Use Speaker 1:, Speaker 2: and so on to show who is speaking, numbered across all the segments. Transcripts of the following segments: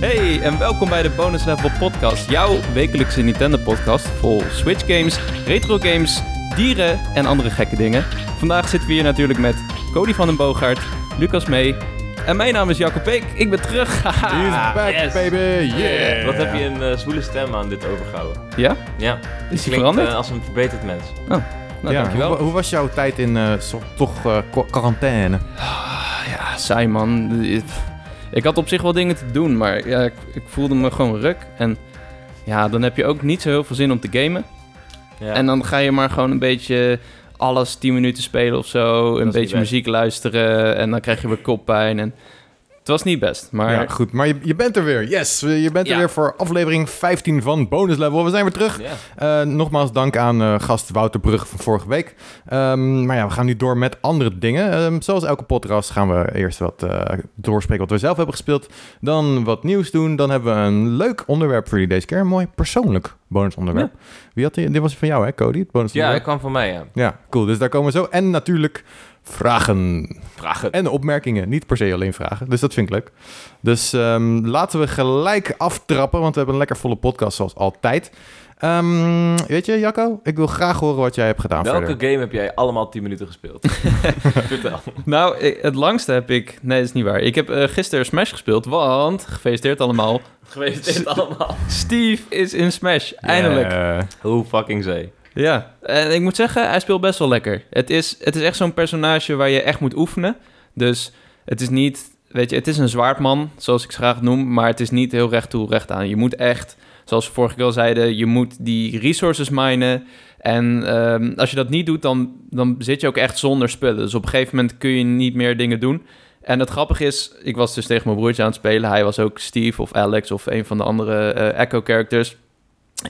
Speaker 1: Hey en welkom bij de Bonus Level Podcast, jouw wekelijkse Nintendo podcast vol Switch games, retro games, dieren en andere gekke dingen. Vandaag zitten we hier natuurlijk met Cody van den Boogaard, Lucas mee en mijn naam is Jacob Peek. Ik ben terug.
Speaker 2: He is back,
Speaker 3: yes.
Speaker 2: baby. Yeah.
Speaker 3: Wat heb je een eh, zwoele stem aan dit overgehouden?
Speaker 1: ja?
Speaker 3: Ja.
Speaker 1: Is hij
Speaker 3: Klinkt,
Speaker 1: veranderd?
Speaker 3: eh, als een verbeterd mens.
Speaker 1: nou,
Speaker 2: eh, Ja,
Speaker 1: dankjewel.
Speaker 2: Hoe, hoe was jouw tijd in eh, zo- toch eh, kwa- quarantaine?
Speaker 1: Ah Ja, saai man. Ik had op zich wel dingen te doen, maar ja, ik, ik voelde me gewoon ruk. En ja, dan heb je ook niet zo heel veel zin om te gamen.
Speaker 3: Ja.
Speaker 1: En dan ga je maar gewoon een beetje alles 10 minuten spelen of zo. Een
Speaker 3: niet
Speaker 1: beetje
Speaker 3: best.
Speaker 1: muziek luisteren en dan krijg je weer koppijn. En het was niet best, maar
Speaker 2: ja, goed. Maar je, je bent er weer. Yes, eh, je bent er
Speaker 1: Ja.
Speaker 2: weer voor aflevering 15 van Bonus Level. We zijn weer terug.
Speaker 3: Ja.
Speaker 2: Eh, nogmaals dank aan eh, gast Wouter Brug van vorige week. Ehm, maar ja, we gaan nu door met andere dingen. Ehm, zoals elke podcast gaan we eerst wat eh, doorspreken wat we zelf hebben gespeeld. Dan wat nieuws doen. Dan hebben we een leuk onderwerp voor jullie deze keer. Een mooi persoonlijk bonusonderwerp. Wie had die, dit was van jou hè Cody, het
Speaker 3: ja, hij
Speaker 2: bonusonderwerp?
Speaker 3: kwam van mij, ja.
Speaker 2: Ja, cool. Dus daar komen we zo. En natuurlijk vragen
Speaker 3: Vraag het.
Speaker 2: en opmerkingen. Niet per se alleen vragen. Dus dat vind ik leuk. Dus ehm, laten we gelijk aftrappen, want we hebben een lekker volle podcast zoals altijd. Ehm, weet je, Jacco, ik wil graag horen wat jij hebt gedaan
Speaker 3: Welke
Speaker 2: verder.
Speaker 3: game heb jij allemaal 10 minuten gespeeld? Vertel.
Speaker 1: Nou, eh, het langste heb ik... Nee, dat is niet waar. Ik heb eh, gisteren Smash gespeeld, want... Gefeliciteerd allemaal.
Speaker 3: Geweest dit allemaal.
Speaker 1: Steve is in Smash, eindelijk.
Speaker 2: Yeah.
Speaker 3: Hoe fucking zee.
Speaker 1: Ja, en ik moet zeggen, hij speelt best wel lekker. Het is, het is echt zo'n personage waar je echt moet oefenen. Dus het is niet, weet je, het is een zwaardman, zoals ik ze graag noem. Maar het is niet heel recht toe, recht aan. Je moet echt, zoals we vorige keer al zeiden, je moet die resources minen. En ehm, als je dat niet doet, dan, dan zit je ook echt zonder spullen. Dus op een gegeven moment kun je niet meer dingen doen. En het grappige is, ik was dus tegen mijn broertje aan het spelen. Hij was ook Steve of Alex of een van de andere eh, Echo-characters.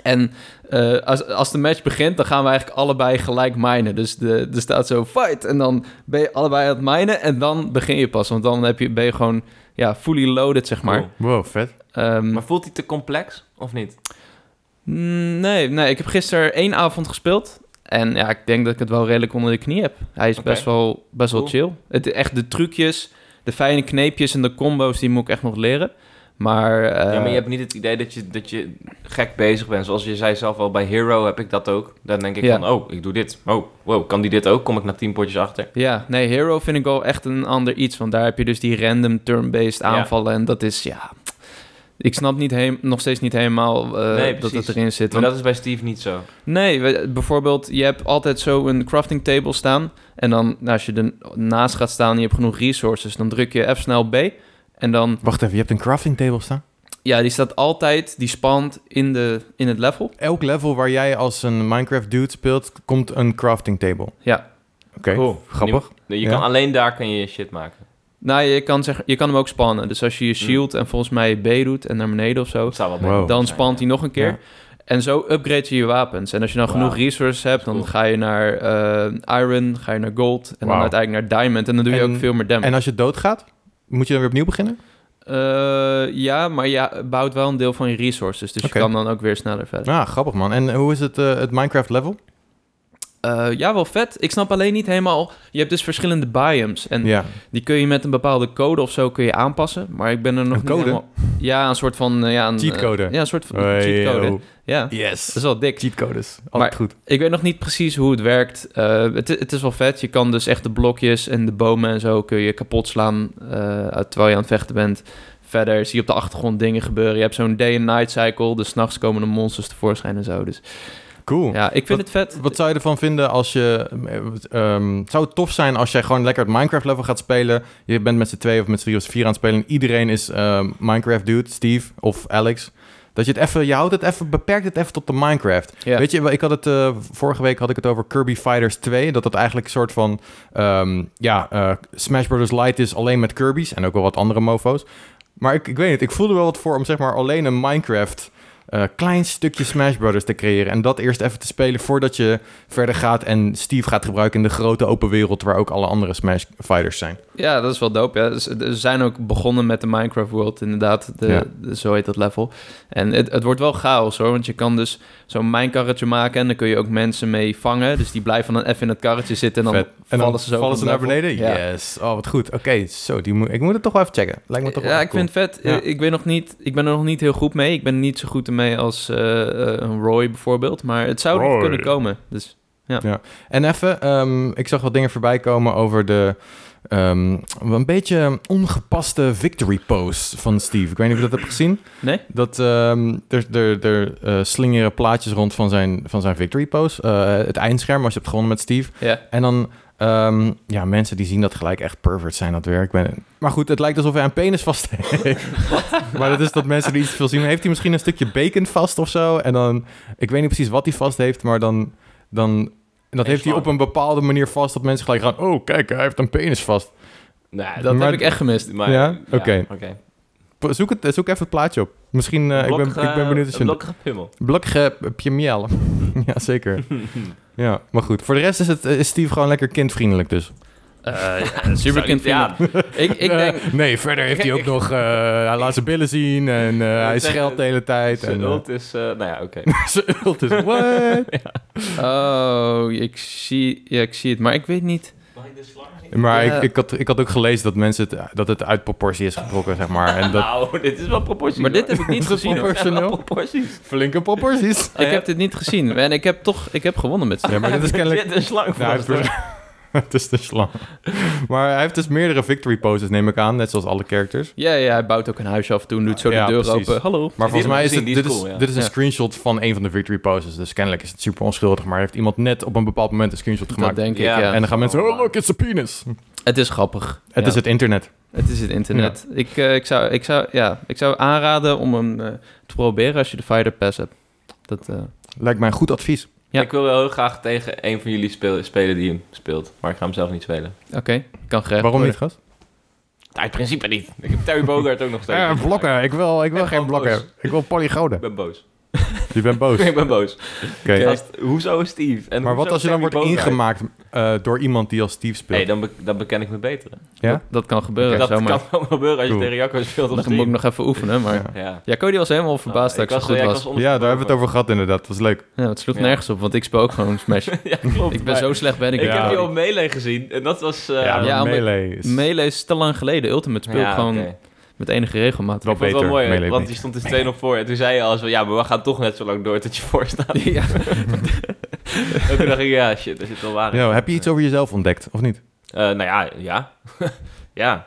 Speaker 1: En eh, als, als de match begint, dan gaan we eigenlijk allebei gelijk minen. Dus de, er staat zo fight. En dan ben je allebei aan het minen. En dan begin je pas. Want dan heb je, ben je gewoon ja, fully loaded, zeg maar.
Speaker 3: Cool.
Speaker 2: Wow, vet.
Speaker 1: Ehm,
Speaker 3: Oh. Maar voelt hij te complex, of niet?
Speaker 1: mm, nee, nee, ik heb gisteren één avond gespeeld. En ja, ik denk dat ik het wel redelijk onder de knie heb. Hij is
Speaker 3: Oké.
Speaker 1: best wel, best wel
Speaker 3: Cool.
Speaker 1: chill. Het, echt de trucjes, de fijne kneepjes en de combo's, die moet ik echt nog leren. Maar, eh,
Speaker 3: ja, maar je hebt niet het idee dat je, dat je gek bezig bent. Zoals je zei zelf al, bij Hero heb ik dat ook. Dan denk ik
Speaker 1: Ja.
Speaker 3: van, oh, ik doe dit. Oh, wow, kan die dit ook? Kom ik na 10 potjes achter?
Speaker 1: Ja, nee, Hero vind ik wel echt een ander iets. Want daar heb je dus die random turn-based
Speaker 3: Ja.
Speaker 1: aanvallen. En dat is, ja... Ik snap niet heem- nog steeds niet helemaal eh,
Speaker 3: Nee,
Speaker 1: dat
Speaker 3: precies.
Speaker 1: het erin zit.
Speaker 3: Maar
Speaker 1: want-
Speaker 3: dat is bij Steve niet zo.
Speaker 1: Nee, we- bijvoorbeeld, je hebt altijd zo een crafting table staan. En dan, nou, als je ernaast gaat staan en je hebt genoeg resources... dan druk je even snel B. En dan,
Speaker 2: Wacht even, je hebt een crafting table staan?
Speaker 1: ja, die staat altijd, die spant in, de, in het level.
Speaker 2: Elk level waar jij als een Minecraft dude speelt, komt een crafting table.
Speaker 1: Ja.
Speaker 2: Oké, grappig.
Speaker 3: Je
Speaker 2: Ja.
Speaker 3: kan alleen daar kan je shit maken.
Speaker 1: Nou, je kan, zeg, je kan hem ook spannen. Dus als je
Speaker 2: Mm.
Speaker 1: je shield en volgens mij B doet en naar beneden of zo...
Speaker 3: Dat zou wel
Speaker 2: Wow.
Speaker 3: beter
Speaker 1: dan
Speaker 3: zijn,
Speaker 1: spant hij nog een keer.
Speaker 2: Oh, Ja.
Speaker 1: En zo upgrade je je wapens. En als je dan
Speaker 3: Wauw.
Speaker 1: genoeg resources hebt, dan
Speaker 3: Cool.
Speaker 1: ga je naar eh, iron, ga je naar gold en dan
Speaker 2: Wauw.
Speaker 1: uiteindelijk naar diamond. En dan doe je
Speaker 2: En-
Speaker 1: ook veel meer damage.
Speaker 2: En als je doodgaat, moet je dan weer opnieuw beginnen?
Speaker 1: Eh, ja, maar ja, bouwt wel een deel van je resources. Dus
Speaker 2: Oké.
Speaker 1: je kan dan ook weer sneller verder.
Speaker 2: Ah, grappig man. En hoe is het, eh, het Minecraft level?
Speaker 1: Eh, ja, wel vet. Ik snap alleen niet helemaal... Je hebt dus verschillende biomes. En
Speaker 2: ja.
Speaker 1: die kun je met een bepaalde code of zo kun je aanpassen. Maar ik ben er nog
Speaker 2: Een code?
Speaker 1: niet helemaal... Ja, een soort van... eh, ja, een, eh,
Speaker 2: Cheatcode.
Speaker 1: Ja, een soort van
Speaker 2: Hey,
Speaker 1: cheatcode.
Speaker 2: yo.
Speaker 1: Ja, dat
Speaker 2: Yes.
Speaker 1: is wel dik.
Speaker 2: Cheatcodes. Altijd
Speaker 1: Maar-
Speaker 2: goed.
Speaker 1: Ik weet nog niet precies hoe het werkt. Eh, het, het is wel vet. Je kan dus echt de blokjes en de bomen en zo kun je kapot slaan eh, terwijl je aan het vechten bent. Verder zie je op de achtergrond dingen gebeuren. Je hebt zo'n day and night cycle. Dus 's nachts komen de monsters tevoorschijn en zo. Dus
Speaker 2: Cool.
Speaker 1: ja, ik vind het vet.
Speaker 2: Wat zou je ervan vinden als je... ehm, zou het tof zijn als jij gewoon lekker het Minecraft-level gaat spelen? Je bent met z'n twee of met z'n drie of z'n vier aan het spelen... en iedereen is ehm, Minecraft-dude, Steve of Alex. Dat je het even... Je houdt het even... Beperkt het even tot de Minecraft.
Speaker 1: Ja.
Speaker 2: Weet je, ik had het... eh, vorige week had ik het over Kirby Fighters 2. Dat dat eigenlijk een soort van... ehm, ja, eh, Smash Bros. Lite is alleen met Kirby's... en ook wel wat andere mofo's. Maar ik, ik weet niet, ik voelde wel wat voor om zeg maar alleen een Minecraft... eh, klein stukje Smash Brothers te creëren. En dat eerst even te spelen voordat je verder gaat en Steve gaat gebruiken in de grote open wereld waar ook alle andere Smash Fighters zijn.
Speaker 1: Ja, dat is wel dope. Ja. Ze ze zijn ook begonnen met de Minecraft World, inderdaad. De,
Speaker 2: Ja.
Speaker 1: de- zo heet dat level. En het, het wordt wel chaos hoor, want je kan dus zo'n mijnkarretje maken en dan kun je ook mensen mee vangen. Dus die blijven dan even in het karretje zitten en dan
Speaker 2: Vet. En dan
Speaker 1: vallen ze zo van het
Speaker 2: naar
Speaker 1: level.
Speaker 2: beneden?
Speaker 1: Ja.
Speaker 2: Yes. Oh, wat goed. Oké, zo, die moet, ik moet het toch wel even checken. Lijkt me toch wel
Speaker 1: ja,
Speaker 2: echt
Speaker 1: ik
Speaker 2: cool.
Speaker 1: vind het vet.
Speaker 2: Ja.
Speaker 1: Eh, Ik, ben nog niet, ik ben er nog niet heel goed mee. Ik ben niet zo goed ermee als eh, eh, een Roy bijvoorbeeld. Maar het zou nog
Speaker 2: Roy.
Speaker 1: kunnen komen. Dus
Speaker 2: En even, ehm, ik zag wat dingen voorbij komen over de... ehm, een beetje ongepaste victory pose van Steve. Ik weet niet of je dat hebt gezien.
Speaker 1: Nee?
Speaker 2: Dat ehm, er, er, er eh, slingeren plaatjes rond van zijn, van zijn victory pose. Eh, het eindscherm, als je hebt gewonnen met Steve.
Speaker 1: ja.
Speaker 2: En dan, ehm, ja, mensen die zien dat gelijk echt pervert zijn dat weer. Ik ben... Maar goed, het lijkt alsof hij een penis vast heeft. maar dat is dat mensen die iets te veel zien. Heeft hij misschien een stukje bacon vast of zo? En dan, ik weet niet precies wat hij vast heeft, maar dan... dan en dat
Speaker 3: Een
Speaker 2: heeft hij
Speaker 3: slang.
Speaker 2: op een bepaalde manier vast dat mensen gelijk gaan... Oh, kijk, hij heeft een penis vast.
Speaker 3: Nee,
Speaker 1: dat
Speaker 2: maar-
Speaker 1: heb ik echt gemist.
Speaker 3: maar,
Speaker 2: Ja? Oké.
Speaker 3: oké.
Speaker 2: P- Zoek, het, zoek even het plaatje op. Misschien, eh, ik, ben,
Speaker 3: Blokkige-
Speaker 2: ik ben benieuwd als je...
Speaker 3: blokkige pimmel.
Speaker 2: Blokkige pjemiel. ja, zeker. ja, maar goed. Voor de rest is, het, is Steve gewoon lekker kindvriendelijk dus.
Speaker 1: super kind
Speaker 3: Ja,
Speaker 1: Ik, ik denk,
Speaker 2: Eh, nee, verder heeft hij ook nog... eh, hij laat zijn billen zien en eh, hij
Speaker 3: zeggen,
Speaker 2: scheldt de hele tijd.
Speaker 3: zijn
Speaker 2: En,
Speaker 3: ult is... eh, nou ja, oké.
Speaker 2: eh, zijn ult is... What?
Speaker 1: Oh, ik zie, ja, ik zie het, maar ik weet niet.
Speaker 3: Mag ik de slang zien?
Speaker 2: Maar
Speaker 1: Ja.
Speaker 2: ik, ik, had, ik had ook gelezen dat mensen het, dat het uit proportie is getrokken, zeg maar. En dat
Speaker 3: Nou, dit is wel proportie.
Speaker 1: Maar dit
Speaker 3: hoor.
Speaker 1: heb ik niet gezien. hoor.
Speaker 2: proportioneel.
Speaker 3: proporties.
Speaker 2: Flinke proporties.
Speaker 1: Ik heb dit niet gezien. En ik heb toch, ik heb gewonnen met ze.
Speaker 2: Ja, maar dit is kennelijk...
Speaker 3: Dit is slang
Speaker 2: Nou, hij heeft dus-
Speaker 3: vast.
Speaker 2: het is te slang. Maar hij heeft dus meerdere victory poses, neem ik aan. Net zoals alle characters.
Speaker 1: Ja, ja, hij bouwt ook een huisje af en toe, doet zo
Speaker 2: Ja,
Speaker 1: de deur
Speaker 2: precies.
Speaker 1: open. Hallo.
Speaker 2: Maar
Speaker 3: Ja, die
Speaker 2: volgens mij is
Speaker 3: heb
Speaker 2: het,
Speaker 3: ik gezien, die
Speaker 2: dit,
Speaker 3: is
Speaker 2: is,
Speaker 3: cool, ja.
Speaker 2: dit is een
Speaker 1: Ja.
Speaker 2: screenshot van een van de victory poses. Dus kennelijk is het super onschuldig. Maar heeft iemand net op een bepaald moment een screenshot
Speaker 1: Dat
Speaker 2: gemaakt.
Speaker 1: denk ik,
Speaker 3: Ja.
Speaker 1: ja.
Speaker 2: En dan gaan mensen...
Speaker 3: Oh,
Speaker 2: Oh, look, it's a penis.
Speaker 1: Het is grappig.
Speaker 2: Het
Speaker 1: Ja.
Speaker 2: is het internet.
Speaker 1: Het is het internet. Ik, eh, ik, zou, ik, zou, ja, ik zou aanraden om hem eh, te proberen als je de Fighter Pass hebt. Dat, eh,
Speaker 2: Lijkt mij een goed advies.
Speaker 1: Ja.
Speaker 3: Ik wil wel heel graag tegen een van jullie speel- spelen die hem speelt. Maar ik ga hem zelf niet spelen.
Speaker 1: Oké, kan gerecht
Speaker 2: Waarom niet,
Speaker 1: worden.
Speaker 2: gast?
Speaker 3: Nou, in principe niet. Ik heb Terry Bogard ook nog steeds.
Speaker 2: Ja,
Speaker 3: niet gemaakt.
Speaker 2: blokken. Ik wil, ik wil
Speaker 3: En
Speaker 2: geen
Speaker 3: gewoon
Speaker 2: blokken.
Speaker 3: boos.
Speaker 2: Ik wil polygoden.
Speaker 3: Ik ben boos.
Speaker 2: Je bent boos.
Speaker 3: ik ben boos.
Speaker 2: Oké.
Speaker 3: Gast, hoezo Steve? En
Speaker 2: Maar wat
Speaker 3: hoezo
Speaker 2: als je dan
Speaker 3: Terry
Speaker 2: wordt
Speaker 3: Bogard?
Speaker 2: ingemaakt eh, door iemand die als Steve speelt?
Speaker 3: Nee, dan, be- dan beken ik me beter.
Speaker 2: Ja?
Speaker 1: Dat, dat kan gebeuren,
Speaker 3: dat
Speaker 1: zomaar.
Speaker 3: kan wel gebeuren als je
Speaker 2: Cool.
Speaker 3: tegen Jacco speelt of
Speaker 1: Dan moet ik
Speaker 3: Steve.
Speaker 1: nog even oefenen, maar...
Speaker 2: Ja.
Speaker 1: Ja,
Speaker 3: Ja.
Speaker 1: Cody was helemaal verbaasd
Speaker 3: Ah,
Speaker 1: dat ik, zo
Speaker 3: was-
Speaker 1: goed
Speaker 3: ja, ik
Speaker 1: was.
Speaker 3: was
Speaker 2: ja, daar hebben we het over gehad inderdaad. was leuk.
Speaker 1: Ja, het sloeg
Speaker 3: Ja.
Speaker 1: nergens op, want ik speel ook gewoon Smash.
Speaker 3: Ja, klopt.
Speaker 1: ik ben zo slecht ben ik.
Speaker 3: Ik
Speaker 2: Ja.
Speaker 3: heb je op Melee gezien en dat was... eh,
Speaker 2: ja,
Speaker 1: ja,
Speaker 2: ja,
Speaker 1: omdat-
Speaker 2: melee is...
Speaker 1: Melee is te lang geleden. Ultimate speelt
Speaker 3: ja,
Speaker 1: gewoon
Speaker 3: oké.
Speaker 1: met enige regelmaat.
Speaker 2: Wel
Speaker 3: Ik vond het
Speaker 2: beter.
Speaker 3: wel mooi,
Speaker 2: melee
Speaker 3: want
Speaker 2: beter.
Speaker 3: die stond dus 2-0 voor. En toen zei je als, ja, maar we gaan toch net zo lang door tot je voor staat.
Speaker 1: ja.
Speaker 3: En toen dacht ik, ja, shit, daar zit wel waar. in.
Speaker 2: Ja, heb je iets over jezelf ontdekt, of niet?
Speaker 3: Eh, nou ja, ja. ja.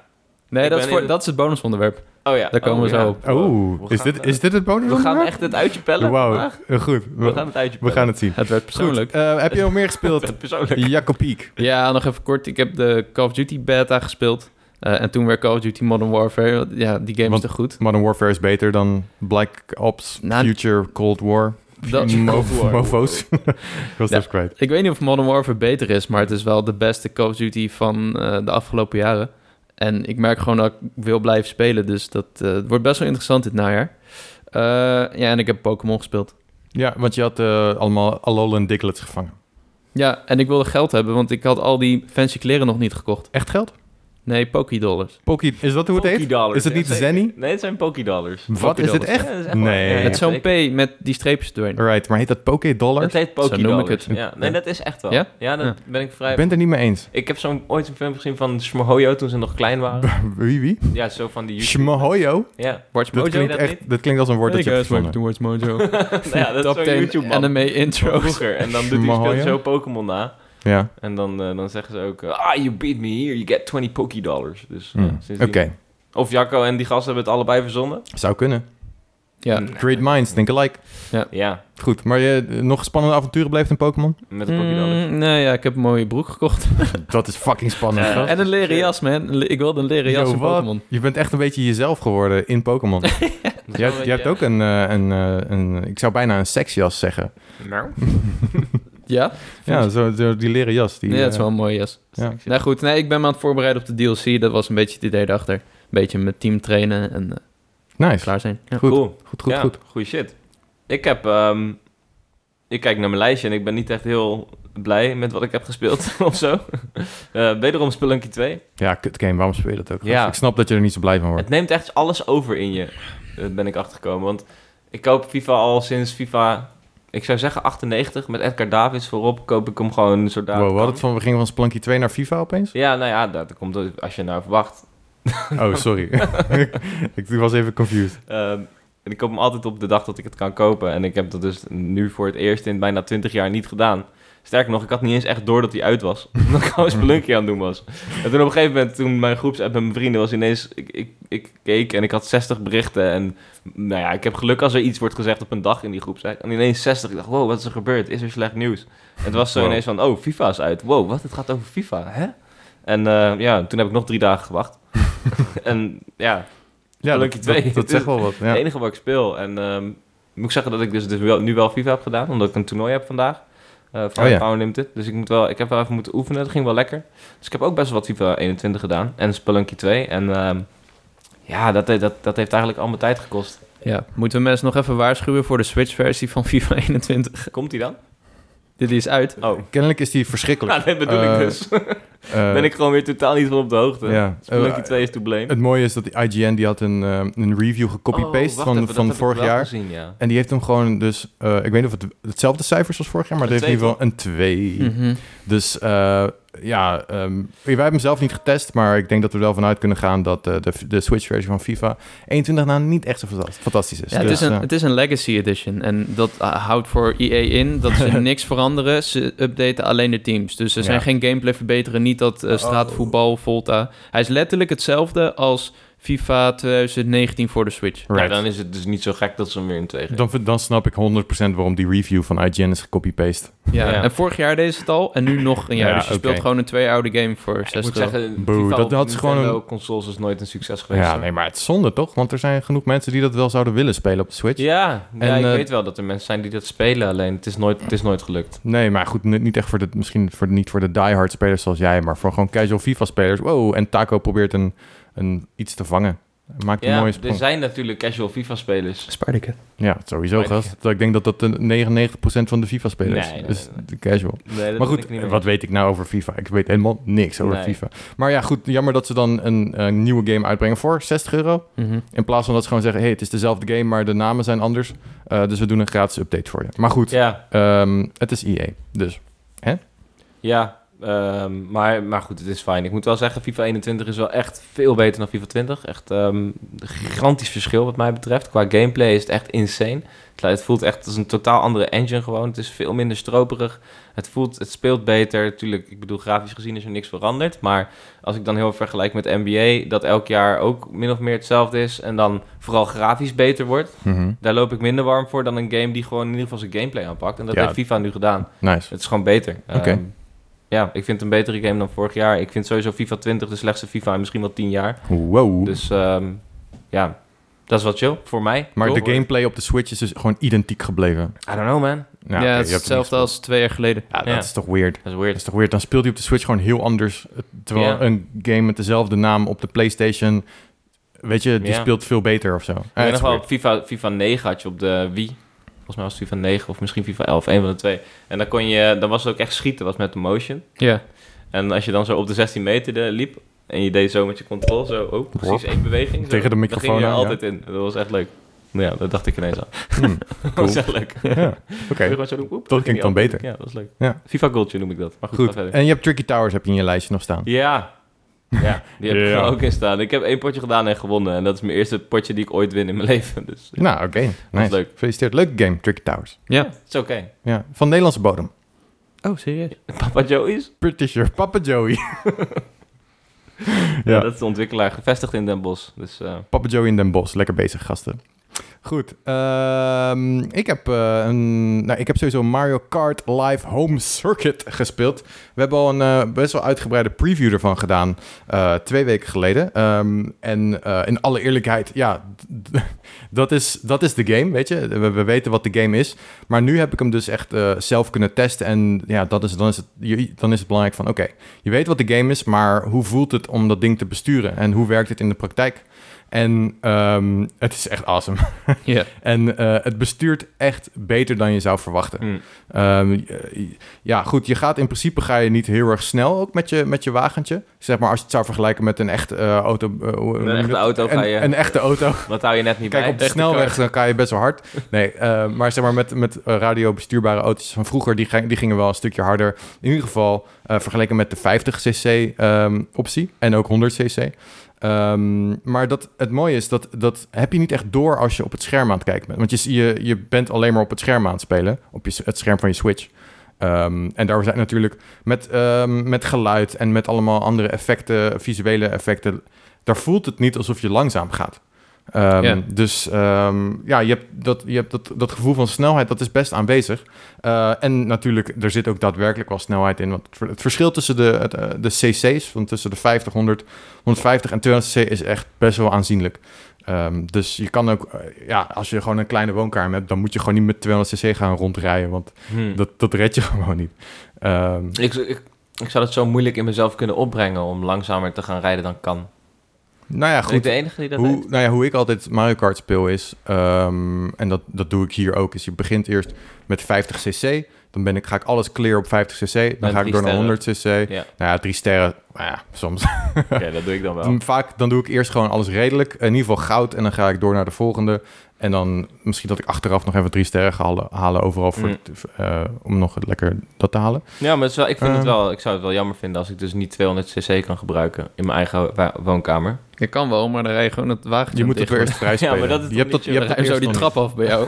Speaker 1: Nee,
Speaker 3: Ik
Speaker 1: dat is,
Speaker 3: ben
Speaker 1: voor,
Speaker 3: in-
Speaker 1: dat is het bonusonderwerp.
Speaker 3: Oh ja.
Speaker 1: Daar komen
Speaker 3: oh,
Speaker 1: we zo
Speaker 3: ja.
Speaker 1: op.
Speaker 2: Oh,
Speaker 3: we
Speaker 2: is
Speaker 3: gaan,
Speaker 2: dit,
Speaker 3: eh,
Speaker 2: is dit het bonus?
Speaker 3: We gaan echt het uitje pellen.
Speaker 2: Wauw,
Speaker 3: vandaag.
Speaker 2: eh, goed.
Speaker 3: We gaan het uitje
Speaker 2: we
Speaker 3: pellen.
Speaker 2: gaan het zien.
Speaker 1: Het werd persoonlijk.
Speaker 2: Goed, eh, heb je nog meer gespeeld?
Speaker 3: het persoonlijk.
Speaker 2: Jacopiek.
Speaker 1: Ja, nog even kort. Ik heb de Call of Duty beta gespeeld. Eh, en toen weer Call of Duty Modern Warfare. Want Ja, die game
Speaker 2: Want-
Speaker 1: is te goed.
Speaker 2: Modern Warfare is beter dan Black Ops,
Speaker 1: Nou,
Speaker 2: Future, Cold War.
Speaker 1: Dat-
Speaker 2: Mo-
Speaker 1: Cold War.
Speaker 2: Mofo's. Ik was
Speaker 1: Ja.
Speaker 2: even kwijt.
Speaker 1: Ik weet niet of Modern Warfare beter is, maar het is wel de beste Call of Duty van eh, de afgelopen jaren. En ik merk gewoon dat ik wil blijven spelen, dus dat eh, het wordt best wel interessant dit najaar. Eh, ja, en ik heb Pokémon gespeeld.
Speaker 2: Ja, want je had eh, allemaal Alolan Diglets gevangen.
Speaker 1: Ja, en ik wilde geld hebben, want ik had al die fancy kleren nog niet gekocht.
Speaker 2: Echt geld?
Speaker 1: Nee, Pokédollars.
Speaker 2: Poki, is dat hoe het heet?
Speaker 3: Pokédollars,
Speaker 2: Is het
Speaker 3: ja,
Speaker 2: niet
Speaker 3: zeker.
Speaker 2: Zenny?
Speaker 3: Nee, het zijn Pokédollars.
Speaker 2: Wat is dit echt?
Speaker 3: Ja, dat is echt waar.
Speaker 2: Nee.
Speaker 3: Ja, ja,
Speaker 1: Het is zo'n P
Speaker 3: zeker.
Speaker 1: met die streepjes doorheen.
Speaker 2: Right, maar heet dat Poké Dollar?
Speaker 3: Het heet
Speaker 1: Zo
Speaker 3: Pokédollars.
Speaker 1: noem ik het.
Speaker 3: Ja, nee, dat is echt wel.
Speaker 1: Ja?
Speaker 3: Ja, dat ben ik vrij...
Speaker 2: Ik ben het er niet mee eens.
Speaker 3: Ik heb zo'n, ooit een film gezien van Smohojo toen ze nog klein waren.
Speaker 2: Wie wie?
Speaker 3: Ja, zo van Ah. die... YouTube-
Speaker 2: Shmohoyo?
Speaker 3: Ja,
Speaker 1: Watch
Speaker 2: Dat
Speaker 1: Mojo.
Speaker 3: Ken je
Speaker 2: klinkt,
Speaker 3: dat niet?
Speaker 2: echt, dat klinkt als een woord dat je hebt gevonden.
Speaker 1: Watch Mojo.
Speaker 3: Nou ja dat is zo'n YouTube-man.
Speaker 1: anime
Speaker 3: Van
Speaker 1: intro's.
Speaker 3: vroeger. En dan doet hij
Speaker 2: Smohojo?
Speaker 3: speelt zo Pokémon na.
Speaker 2: Ja.
Speaker 3: En dan, eh, dan zeggen ze ook... eh, ah, you beat me here, you get 20 Pokédollars. Dus, eh,
Speaker 2: Hmm. Oké,
Speaker 3: sindsdien- Of Jacco en die gast hebben het allebei verzonnen.
Speaker 2: zou kunnen.
Speaker 1: Ja.
Speaker 2: Great minds think alike.
Speaker 3: Ja,
Speaker 2: Goed, maar je nog spannende avonturen beleefd in Pokémon?
Speaker 3: met de Pokédollars.
Speaker 1: Mm, nee, ja, ik heb een mooie broek gekocht.
Speaker 2: dat is fucking spannend.
Speaker 3: Ja.
Speaker 2: gast.
Speaker 1: en een leren jas, man. Een le- Ik wilde een leren jas
Speaker 2: Oh, Yo,
Speaker 1: in
Speaker 2: wat?
Speaker 1: Pokémon.
Speaker 2: Je bent echt een beetje jezelf geworden in Pokémon. je
Speaker 3: Dat is wel
Speaker 2: hebt,
Speaker 3: een
Speaker 2: je hebt
Speaker 3: beetje-
Speaker 2: ook een, eh, een, eh, een, ik zou bijna een seksjas zeggen.
Speaker 3: Nou,
Speaker 1: Ja?
Speaker 2: Ja, zo, zo die leren jas. Die,
Speaker 1: Nee, dat is
Speaker 2: eh,
Speaker 1: wel een mooie jas.
Speaker 2: Ja.
Speaker 1: Nou goed, nee, ik ben me aan het voorbereiden op de DLC. Dat was een beetje het idee daarachter. Een beetje met team trainen en eh,
Speaker 2: Nice.
Speaker 1: klaar zijn. Ja.
Speaker 2: Goed,
Speaker 3: Cool.
Speaker 2: goed, goed,
Speaker 3: ja,
Speaker 2: goed.
Speaker 3: Goeie shit. Ik heb ehm, ik kijk naar mijn lijstje en ik ben niet echt heel blij met wat ik heb gespeeld of zo. Eh, wederom Spelunky 2.
Speaker 2: Ja, kut game, waarom speel je dat ook?
Speaker 3: Ja.
Speaker 2: Ik snap dat je er niet zo blij van wordt.
Speaker 3: Het neemt echt alles over in je, eh, ben ik achtergekomen. Want ik koop FIFA al sinds FIFA, ik zou zeggen 98, met Edgar Davids voorop, koop ik hem gewoon zodra
Speaker 2: wow, we, hadden
Speaker 3: kan.
Speaker 2: het van, we gingen van Splanky 2 naar FIFA opeens?
Speaker 3: Ja, nou ja, dat komt ook- als je nou verwacht.
Speaker 2: Oh, sorry. ik, ik was even confused.
Speaker 3: Ehm, en ik koop hem altijd op de dag dat ik het kan kopen. En ik heb dat dus nu voor het eerst in bijna 20 jaar niet gedaan. Sterker nog, ik had niet eens echt door dat hij uit was. Omdat ik gewoon Spelunky aan het doen was. En toen op een gegeven moment, toen mijn groepsapp met mijn vrienden was ineens... Ik, ik, ik keek en ik had 60 berichten. En nou ja, ik heb geluk als er iets wordt gezegd op een dag in die groepsapp. En ineens 60. Ik dacht, wow, wat is er gebeurd? Is er slecht nieuws? Het was zo
Speaker 2: Wow.
Speaker 3: ineens van, oh, FIFA is uit. Wow, wat? Het gaat over FIFA, hè? En eh, ja, toen heb ik nog drie dagen gewacht. en ja,
Speaker 2: Ja,
Speaker 3: Spelunky
Speaker 2: dat,
Speaker 3: 2.
Speaker 2: dat, dat zegt wel wat. Ja.
Speaker 3: het enige wat ik speel. En ehm, moet ik zeggen dat ik dus, dus wel, nu wel FIFA heb gedaan, omdat ik een toernooi heb vandaag. eh van
Speaker 2: Oh ja.
Speaker 3: Power Limited. Dus ik, moet wel, ik heb wel even moeten oefenen. Dat ging wel lekker. Dus ik heb ook best wel wat FIFA 21 gedaan. En Spelunky 2. En ehm, ja, dat, eh, dat, dat heeft eigenlijk al mijn tijd gekost.
Speaker 1: Ja, moeten we mensen nog even waarschuwen voor de Switch-versie van FIFA 21?
Speaker 3: Komt die dan?
Speaker 1: Dit is uit.
Speaker 3: Oh,
Speaker 2: Kennelijk is die verschrikkelijk.
Speaker 3: nou, dat bedoel
Speaker 2: Eh,
Speaker 3: ik dus.
Speaker 2: eh,
Speaker 3: ben ik gewoon weer totaal niet van op de hoogte.
Speaker 2: ja.
Speaker 3: Spelunky
Speaker 2: Eh,
Speaker 3: 2 is to blame.
Speaker 2: Het mooie is dat die IGN die had een, eh, een review gecopy-paste
Speaker 3: Oh, wacht
Speaker 2: van,
Speaker 3: even, dat
Speaker 2: van
Speaker 3: heb ik
Speaker 2: vorig
Speaker 3: wel
Speaker 2: jaar.
Speaker 3: Gezien, ja.
Speaker 2: En die heeft hem gewoon dus... eh, ik weet niet of het hetzelfde cijfers was vorig jaar, maar
Speaker 3: Een
Speaker 2: het heeft in ieder geval een 2.
Speaker 1: Mhm.
Speaker 2: Dus eh, ja, ehm, wij hebben hem zelf niet getest, maar ik denk dat we er wel vanuit kunnen gaan dat eh, de, de Switch-versie van FIFA 21 nou niet echt zo fanta- fantastisch is.
Speaker 1: Ja, het,
Speaker 2: Dus,
Speaker 1: is een,
Speaker 2: eh,
Speaker 1: het is een legacy edition en dat eh, houdt voor EA in dat ze niks veranderen. Ze updaten alleen de teams. Dus er zijn
Speaker 2: Ja.
Speaker 1: geen gameplay verbeteren, niet dat eh,
Speaker 3: Oh.
Speaker 1: straatvoetbal, Volta. Hij is letterlijk hetzelfde als FIFA 2019 voor de Switch.
Speaker 3: Ja,
Speaker 2: right.
Speaker 3: dan is het dus niet zo gek dat ze hem weer in 2 geven.
Speaker 2: dan, vind- dan snap ik 100% waarom die review van IGN is gecopy-paste.
Speaker 1: Ja.
Speaker 3: Ja.
Speaker 1: En vorig jaar deed ze het al en nu nog een jaar.
Speaker 2: Ja,
Speaker 1: dus je
Speaker 2: oké.
Speaker 1: speelt gewoon een twee oude game voor
Speaker 3: Ik
Speaker 1: 60
Speaker 3: moet
Speaker 1: euro.
Speaker 3: zeggen,
Speaker 2: Boe,
Speaker 3: FIFA
Speaker 2: dat-
Speaker 3: op
Speaker 2: dat is gewoon
Speaker 3: Nintendo
Speaker 2: een-
Speaker 3: consoles is nooit een succes geweest.
Speaker 2: Ja, nee, maar het is zonde toch? Want er zijn genoeg mensen die dat wel zouden willen spelen op de Switch.
Speaker 3: Ja, ja,
Speaker 2: En,
Speaker 3: ik
Speaker 2: eh,
Speaker 3: weet wel dat er mensen zijn die dat spelen, alleen het is nooit, het is nooit gelukt.
Speaker 2: Nee, maar goed, ni- niet echt voor de, misschien voor de, niet voor de diehard spelers zoals jij, maar voor gewoon casual FIFA-spelers. Wow, en Taco probeert een, een, iets te vangen. Maakt een
Speaker 3: Ja, dus
Speaker 2: mooie
Speaker 3: er
Speaker 2: sprong.
Speaker 3: zijn natuurlijk casual FIFA-spelers.
Speaker 1: Spartacus.
Speaker 2: Ja, sowieso,
Speaker 3: Maar-
Speaker 2: gast. Dat- Ik denk dat dat de 99% van de FIFA-spelers
Speaker 3: Nee, nee,
Speaker 2: is. Dus
Speaker 3: nee,
Speaker 2: Casual.
Speaker 3: Nee, dat
Speaker 2: Maar
Speaker 3: ben
Speaker 2: goed,
Speaker 3: ik niet
Speaker 2: wat
Speaker 3: mee.
Speaker 2: weet ik nou over FIFA? Ik weet helemaal niks over
Speaker 3: Nee.
Speaker 2: FIFA. Maar ja, goed, jammer dat ze dan een, eh, nieuwe game uitbrengen voor 60 euro.
Speaker 1: Mhm.
Speaker 2: In plaats van dat ze gewoon zeggen, hey, het is dezelfde game, maar de namen zijn anders. Eh, dus we doen een gratis update voor je. Maar goed,
Speaker 3: Ja,
Speaker 2: ehm, het is EA, dus.
Speaker 3: ja ehm, maar, maar goed, het is fijn. Ik moet wel zeggen, FIFA 21 is wel echt veel beter dan FIFA 20. Echt ehm, een gigantisch verschil wat mij betreft. Qua gameplay is het echt insane. Het- Het voelt echt als een totaal andere engine gewoon. Het is veel minder stroperig. Het, voelt, het speelt beter. Natuurlijk, ik bedoel, grafisch gezien is er niks veranderd. Maar als ik dan heel vergelijk met NBA, dat elk jaar ook min of meer hetzelfde is. En dan vooral grafisch beter wordt. Daar loop ik minder warm voor dan een game die gewoon in ieder geval zijn gameplay aanpakt. En dat
Speaker 2: Ja.
Speaker 3: heeft FIFA nu gedaan.
Speaker 2: Nice.
Speaker 3: Het is gewoon beter.
Speaker 2: Oké.
Speaker 3: Ehm, ja, ik vind het een betere game dan vorig jaar. Ik vind sowieso FIFA 20 de slechtste FIFA in misschien wel 10 jaar.
Speaker 2: Wow.
Speaker 3: Dus ehm, ja, dat is wel chill voor mij.
Speaker 2: maar
Speaker 3: Toch?
Speaker 2: de gameplay op de Switch is dus gewoon identiek gebleven.
Speaker 3: I don't know, man.
Speaker 1: Ja,
Speaker 2: oké,
Speaker 1: het
Speaker 2: je hebt
Speaker 1: is
Speaker 2: hem
Speaker 1: hetzelfde
Speaker 2: niet gespeeld.
Speaker 1: als twee jaar geleden.
Speaker 2: Ja, dat
Speaker 3: Ja.
Speaker 2: is toch weird.
Speaker 3: Dat is
Speaker 2: Dat
Speaker 3: weird.
Speaker 2: is toch weird. Dan speelt hij op de Switch gewoon heel anders. eh, Terwijl
Speaker 3: Ja.
Speaker 2: een game met dezelfde naam op de PlayStation, weet je, die
Speaker 3: Ja.
Speaker 2: speelt veel beter of zo.
Speaker 3: Ik
Speaker 2: Eh,
Speaker 3: weet
Speaker 2: het is
Speaker 3: nog wel,
Speaker 2: weird.
Speaker 3: op FIFA, FIFA 9 had je op de Wii. Volgens mij was het FIFA 9 of misschien FIFA 11, een van de twee. En dan, kon je, dan was het ook echt schieten, was met de motion.
Speaker 1: Ja.
Speaker 3: En als je dan zo op de 16 meter eh, liep en je deed zo met je controle, zo ook precies één beweging. zo,
Speaker 2: Tegen de
Speaker 3: dan
Speaker 2: microfoon
Speaker 3: ging je er
Speaker 2: aan, ja.
Speaker 3: altijd in. Dat was echt leuk. Nou ja, dat dacht ik ineens aan.
Speaker 2: Hmm,
Speaker 3: Dat was
Speaker 2: cool.
Speaker 3: echt leuk.
Speaker 2: Ja, oké.
Speaker 3: Kun je gewoon zo doen, oep,
Speaker 2: Dat
Speaker 3: ging
Speaker 2: klinkt dan
Speaker 3: die
Speaker 2: beter.
Speaker 3: altijd. Ja, dat is leuk.
Speaker 2: Ja.
Speaker 3: FIFA Goldje noem ik dat. Maar goed,
Speaker 2: Goed.
Speaker 3: ga verder.
Speaker 2: En je hebt Tricky Towers heb je in je lijstje nog staan.
Speaker 3: Ja. Ja, die heb ik
Speaker 2: Ja.
Speaker 3: er ook in staan. Ik heb één potje gedaan en gewonnen. En dat is mijn eerste potje die ik ooit win in mijn leven. Dus eh,
Speaker 2: Nou, oké. Nice.
Speaker 3: leuk.
Speaker 2: Gefeliciteerd. Leuke game, Tricky Towers.
Speaker 1: Ja.
Speaker 3: het is oké.
Speaker 2: Ja, van Nederlandse bodem.
Speaker 1: Oh, serieus?
Speaker 3: Papa Joey's?
Speaker 2: Pretty sure Papa Joey.
Speaker 3: Ja.
Speaker 2: Ja.
Speaker 3: Dat is de ontwikkelaar, gevestigd in Den Bosch. Dus eh,
Speaker 2: Papa Joey in Den Bosch. Lekker bezig, gasten. Goed. ehm, ik, heb, eh, een, nou, ik heb sowieso Mario Kart Live Home Circuit gespeeld. We hebben al een eh, best wel uitgebreide preview ervan gedaan. eh, twee weken geleden. Ehm, en eh, in alle eerlijkheid, ja, d- d- dat is, dat is de game, weet je. We, we weten wat de game is. Maar nu heb ik hem dus echt eh, zelf kunnen testen. En ja, dat is, dan, is het, je- dan is het belangrijk van... Oké, je weet wat de game is, maar hoe voelt het om dat ding te besturen? En hoe werkt het in de praktijk? En ehm, het is echt awesome.
Speaker 1: Ja.
Speaker 2: En eh, het bestuurt echt beter dan je zou verwachten.
Speaker 3: Mm.
Speaker 2: Ehm, ja, goed, je gaat in principe ga je niet heel erg snel ook met je, met je wagentje. Zeg maar als je het zou vergelijken met een echte eh, auto. eh, hoe- hoe noem je
Speaker 3: Een echte
Speaker 2: dat?
Speaker 3: auto ga
Speaker 2: Een-
Speaker 3: je...
Speaker 2: een echte auto.
Speaker 3: Wat hou je net niet
Speaker 2: Kijk,
Speaker 3: bij?
Speaker 2: op de
Speaker 3: Echte
Speaker 2: snelweg
Speaker 3: kar.
Speaker 2: dan kan je best wel hard. Nee, eh, maar zeg maar met, met eh, radiobestuurbare auto's van vroeger, die, ging- die gingen wel een stukje harder. In ieder geval eh, vergeleken met de 50cc ehm, optie en ook 100cc. Ehm, maar dat, het mooie is, dat, dat heb je niet echt door als je op het scherm aan het kijken bent. Want je, zie- je, je bent alleen maar op het scherm aan het spelen, op je, het scherm van je Switch. Ehm, en daar zijn natuurlijk met, ehm, met geluid en met allemaal andere effecten, visuele effecten, daar voelt het niet alsof je langzaam gaat. Ehm,
Speaker 1: Ja.
Speaker 2: Dus ehm, ja, je hebt, dat, je hebt dat, dat gevoel van snelheid, dat is best aanwezig. Eh, en natuurlijk, er zit ook daadwerkelijk wel snelheid in. Want het ver- het verschil tussen de, het, eh, de cc's, van tussen de 50, 100, 150 en 200 cc, is echt best wel aanzienlijk. Ehm, dus je kan ook, eh, ja, als je gewoon een kleine woonkamer hebt, dan moet je gewoon niet met 200 cc gaan rondrijden, want
Speaker 3: Hmm.
Speaker 2: dat, dat red je gewoon niet. Ehm,
Speaker 3: Ik, ik, ik zou het zo moeilijk in mezelf kunnen opbrengen om langzamer te gaan rijden dan kan.
Speaker 2: nou ja,
Speaker 3: Ben ik
Speaker 2: goed.
Speaker 3: de enige die dat
Speaker 2: Hoe,
Speaker 3: heeft?
Speaker 2: nou ja, hoe ik altijd Mario Kart speel is, ehm, en dat, dat doe ik hier ook, is je begint eerst met 50 cc. Dan ben ik, ga ik alles clear op 50 cc. Dan
Speaker 3: Met
Speaker 2: ga ik
Speaker 3: drie
Speaker 2: door naar
Speaker 3: sterren.
Speaker 2: 100 cc.
Speaker 3: Ja.
Speaker 2: Nou ja, drie sterren, nou ja, soms.
Speaker 3: Oké, dat doe ik dan wel.
Speaker 2: Dan Vaak dan doe ik eerst gewoon alles redelijk. In ieder geval goud en dan ga ik door naar de volgende. En dan misschien dat ik achteraf nog even drie sterren ga halen, halen overal voor
Speaker 3: Mm.
Speaker 2: het- eh, om nog lekker dat te halen.
Speaker 3: Ja, maar het is wel, ik, vind het
Speaker 2: Ehm.
Speaker 3: wel, ik zou het wel jammer vinden als ik dus niet 200cc kan gebruiken in mijn eigen wa- woonkamer.
Speaker 1: Je kan wel, maar dan rij je gewoon het wagentje
Speaker 2: Je moet het
Speaker 1: dicht.
Speaker 2: weer eerst vrij spelen.
Speaker 3: maar dat is
Speaker 2: je
Speaker 3: toch
Speaker 2: hebt dat,
Speaker 3: niet
Speaker 2: je
Speaker 1: Je
Speaker 2: hebt
Speaker 1: hebt
Speaker 2: dat
Speaker 1: zo
Speaker 2: eerst
Speaker 1: die
Speaker 2: nog
Speaker 1: trap af bij jou.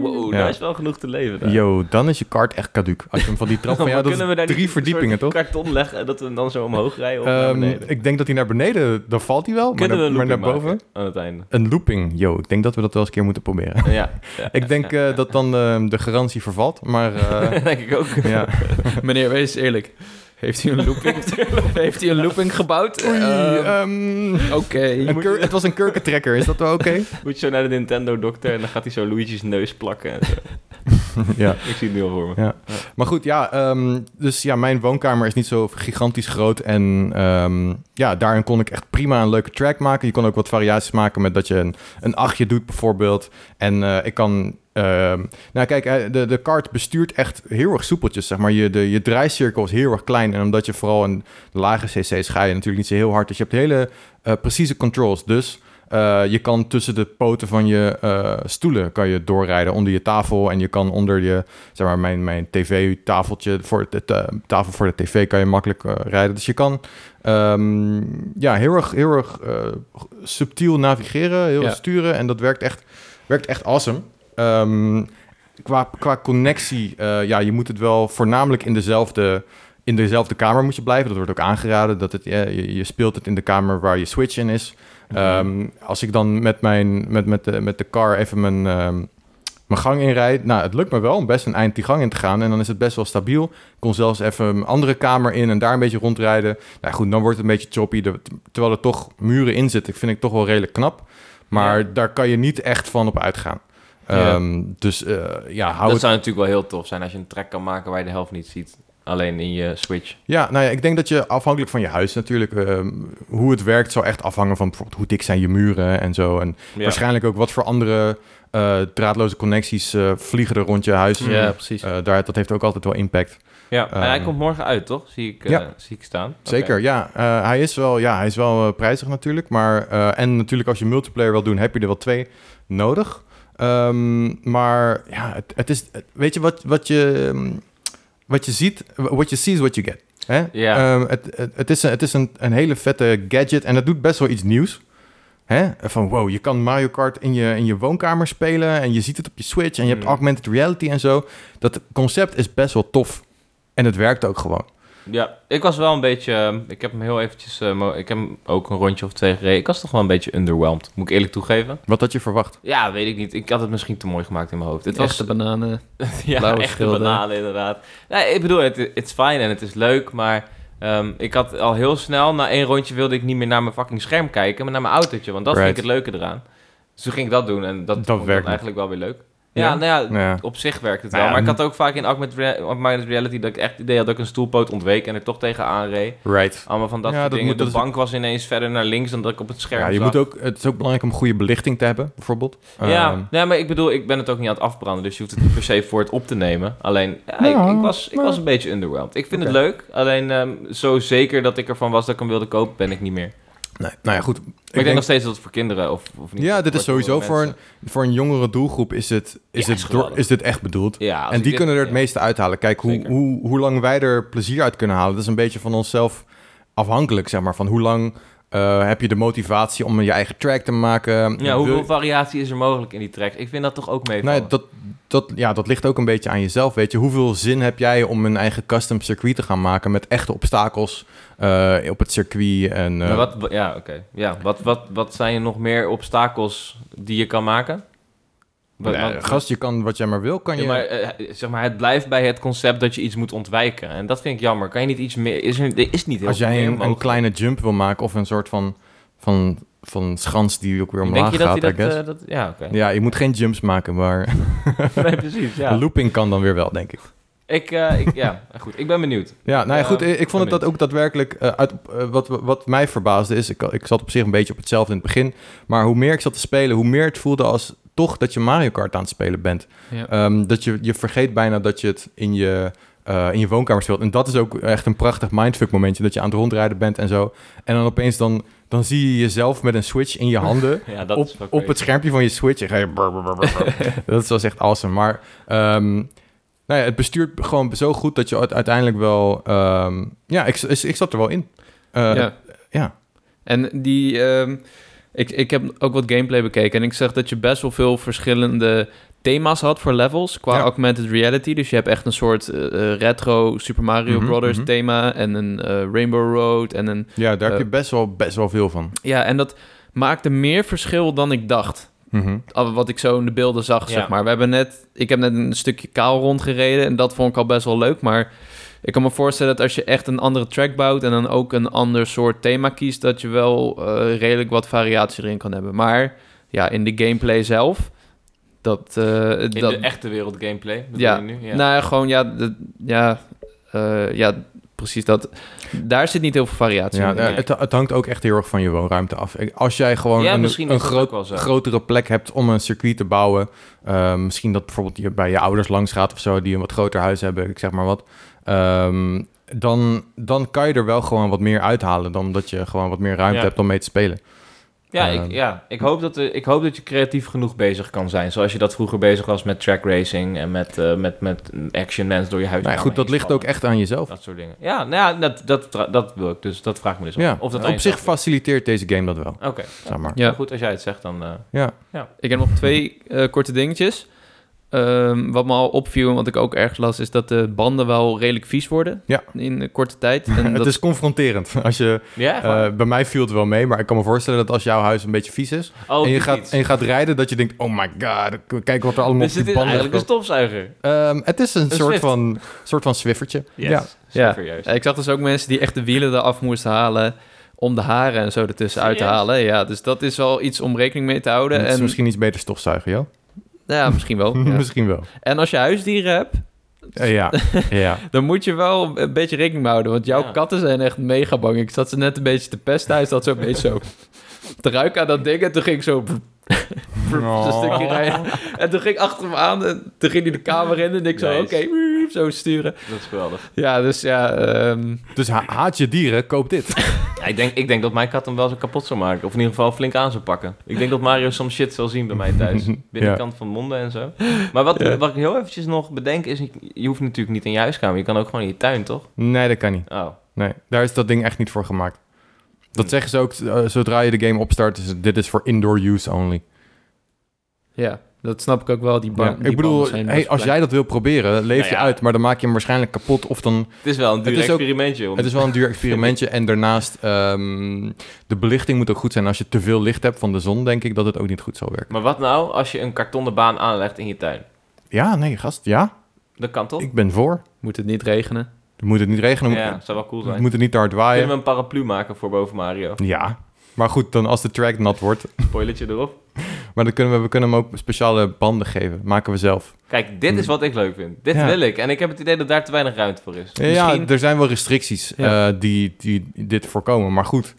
Speaker 3: wow,
Speaker 2: Ja.
Speaker 3: daar is wel genoeg te leven. daar.
Speaker 2: Yo, dan is je kart echt caduc. Als je hem van die trap van
Speaker 3: Maar
Speaker 2: ja, dat
Speaker 3: kunnen we daar
Speaker 2: is
Speaker 3: niet
Speaker 2: drie
Speaker 3: een soort
Speaker 2: verdiepingen, toch?
Speaker 3: karton leggen en dat we hem dan zo omhoog rijden of naar
Speaker 2: Ehm,
Speaker 3: beneden?
Speaker 2: ik denk dat hij naar beneden, dan valt hij wel. Maar,
Speaker 3: Kunnen we
Speaker 2: naar-
Speaker 3: een
Speaker 2: maar naar
Speaker 3: looping
Speaker 2: boven?
Speaker 3: maken aan het einde?
Speaker 2: Een looping, yo. Ik denk dat we dat wel eens een keer moeten proberen.
Speaker 3: Ja, ja.
Speaker 2: ik denk eh, dat dan eh, de garantie vervalt, maar... eh,
Speaker 3: denk ik ook.
Speaker 2: ja.
Speaker 1: Meneer, wees eerlijk. Heeft hij een looping, heeft hij een looping gebouwd?
Speaker 2: Oei,
Speaker 1: Ehm,
Speaker 2: ehm,
Speaker 1: Oké.
Speaker 2: een kur- het was een kurkentrekker, is dat wel oké?
Speaker 3: Moet je zo naar de Nintendo-dokter en dan gaat hij zo Luigi's neus plakken. En zo.
Speaker 2: ja.
Speaker 3: ik zie het nu al voor me.
Speaker 2: Maar goed, ja, ehm, dus ja, mijn woonkamer is niet zo gigantisch groot. En ehm, ja, daarin kon ik echt prima een leuke track maken. Je kon ook wat variaties maken met dat je een, een achtje doet bijvoorbeeld. En eh, ik kan... ehm, nou kijk, eh, de, de kart bestuurt echt heel erg soepeltjes, zeg maar. Je, de, je draaicirkel is heel erg klein. En omdat je vooral een lage cc's ga je natuurlijk niet zo heel hard. Dus je hebt hele eh, precieze controls. Dus... eh, je kan tussen de poten van je eh, stoelen kan je doorrijden onder je tafel. En je kan onder je zeg maar, mijn, mijn tv-tafeltje, voor de ta- tafel voor de tv kan je makkelijk eh, rijden. Dus je kan ehm, ja, heel erg, heel erg eh, subtiel navigeren, heel
Speaker 1: Ja.
Speaker 2: erg sturen. En dat werkt echt, werkt echt awesome. Ehm, qua, qua connectie, eh, ja, je moet het wel voornamelijk in dezelfde... In dezelfde kamer moet je blijven. Dat wordt ook aangeraden. Dat het, eh, je, je speelt het in de kamer waar je Switch in is. Ehm, als ik dan met, mijn, met, met, de, met de car even mijn, ehm, mijn gang inrijd. Nou, het lukt me wel om best een eind die gang in te gaan. En dan is het best wel stabiel. Ik kon zelfs even een andere kamer in en daar een beetje rondrijden. Nou goed, dan wordt het een beetje choppy. De- terwijl er toch muren in zitten, vind ik toch wel redelijk knap. Maar
Speaker 3: Ja.
Speaker 2: daar kan je niet echt van op uitgaan.
Speaker 3: Ja.
Speaker 2: Ehm, Dus eh, ja, hou
Speaker 3: dat
Speaker 2: het...
Speaker 3: zou natuurlijk wel heel tof zijn als je een track kan maken waar je de helft niet ziet. Alleen in je Switch.
Speaker 2: Ja, nou ja, ik denk dat je afhankelijk van je huis natuurlijk... ehm, hoe het werkt zou echt afhangen van bijvoorbeeld hoe dik zijn je muren en zo. En waarschijnlijk ook wat voor andere eh, draadloze connecties eh, vliegen er rond je huis.
Speaker 1: Ja, precies.
Speaker 2: Eh, daar, dat heeft ook altijd wel impact.
Speaker 3: Ja, en hij
Speaker 2: Ehm,
Speaker 3: komt morgen uit, toch? Zie ik, eh,
Speaker 2: ja.
Speaker 3: zie ik staan. Oké.
Speaker 2: Zeker, ja. Eh, hij is wel, ja, hij is wel eh, prijzig natuurlijk. Maar, eh, en natuurlijk als je multiplayer wil doen, heb je er wel twee nodig. Ehm, maar ja, het, het is, het- weet je wat, wat je, ehm, wat je ziet, what you see is what you get. Hè?
Speaker 3: Ja.
Speaker 2: Ehm, het, het, het is, een, het is een, een hele vette gadget en dat doet best wel iets nieuws. Hè? Van wow, je kan Mario Kart in je, in je woonkamer spelen en je ziet het op je Switch en je hebt
Speaker 3: Mm.
Speaker 2: augmented reality en zo. Dat concept is best wel tof en het werkt ook gewoon.
Speaker 3: Ja, ik was wel een beetje... ehm, Ik heb hem heel eventjes... eh, mo- ik heb hem ook een rondje of twee gereden. Ik was toch wel een beetje underwhelmed, moet ik eerlijk toegeven.
Speaker 2: Wat had je verwacht?
Speaker 3: Ja, weet ik niet. Ik had het misschien te mooi gemaakt in mijn hoofd. Het
Speaker 1: Dit
Speaker 3: was
Speaker 1: was de bananen.
Speaker 3: ja,
Speaker 1: Blauwe
Speaker 3: echte
Speaker 1: schilder.
Speaker 3: bananen inderdaad. Nee, ik bedoel, het het is fijn en het is leuk, maar ehm, ik had al heel snel, na één rondje wilde ik niet meer naar mijn fucking scherm kijken, maar naar mijn autootje, want dat
Speaker 2: Right.
Speaker 3: vind ik het leuke eraan. Dus toen ging ik dat doen en dat,
Speaker 2: Dat
Speaker 3: vond ik dan
Speaker 2: werkt
Speaker 3: eigenlijk wel weer leuk. Ja,
Speaker 2: Ja?
Speaker 3: nou ja,
Speaker 2: Ja.
Speaker 3: op zich werkt het wel.
Speaker 2: Nou ja,
Speaker 3: Maar ik had ook vaak in augmented, rea- augmented reality dat ik echt het idee had dat ik een stoelpoot ontweek en er toch tegenaan reed.
Speaker 2: Right.
Speaker 3: Allemaal van dat
Speaker 2: Ja,
Speaker 3: soort
Speaker 2: dat
Speaker 3: dingen.
Speaker 2: moet- dat
Speaker 3: de
Speaker 2: is ook-
Speaker 3: bank was ineens verder naar links dan dat ik op het scherm
Speaker 2: Ja, je
Speaker 3: zag.
Speaker 2: moet ook, het is ook belangrijk om goede belichting te hebben, bijvoorbeeld.
Speaker 3: Ja,
Speaker 2: Ehm,
Speaker 3: nee, maar ik bedoel, ik ben het ook niet aan het afbranden, dus je hoeft het niet per se voor het op te nemen. Alleen, ja, ik-
Speaker 2: Nou,
Speaker 3: ik, was, ik
Speaker 2: nou.
Speaker 3: was een beetje underwhelmed. Ik vind
Speaker 2: Oké.
Speaker 3: het leuk, alleen ehm, zo zeker dat ik ervan was dat ik hem wilde kopen, ben ik niet meer. Maar ik,
Speaker 2: nee, nou ja, goed. Ik,
Speaker 3: denk, nog steeds dat het voor kinderen of, of niet.
Speaker 2: ja, dit is
Speaker 3: voor
Speaker 2: sowieso voor een,
Speaker 3: mensen.
Speaker 2: voor een jongere doelgroep is, het, is,
Speaker 3: Ja,
Speaker 2: dit
Speaker 3: is
Speaker 2: door-
Speaker 3: geweldig.
Speaker 2: is dit echt bedoeld.
Speaker 3: Ja, als
Speaker 2: En
Speaker 3: ik
Speaker 2: die
Speaker 3: dit-
Speaker 2: kunnen er het
Speaker 3: ja.
Speaker 2: meeste uithalen. Kijk, hoe,
Speaker 3: Zeker.
Speaker 2: hoe, hoe lang wij er plezier uit kunnen halen, dat is een beetje van onszelf afhankelijk, zeg maar. Van hoe lang eh, heb je de motivatie om je eigen track te maken?
Speaker 3: Ja, hoeveel
Speaker 2: Wil-
Speaker 3: variatie is er mogelijk in die tracks? Ik vind dat toch ook mee.
Speaker 2: Nee, dat, Nou dat, ja, dat ligt ook een beetje aan jezelf, weet je. Hoeveel zin heb jij om een eigen custom circuit te gaan maken met echte obstakels eh, op het circuit? En, eh,
Speaker 3: Maar wat, wa- ja, oké. Ja, wat, wat, wat zijn er nog meer obstakels die je kan maken? Wat-
Speaker 2: Ja,
Speaker 3: wat-
Speaker 2: gast, je kan wat jij maar wil, kan
Speaker 3: Ja,
Speaker 2: je...
Speaker 3: maar, eh, zeg maar, het blijft bij het concept dat je iets moet ontwijken. En dat vind ik jammer. Kan je niet iets meer... Is er, er is niet heel
Speaker 2: als
Speaker 3: veel
Speaker 2: jij
Speaker 3: meer
Speaker 2: een, een
Speaker 3: mogelijk.
Speaker 2: kleine jump wil maken of een soort van, van, van schans die ook weer omlaag
Speaker 3: Denk je dat
Speaker 2: gaat,
Speaker 3: hij
Speaker 2: I
Speaker 3: dat...
Speaker 2: guess.
Speaker 3: eh, dat ja, oké.
Speaker 2: ja, je moet geen jumps maken, maar...
Speaker 3: Nee, precies, ja.
Speaker 2: Looping kan dan weer wel, denk ik.
Speaker 3: Ik, eh, ik, ja, goed. Ik ben benieuwd.
Speaker 2: Ja, nou ja,
Speaker 3: Ja,
Speaker 2: goed. Ik, ik vond het
Speaker 3: benieuwd.
Speaker 2: dat ook daadwerkelijk... eh, uit, eh, wat, wat mij verbaasde is, ik, ik zat op zich een beetje op hetzelfde in het begin. Maar hoe meer ik zat te spelen, hoe meer het voelde als toch dat je Mario Kart aan het spelen bent.
Speaker 1: Ja.
Speaker 2: Ehm, dat je, je vergeet bijna dat je het in je, eh, in je woonkamer speelt. En dat is ook echt een prachtig mindfuck momentje. Dat je aan het rondrijden bent en zo. En dan opeens dan, dan zie je jezelf met een Switch in je handen...
Speaker 3: Ja, dat
Speaker 2: op,
Speaker 3: is wel
Speaker 2: op het schermpje van je Switch. En ga je brr, brr, brr, brr, brr. dat was echt awesome. Maar ehm, nou ja, het bestuurt gewoon zo goed dat je uit- uiteindelijk wel... ehm, ja, ik, ik, ik zat er wel in. Eh,
Speaker 1: ja.
Speaker 2: ja.
Speaker 1: En die, ehm, ik, ik heb ook wat gameplay bekeken en ik zag dat je best wel veel verschillende thema's had voor levels qua
Speaker 2: Ja.
Speaker 1: augmented reality. Dus je hebt echt een soort eh, eh, retro Super Mario
Speaker 2: Mhm,
Speaker 1: Brothers
Speaker 2: mhm.
Speaker 1: thema en een eh, Rainbow Road en een
Speaker 2: ja, daar heb
Speaker 1: Eh.
Speaker 2: je best wel, best wel veel van.
Speaker 1: ja en dat maakte meer verschil dan ik dacht.
Speaker 2: Mhm.
Speaker 1: Al Wat ik zo in de beelden zag,
Speaker 3: Ja.
Speaker 1: zeg maar. We hebben net, ik heb net een stukje kaal rondgereden en dat vond ik al best wel leuk. Maar ik kan me voorstellen dat als je echt een andere track bouwt en dan ook een ander soort thema kiest, dat je wel eh, redelijk wat variatie erin kan hebben. Maar ja, in de gameplay zelf, dat. eh,
Speaker 3: In
Speaker 1: dat
Speaker 3: de echte wereld gameplay. bedoel
Speaker 1: Ja.
Speaker 3: je Nu? ja.
Speaker 1: Nou ja, gewoon ja, dat- ja, eh, ja, precies dat. Daar zit niet heel veel variatie
Speaker 2: Ja,
Speaker 1: in.
Speaker 2: ja, het, het hangt ook echt heel erg van je woonruimte af. Ik- Als jij gewoon
Speaker 3: Ja,
Speaker 2: een,
Speaker 3: misschien is
Speaker 2: een
Speaker 3: dat
Speaker 2: groot-
Speaker 3: ook wel zo.
Speaker 2: grotere plek hebt om een circuit te bouwen... ehm, misschien dat bijvoorbeeld je bij je ouders langs gaat of zo... die een wat groter huis hebben, ik zeg maar wat... ehm, dan, dan kan je er wel gewoon wat meer uithalen... dan dat je gewoon wat meer ruimte
Speaker 3: Ja.
Speaker 2: hebt om mee te spelen.
Speaker 3: Ja,
Speaker 2: Ehm.
Speaker 3: ik, ja. Ik, hoop dat, eh, ik hoop dat je creatief genoeg bezig kan zijn. Zoals je dat vroeger bezig was met track racing en met, eh, met, met action lens door je huis.
Speaker 2: Nou ja, goed, dat ligt ook echt aan jezelf.
Speaker 3: Dat soort dingen. Ja, nou ja, dat, dat, tra- dat wil ik. Dus dat vraag ik me dus af.
Speaker 2: Ja,
Speaker 3: Of dat aan
Speaker 2: op zich
Speaker 3: jezelf
Speaker 2: faciliteert deze game dat wel,
Speaker 3: ligt. Oké.
Speaker 2: zeg maar.
Speaker 1: Ja.
Speaker 3: Goed, als jij het zegt, dan... eh,
Speaker 2: Ja.
Speaker 1: Ik heb nog twee eh, korte dingetjes. Ehm, wat me al opviel en wat ik ook erg las, is dat de banden wel redelijk vies worden
Speaker 2: Ja.
Speaker 1: in een korte tijd. En
Speaker 2: Het
Speaker 1: dat,
Speaker 2: is confronterend. Als je,
Speaker 3: Ja, echt waar?
Speaker 2: eh, bij mij viel het wel mee, maar ik kan me voorstellen dat als jouw huis een beetje vies is...
Speaker 3: oh,
Speaker 2: en, je
Speaker 3: die
Speaker 2: gaat,
Speaker 3: fiets.
Speaker 2: en je gaat rijden dat je denkt, oh my god, k- kijk wat er allemaal
Speaker 3: dus
Speaker 2: op
Speaker 3: het
Speaker 2: die
Speaker 3: is
Speaker 2: banden
Speaker 3: eigenlijk een stofzuiger.
Speaker 2: Ehm, Het is een, soort,
Speaker 3: Swift.
Speaker 2: van, soort van swiffertje. Ja.
Speaker 1: Ja.
Speaker 3: Ja. juist.
Speaker 1: ik zag dus ook mensen die echt de wielen eraf moesten halen om de haren en zo ertussen uit te
Speaker 3: Serieus?
Speaker 1: halen. Ja, dus dat is wel iets om rekening mee te houden.
Speaker 2: Het is
Speaker 1: En,
Speaker 2: misschien iets beter stofzuigen, joh.
Speaker 1: Ja, misschien wel. ja.
Speaker 2: misschien wel.
Speaker 1: En als je huisdieren hebt,
Speaker 2: Eh, ja. ja.
Speaker 1: dan moet je wel een beetje rekening mee houden. Want jouw
Speaker 3: Ja.
Speaker 1: katten zijn echt mega bang. Ik zat ze net een beetje te pesten. Hij zat zo een beetje zo te ruiken aan dat ding. En toen ging ik zo...
Speaker 2: Oh.
Speaker 1: Een stukje rijden. En toen ging ik achter hem aan en toen ging hij de kamer in en ik zo,
Speaker 3: Nice.
Speaker 1: oké, wiep, zo sturen.
Speaker 3: Dat is geweldig.
Speaker 1: Ja, dus ja, ehm,
Speaker 2: Dus ha- haat je dieren, koop dit.
Speaker 3: Ja, ik, denk, ik denk dat mijn kat hem wel zo kapot zou maken. Of in ieder geval flink aan zou pakken. Ik denk dat Mario soms shit zal zien bij mij thuis. Binnenkant van monden en zo. Maar wat,
Speaker 1: Ja.
Speaker 3: wat ik heel eventjes nog bedenk is... Je hoeft natuurlijk niet in je huiskamer. Je kan ook gewoon in je tuin, toch?
Speaker 2: Nee, dat kan niet.
Speaker 3: Oh.
Speaker 2: Nee, daar is dat ding echt niet voor gemaakt. Dat zeggen ze ook eh, zodra je de game opstart. is het, dit is voor indoor use only.
Speaker 1: ja, dat snap ik ook wel. Die dus
Speaker 2: Ja,
Speaker 1: bang,
Speaker 2: ik bedoel, hey, als jij dat wil proberen, leef
Speaker 3: Nou
Speaker 2: je
Speaker 3: ja.
Speaker 2: uit. Maar dan maak je hem waarschijnlijk kapot. Of dan
Speaker 3: Het is wel een duur
Speaker 2: Het is ook-
Speaker 3: experimentje. om-
Speaker 2: Het is wel een duur experimentje. En daarnaast, ehm, de belichting moet ook goed zijn. Als je te veel licht hebt van de zon, denk ik dat het ook niet goed zal werken.
Speaker 3: Maar wat nou als je een kartonnen baan aanlegt in je tuin?
Speaker 2: Ja, nee, gast. Ja,
Speaker 3: Dat kan toch?
Speaker 2: ik ben voor.
Speaker 1: Moet het niet regenen?
Speaker 2: Moet het niet regenen.
Speaker 3: Ja, zou wel cool zijn.
Speaker 2: Moet het niet te hard
Speaker 3: Kunnen we
Speaker 2: waaien.
Speaker 3: een paraplu maken voor boven Mario?
Speaker 2: Ja. Maar goed, dan als de track nat wordt,
Speaker 3: Spoilertje erop.
Speaker 2: Maar dan kunnen we, we kunnen hem ook speciale banden geven. Maken we zelf.
Speaker 3: Kijk, dit is wat ik leuk vind. Dit
Speaker 2: Ja.
Speaker 3: wil ik. En ik heb het idee dat daar te weinig ruimte voor is.
Speaker 2: Ja,
Speaker 1: Misschien-
Speaker 2: er zijn wel restricties
Speaker 1: Ja.
Speaker 2: eh, die, die dit voorkomen. Maar goed,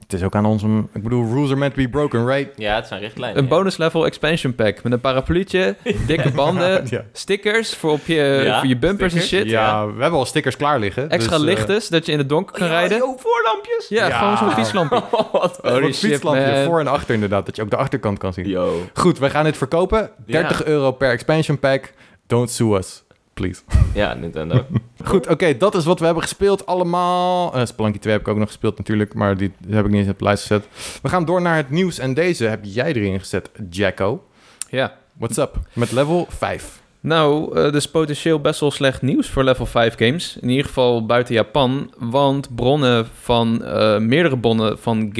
Speaker 2: het is ook aan ons om... Ik bedoel, rules are meant to be broken, right?
Speaker 3: Ja, het zijn richtlijnen.
Speaker 1: Een
Speaker 3: ja.
Speaker 1: bonus level expansion pack met een parapluutje, dikke banden,
Speaker 2: Ja.
Speaker 1: stickers voor op je,
Speaker 3: Ja,
Speaker 1: voor je bumpers en
Speaker 3: stickers.
Speaker 1: shit.
Speaker 2: ja, we hebben al stickers klaar liggen.
Speaker 1: Extra
Speaker 2: dus, eh,
Speaker 1: lichten, zodat je in het donker kan
Speaker 3: Ja,
Speaker 1: rijden.
Speaker 3: joh, voorlampjes.
Speaker 1: Ja,
Speaker 2: Ja.
Speaker 1: gewoon zo'n fietslampje.
Speaker 3: Wat?
Speaker 1: Holy
Speaker 2: Een
Speaker 1: shit,
Speaker 2: fietslampje
Speaker 1: man.
Speaker 2: voor en achter inderdaad, dat je ook de achterkant kan zien.
Speaker 3: Yo.
Speaker 2: Goed, wij gaan dit verkopen.
Speaker 3: Ja.
Speaker 2: 30 euro per expansion pack. Don't sue us, please.
Speaker 3: Ja, Nintendo.
Speaker 2: Goed, oké, dat is wat we hebben gespeeld allemaal. Eh Spelunky 2 heb ik ook nog gespeeld natuurlijk, maar die heb ik niet eens op de lijst gezet. We gaan door naar het nieuws en deze heb jij erin gezet, Jacko.
Speaker 1: Ja.
Speaker 2: What's up? Met level 5.
Speaker 1: Nou, eh dus potentieel best wel slecht nieuws voor level 5 games. In ieder geval buiten Japan. Want bronnen van eh, meerdere bronnen van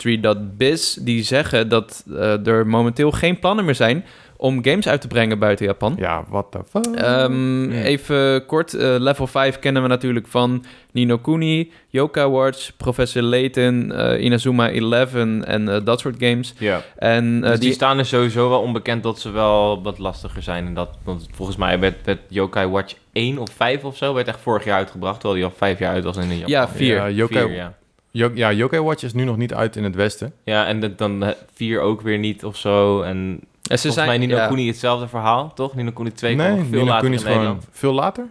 Speaker 1: gamesindustry.biz... die zeggen dat eh, er momenteel geen plannen meer zijn... om games uit te brengen buiten
Speaker 3: Hm?
Speaker 1: Japan.
Speaker 2: Ja, what the fuck?
Speaker 1: Ehm,
Speaker 3: Ja.
Speaker 1: Even kort, eh, level 5 kennen we natuurlijk van Nino Kuni, Yoka Watch, Professor Layton, eh, Inazuma 11 en eh, dat soort games.
Speaker 3: ja.
Speaker 1: En eh,
Speaker 3: Dus die,
Speaker 1: die,
Speaker 3: staan er sowieso wel onbekend dat ze wel wat lastiger zijn. En dat, want volgens mij werd, werd Yokai Watch 1 of 5 of zo werd echt vorig jaar uitgebracht. Terwijl die al vijf jaar uit was in Japan.
Speaker 1: Ja, vier.
Speaker 2: Ja, Yokai,
Speaker 3: Vier, ja.
Speaker 2: Yo- ja, Yokai Watch is nu nog niet uit in het westen.
Speaker 3: ja, en dat- dan eh, vier ook weer niet of zo. En
Speaker 1: en ze
Speaker 3: volgens mij Nino
Speaker 1: ja.
Speaker 3: Kuni hetzelfde verhaal, toch? Nino Kuni 2 kwam nog veel
Speaker 2: Ni no
Speaker 3: later
Speaker 2: Kuni
Speaker 3: in
Speaker 2: is gewoon
Speaker 3: Nederland.
Speaker 2: veel later.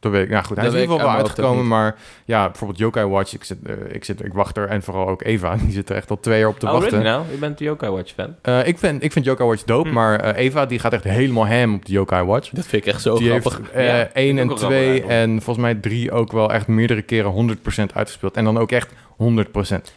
Speaker 2: Dat weet ik. Nou goed, hij
Speaker 1: Dat
Speaker 2: is in
Speaker 1: weet
Speaker 2: ieder
Speaker 1: ik
Speaker 2: geval wel
Speaker 1: uit mijn
Speaker 2: uitgekomen,
Speaker 1: hoofd
Speaker 2: maar ja, bijvoorbeeld Yokai Watch, ik zit, eh, ik zit, ik wacht er en vooral ook Eva, die zit er echt al twee jaar op te
Speaker 3: oh,
Speaker 2: wachten.
Speaker 3: really nou? Je bent een Yokai Watch fan?
Speaker 2: Eh, ik, vind, ik vind Yokai Watch dope,
Speaker 1: Hm.
Speaker 2: maar eh, Eva die gaat echt helemaal ham op de Yokai Watch.
Speaker 1: Dat vind ik echt zo
Speaker 2: die
Speaker 1: grappig.
Speaker 2: heeft eh,
Speaker 3: Ja,
Speaker 2: één
Speaker 3: ik
Speaker 2: en
Speaker 3: ook wel grappig
Speaker 2: twee
Speaker 3: eigenlijk.
Speaker 2: en volgens mij drie ook wel echt meerdere keren 100% uitgespeeld. En dan ook echt 100%.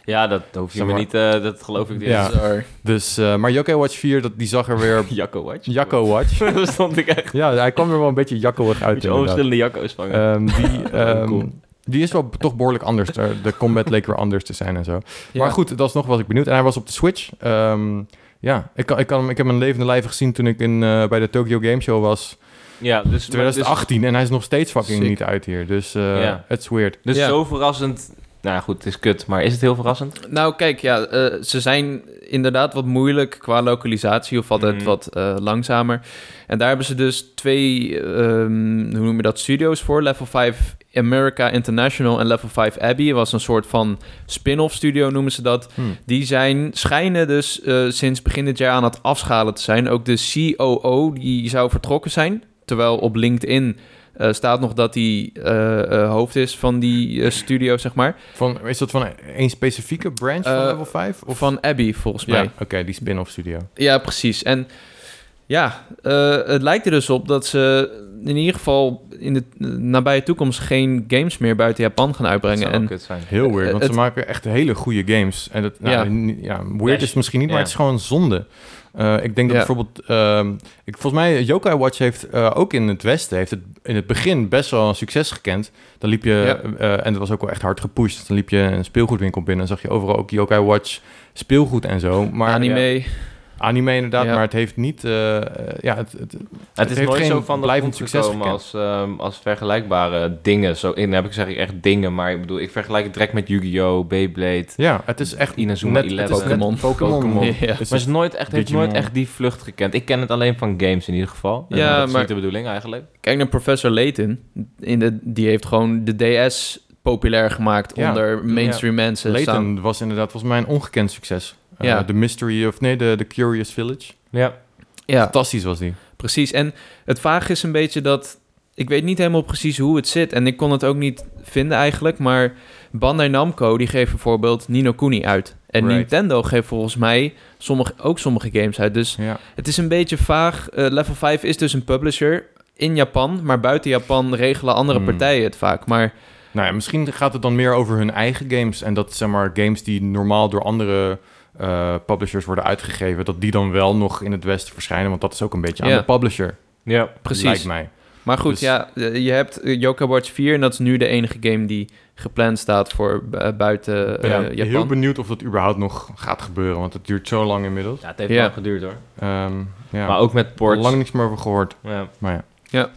Speaker 3: Ja, dat hoef je
Speaker 2: Zeg
Speaker 3: me
Speaker 2: maar.
Speaker 3: niet, eh, dat geloof ik.
Speaker 2: Ja.
Speaker 3: Ja.
Speaker 1: Bizar.
Speaker 2: Dus, eh, maar Yokai Watch 4, dat, die zag er weer
Speaker 3: Jacko Watch.
Speaker 2: Jacko Watch.
Speaker 3: Daar stond ik echt
Speaker 2: Ja, hij kwam er wel een beetje jackoig
Speaker 3: met
Speaker 2: uit
Speaker 3: je
Speaker 2: inderdaad.
Speaker 3: verschillende Jacko's vangen.
Speaker 2: Ehm, die, ehm,
Speaker 3: Cool.
Speaker 2: die is wel toch behoorlijk anders. Er- De combat leek weer anders te zijn en zo. Maar
Speaker 1: Ja.
Speaker 2: goed, dat is nog was ik benieuwd. En hij was op de Switch. Ehm, ja, ik, kan, ik, kan, hem- ik heb hem levende lijf gezien toen ik in, eh, bij de Tokyo Game Show was.
Speaker 3: ja, dus, maar- dus-
Speaker 2: 2018. En hij is nog steeds fucking
Speaker 1: Sick.
Speaker 2: niet uit hier. Dus eh
Speaker 3: Ja.
Speaker 2: it's weird.
Speaker 3: Dus
Speaker 1: Ja.
Speaker 3: zo verrassend. Nou ja, goed, het is kut, maar is het heel verrassend?
Speaker 1: Nou, kijk, ja, eh, ze zijn inderdaad wat moeilijk qua localisatie of altijd
Speaker 3: Mhm.
Speaker 1: wat eh, langzamer. En daar hebben ze dus twee, ehm, hoe noem je dat, studio's voor. Level 5 America International en Level 5 Abbey. was een soort van spin-off studio, noemen ze dat.
Speaker 2: Hmm.
Speaker 1: Die zijn, schijnen dus eh, sinds begin dit jaar aan het afschalen te zijn. Ook de COO, die zou vertrokken zijn. Terwijl op LinkedIn eh, staat nog dat hij eh, eh, hoofd is van die eh, studio, zeg maar.
Speaker 2: Van, is dat van één specifieke branch van
Speaker 1: Eh,
Speaker 2: level 5? Of
Speaker 1: Van Abbey, volgens
Speaker 2: Ja,
Speaker 1: mij.
Speaker 2: oké, die spin-off studio.
Speaker 1: Ja, precies. En ja, eh, het lijkt er dus op dat ze in ieder geval in de eh, nabije toekomst geen games meer buiten Japan gaan
Speaker 3: Dat
Speaker 1: uitbrengen.
Speaker 3: zou wel
Speaker 1: En
Speaker 3: kut zijn.
Speaker 2: Heel weird,
Speaker 1: Eh,
Speaker 2: want ze
Speaker 1: het-
Speaker 2: maken echt hele goede games. En dat, nou,
Speaker 1: Ja.
Speaker 2: n- ja. weird
Speaker 3: Best.
Speaker 2: is het misschien niet, maar
Speaker 3: Ja.
Speaker 2: het is gewoon zonde. Eh, ik denk dat
Speaker 1: Ja.
Speaker 2: bijvoorbeeld, ehm, ik, volgens mij, Yokai Watch heeft eh, ook in het Westen, heeft het in het begin best wel een succes gekend. Dan liep je, eh, en dat was ook wel echt hard gepusht, dan liep je een speelgoedwinkel binnen en zag je overal ook Yokai Watch speelgoed en zo. Maar,
Speaker 1: anime.
Speaker 2: Anime inderdaad,
Speaker 1: Ja.
Speaker 2: maar het heeft niet, eh, eh, ja, het, het,
Speaker 3: Het is
Speaker 2: heeft
Speaker 3: nooit
Speaker 2: geen
Speaker 3: zo van dat
Speaker 2: blijvend
Speaker 3: komt
Speaker 2: succes
Speaker 3: gekomen
Speaker 2: gekend.
Speaker 3: als, ehm, als vergelijkbare dingen. Zo, in heb ik zeg ik echt dingen, maar ik bedoel, ik vergelijk het direct met Yu-Gi-Oh, Beyblade.
Speaker 2: ja, het is echt
Speaker 3: Inazuma
Speaker 2: net, het
Speaker 3: 11.
Speaker 2: is net
Speaker 1: Pokémon.
Speaker 2: Pokémon.
Speaker 1: Ja.
Speaker 2: Het is
Speaker 3: Maar het is nooit echt, heeft
Speaker 2: Digimon.
Speaker 3: nooit echt die vlucht gekend. Ik ken het alleen van games in ieder geval. En
Speaker 1: Ja,
Speaker 3: dat is
Speaker 1: maar-
Speaker 3: niet de bedoeling eigenlijk.
Speaker 1: Kijk naar Professor Layton. In de, die heeft gewoon de DS populair gemaakt
Speaker 2: Ja.
Speaker 1: onder mainstream mensen. staan.
Speaker 2: Layton was inderdaad volgens mij een ongekend succes. Eh,
Speaker 1: Ja.
Speaker 2: De Mystery of nee, de, de Curious Village.
Speaker 3: Ja.
Speaker 1: Ja,
Speaker 2: Fantastisch was die.
Speaker 1: precies. En het vaag is een beetje dat... Ik weet niet helemaal precies hoe het zit. En ik kon het ook niet vinden eigenlijk. Maar Bandai Namco, die geeft bijvoorbeeld Nino Kuni uit. En
Speaker 2: Right.
Speaker 1: Nintendo geeft volgens mij sommige, ook sommige games uit. Dus
Speaker 2: Ja.
Speaker 1: Het is een beetje vaag. Eh, level 5 is dus een publisher in Japan, maar buiten Japan regelen andere
Speaker 2: Hmm.
Speaker 1: partijen het vaak. Maar
Speaker 2: Nou ja, misschien gaat het dan meer over hun eigen games. En dat zeg maar games die normaal door andere eh, publishers worden uitgegeven. Dat die dan wel nog in het Westen verschijnen. Want dat is ook een beetje aan
Speaker 1: Ja.
Speaker 2: de publisher.
Speaker 3: Ja.
Speaker 2: Lijkt
Speaker 1: precies.
Speaker 2: mij.
Speaker 1: Maar goed,
Speaker 2: Dus-
Speaker 1: ja, eh, je hebt eh, Yoka Watch 4 en dat is nu de enige game die gepland staat voor bu- eh, buiten eh,
Speaker 2: Ben heel
Speaker 1: Japan.
Speaker 2: benieuwd of dat überhaupt nog gaat gebeuren. Want het duurt zo lang inmiddels.
Speaker 3: Ja, het heeft
Speaker 1: Ja.
Speaker 3: lang geduurd hoor.
Speaker 2: Ehm, ja.
Speaker 3: Maar ook met ports.
Speaker 2: Lang niks meer over gehoord.
Speaker 3: Ja.
Speaker 2: Maar ja.
Speaker 1: Ja.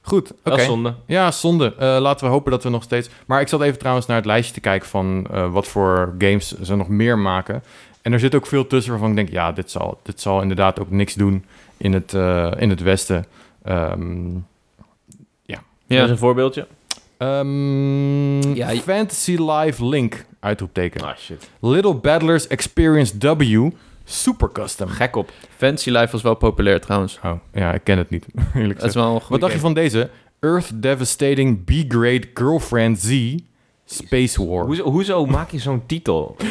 Speaker 2: Goed, oké.
Speaker 3: Dat is zonde.
Speaker 2: Ja, zonde. Eh, laten we hopen dat we nog steeds. Maar ik zat even trouwens naar het lijstje te kijken van eh, wat voor games ze nog meer maken. En er zit ook veel tussen waarvan ik denk, ja, dit zal, dit zal inderdaad ook niks doen in het, eh, in het Westen. Ehm,
Speaker 3: Ja. Dat is
Speaker 1: Ja.
Speaker 3: een voorbeeldje.
Speaker 2: ehm,
Speaker 1: Ja, je-
Speaker 2: Fantasy Live Link, uitroepteken.
Speaker 3: Ah, shit.
Speaker 2: Little Battlers Experience W, super custom.
Speaker 3: Gek op.
Speaker 1: Fancy Life was wel populair trouwens.
Speaker 2: Oh, ja, ik ken het niet, eerlijk
Speaker 1: Dat is
Speaker 2: gezegd.
Speaker 1: wel een
Speaker 2: Wat
Speaker 1: goede
Speaker 2: dacht je van deze? Earth Devastating B-Grade Girlfriend Z Space War.
Speaker 3: Hoezo, hoezo maak je zo'n titel?
Speaker 2: Eh,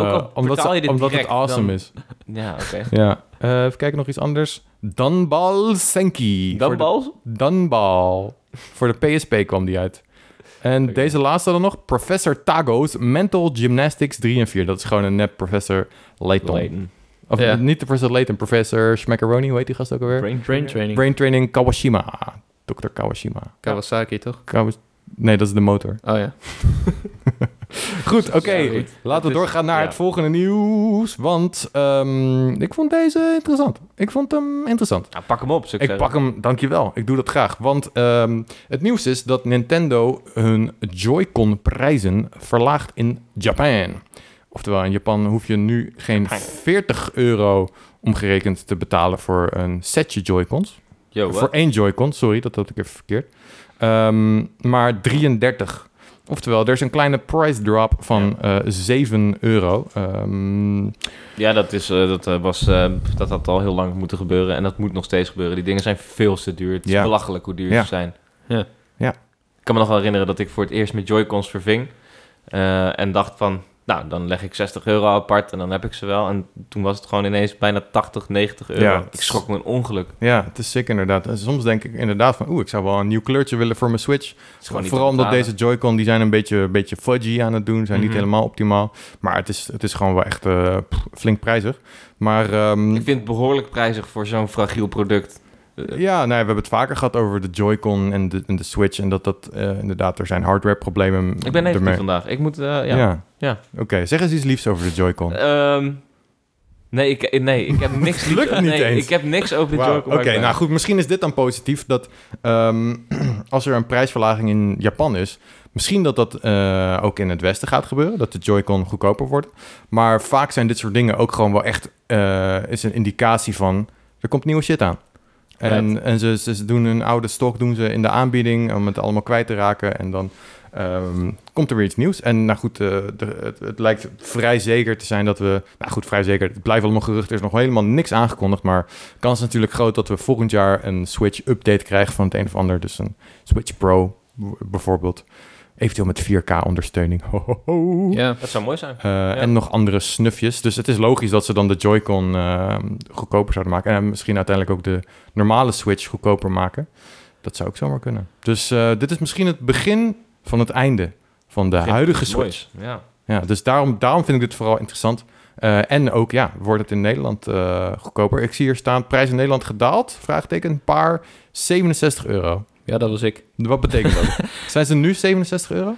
Speaker 3: Ook al
Speaker 2: omdat
Speaker 3: betaal je dit
Speaker 2: omdat
Speaker 3: direct,
Speaker 2: het awesome
Speaker 3: dan-
Speaker 2: is.
Speaker 3: Ja, oké.
Speaker 2: Ja. Eh, even kijken, nog iets anders. Dunball Senki. Voor de-
Speaker 3: Dumbbells?
Speaker 2: Dunball. Voor de PSP kwam die uit. En deze laatste dan nog. Professor Tago's Mental Gymnastics 3 en 4. Dat is gewoon een nep Professor Layton.
Speaker 3: Layton.
Speaker 2: Of
Speaker 1: Ja.
Speaker 2: niet de Professor Layton, Professor Schmackeroni. Hoe heet die gast ook alweer? Brain,
Speaker 1: Brain Training.
Speaker 2: Training Kawashima. Dr. Kawashima.
Speaker 1: Kawasaki, toch?
Speaker 2: Kawas- nee, dat is de motor.
Speaker 1: Oh ja.
Speaker 2: Goed, oké.
Speaker 3: Ja, goed. Het
Speaker 2: Laten
Speaker 3: is-
Speaker 2: we doorgaan naar
Speaker 3: ja.
Speaker 2: het volgende nieuws. Want ehm, ik vond deze interessant. Ik vond hem interessant.
Speaker 3: Nou, pak hem op, zou
Speaker 2: Ik pak hem, dankjewel. Ik doe dat graag. Want ehm, het nieuws is dat Nintendo hun Joy-Con prijzen verlaagt in Japan. Oftewel, in Japan hoef je nu geen 40 euro omgerekend te betalen voor een setje Joy-Cons.
Speaker 3: Yo,
Speaker 2: Voor
Speaker 3: Oh, wat?
Speaker 2: één Joy-Con, sorry, dat had ik even verkeerd. Ehm, maar 33. Oftewel, er is een kleine price drop van eh 7 euro. Ehm,
Speaker 3: Ja, dat, is, eh, dat, eh, was, eh, dat had al heel lang moeten gebeuren. En dat moet nog steeds gebeuren. Die dingen zijn veel te duur. Het is
Speaker 2: Ja.
Speaker 3: belachelijk hoe duur
Speaker 2: Ja.
Speaker 3: ze zijn.
Speaker 1: Ja.
Speaker 2: Ja.
Speaker 3: Ik kan me nog wel herinneren dat ik voor het eerst met Joy-Cons verving. eh, en dacht van, nou, dan leg ik 60 euro apart en dan heb ik ze wel. En toen was het gewoon ineens bijna 80, 90 euro.
Speaker 2: Ja.
Speaker 3: Ik schrok me een ongeluk. Het
Speaker 2: ja, het is sick inderdaad. En soms denk ik inderdaad van, oeh, ik zou wel een nieuw kleurtje willen voor mijn Switch.
Speaker 3: is gewoon niet
Speaker 2: Vooral
Speaker 3: te
Speaker 2: omdat deze
Speaker 3: betalen.
Speaker 2: Joy-Con, die zijn een beetje, een beetje fudgy aan het doen. Zijn
Speaker 3: Mhm.
Speaker 2: niet helemaal optimaal. Maar het is, het is gewoon wel echt eh, pff, flink prijzig. Maar ehm,
Speaker 3: Ik vind het behoorlijk prijzig voor zo'n fragiel product. Eh,
Speaker 2: Ja, nou ja, we hebben het vaker gehad over de Joy-Con en de, en de Switch. En dat dat eh, inderdaad, er zijn hardware-problemen.
Speaker 3: Ik ben negatief
Speaker 2: ermee.
Speaker 3: vandaag. Ik moet, eh,
Speaker 2: Ja.
Speaker 3: ja.
Speaker 2: Ja. Eh, Oké, zeg eens iets liefs over de Joy-Con.
Speaker 3: Ehm, nee, ik, nee, ik heb niks.
Speaker 2: Het lukt niet
Speaker 3: nee,
Speaker 2: eens.
Speaker 3: Ik heb niks over de
Speaker 2: Wauw,
Speaker 3: Joker.
Speaker 2: Oké, nou goed, misschien is dit dan positief dat ehm, als er een prijsverlaging in Japan is, misschien dat dat eh, ook in het Westen gaat gebeuren, dat de Joy-Con goedkoper wordt. Maar vaak zijn dit soort dingen ook gewoon wel echt eh, is een indicatie van er komt nieuwe shit aan. En, en ze, ze ze doen hun oude stok doen ze in de aanbieding om het allemaal kwijt te raken en dan ehm, komt er weer iets nieuws. En nou goed, eh, de- het, het lijkt vrij zeker te zijn dat we, nou goed, vrij zeker, het blijft allemaal gerucht, er is nog helemaal niks aangekondigd, maar kans is natuurlijk groot dat we volgend jaar een Switch-update krijgen van het een of ander. Dus een Switch Pro b- bijvoorbeeld. Eventueel met 4K-ondersteuning.
Speaker 1: Ja.
Speaker 3: Dat zou mooi zijn.
Speaker 2: Eh, En nog andere snufjes. Dus het is logisch dat ze dan de Joy-Con eh, goedkoper zouden maken. En misschien uiteindelijk ook de normale Switch goedkoper maken. Dat zou ook zomaar kunnen. Dus eh, dit is misschien het begin van het einde van de huidige Switch.
Speaker 3: Mooi. Ja.
Speaker 2: Ja, dus daarom, daarom vind ik dit vooral interessant. Eh, en ook, ja, wordt het in Nederland eh, goedkoper? Ik zie hier staan, prijs in Nederland gedaald? Vraagteken, een paar 67 euro.
Speaker 1: ja, dat was ik.
Speaker 2: Wat betekent dat? Zijn ze nu 67 euro?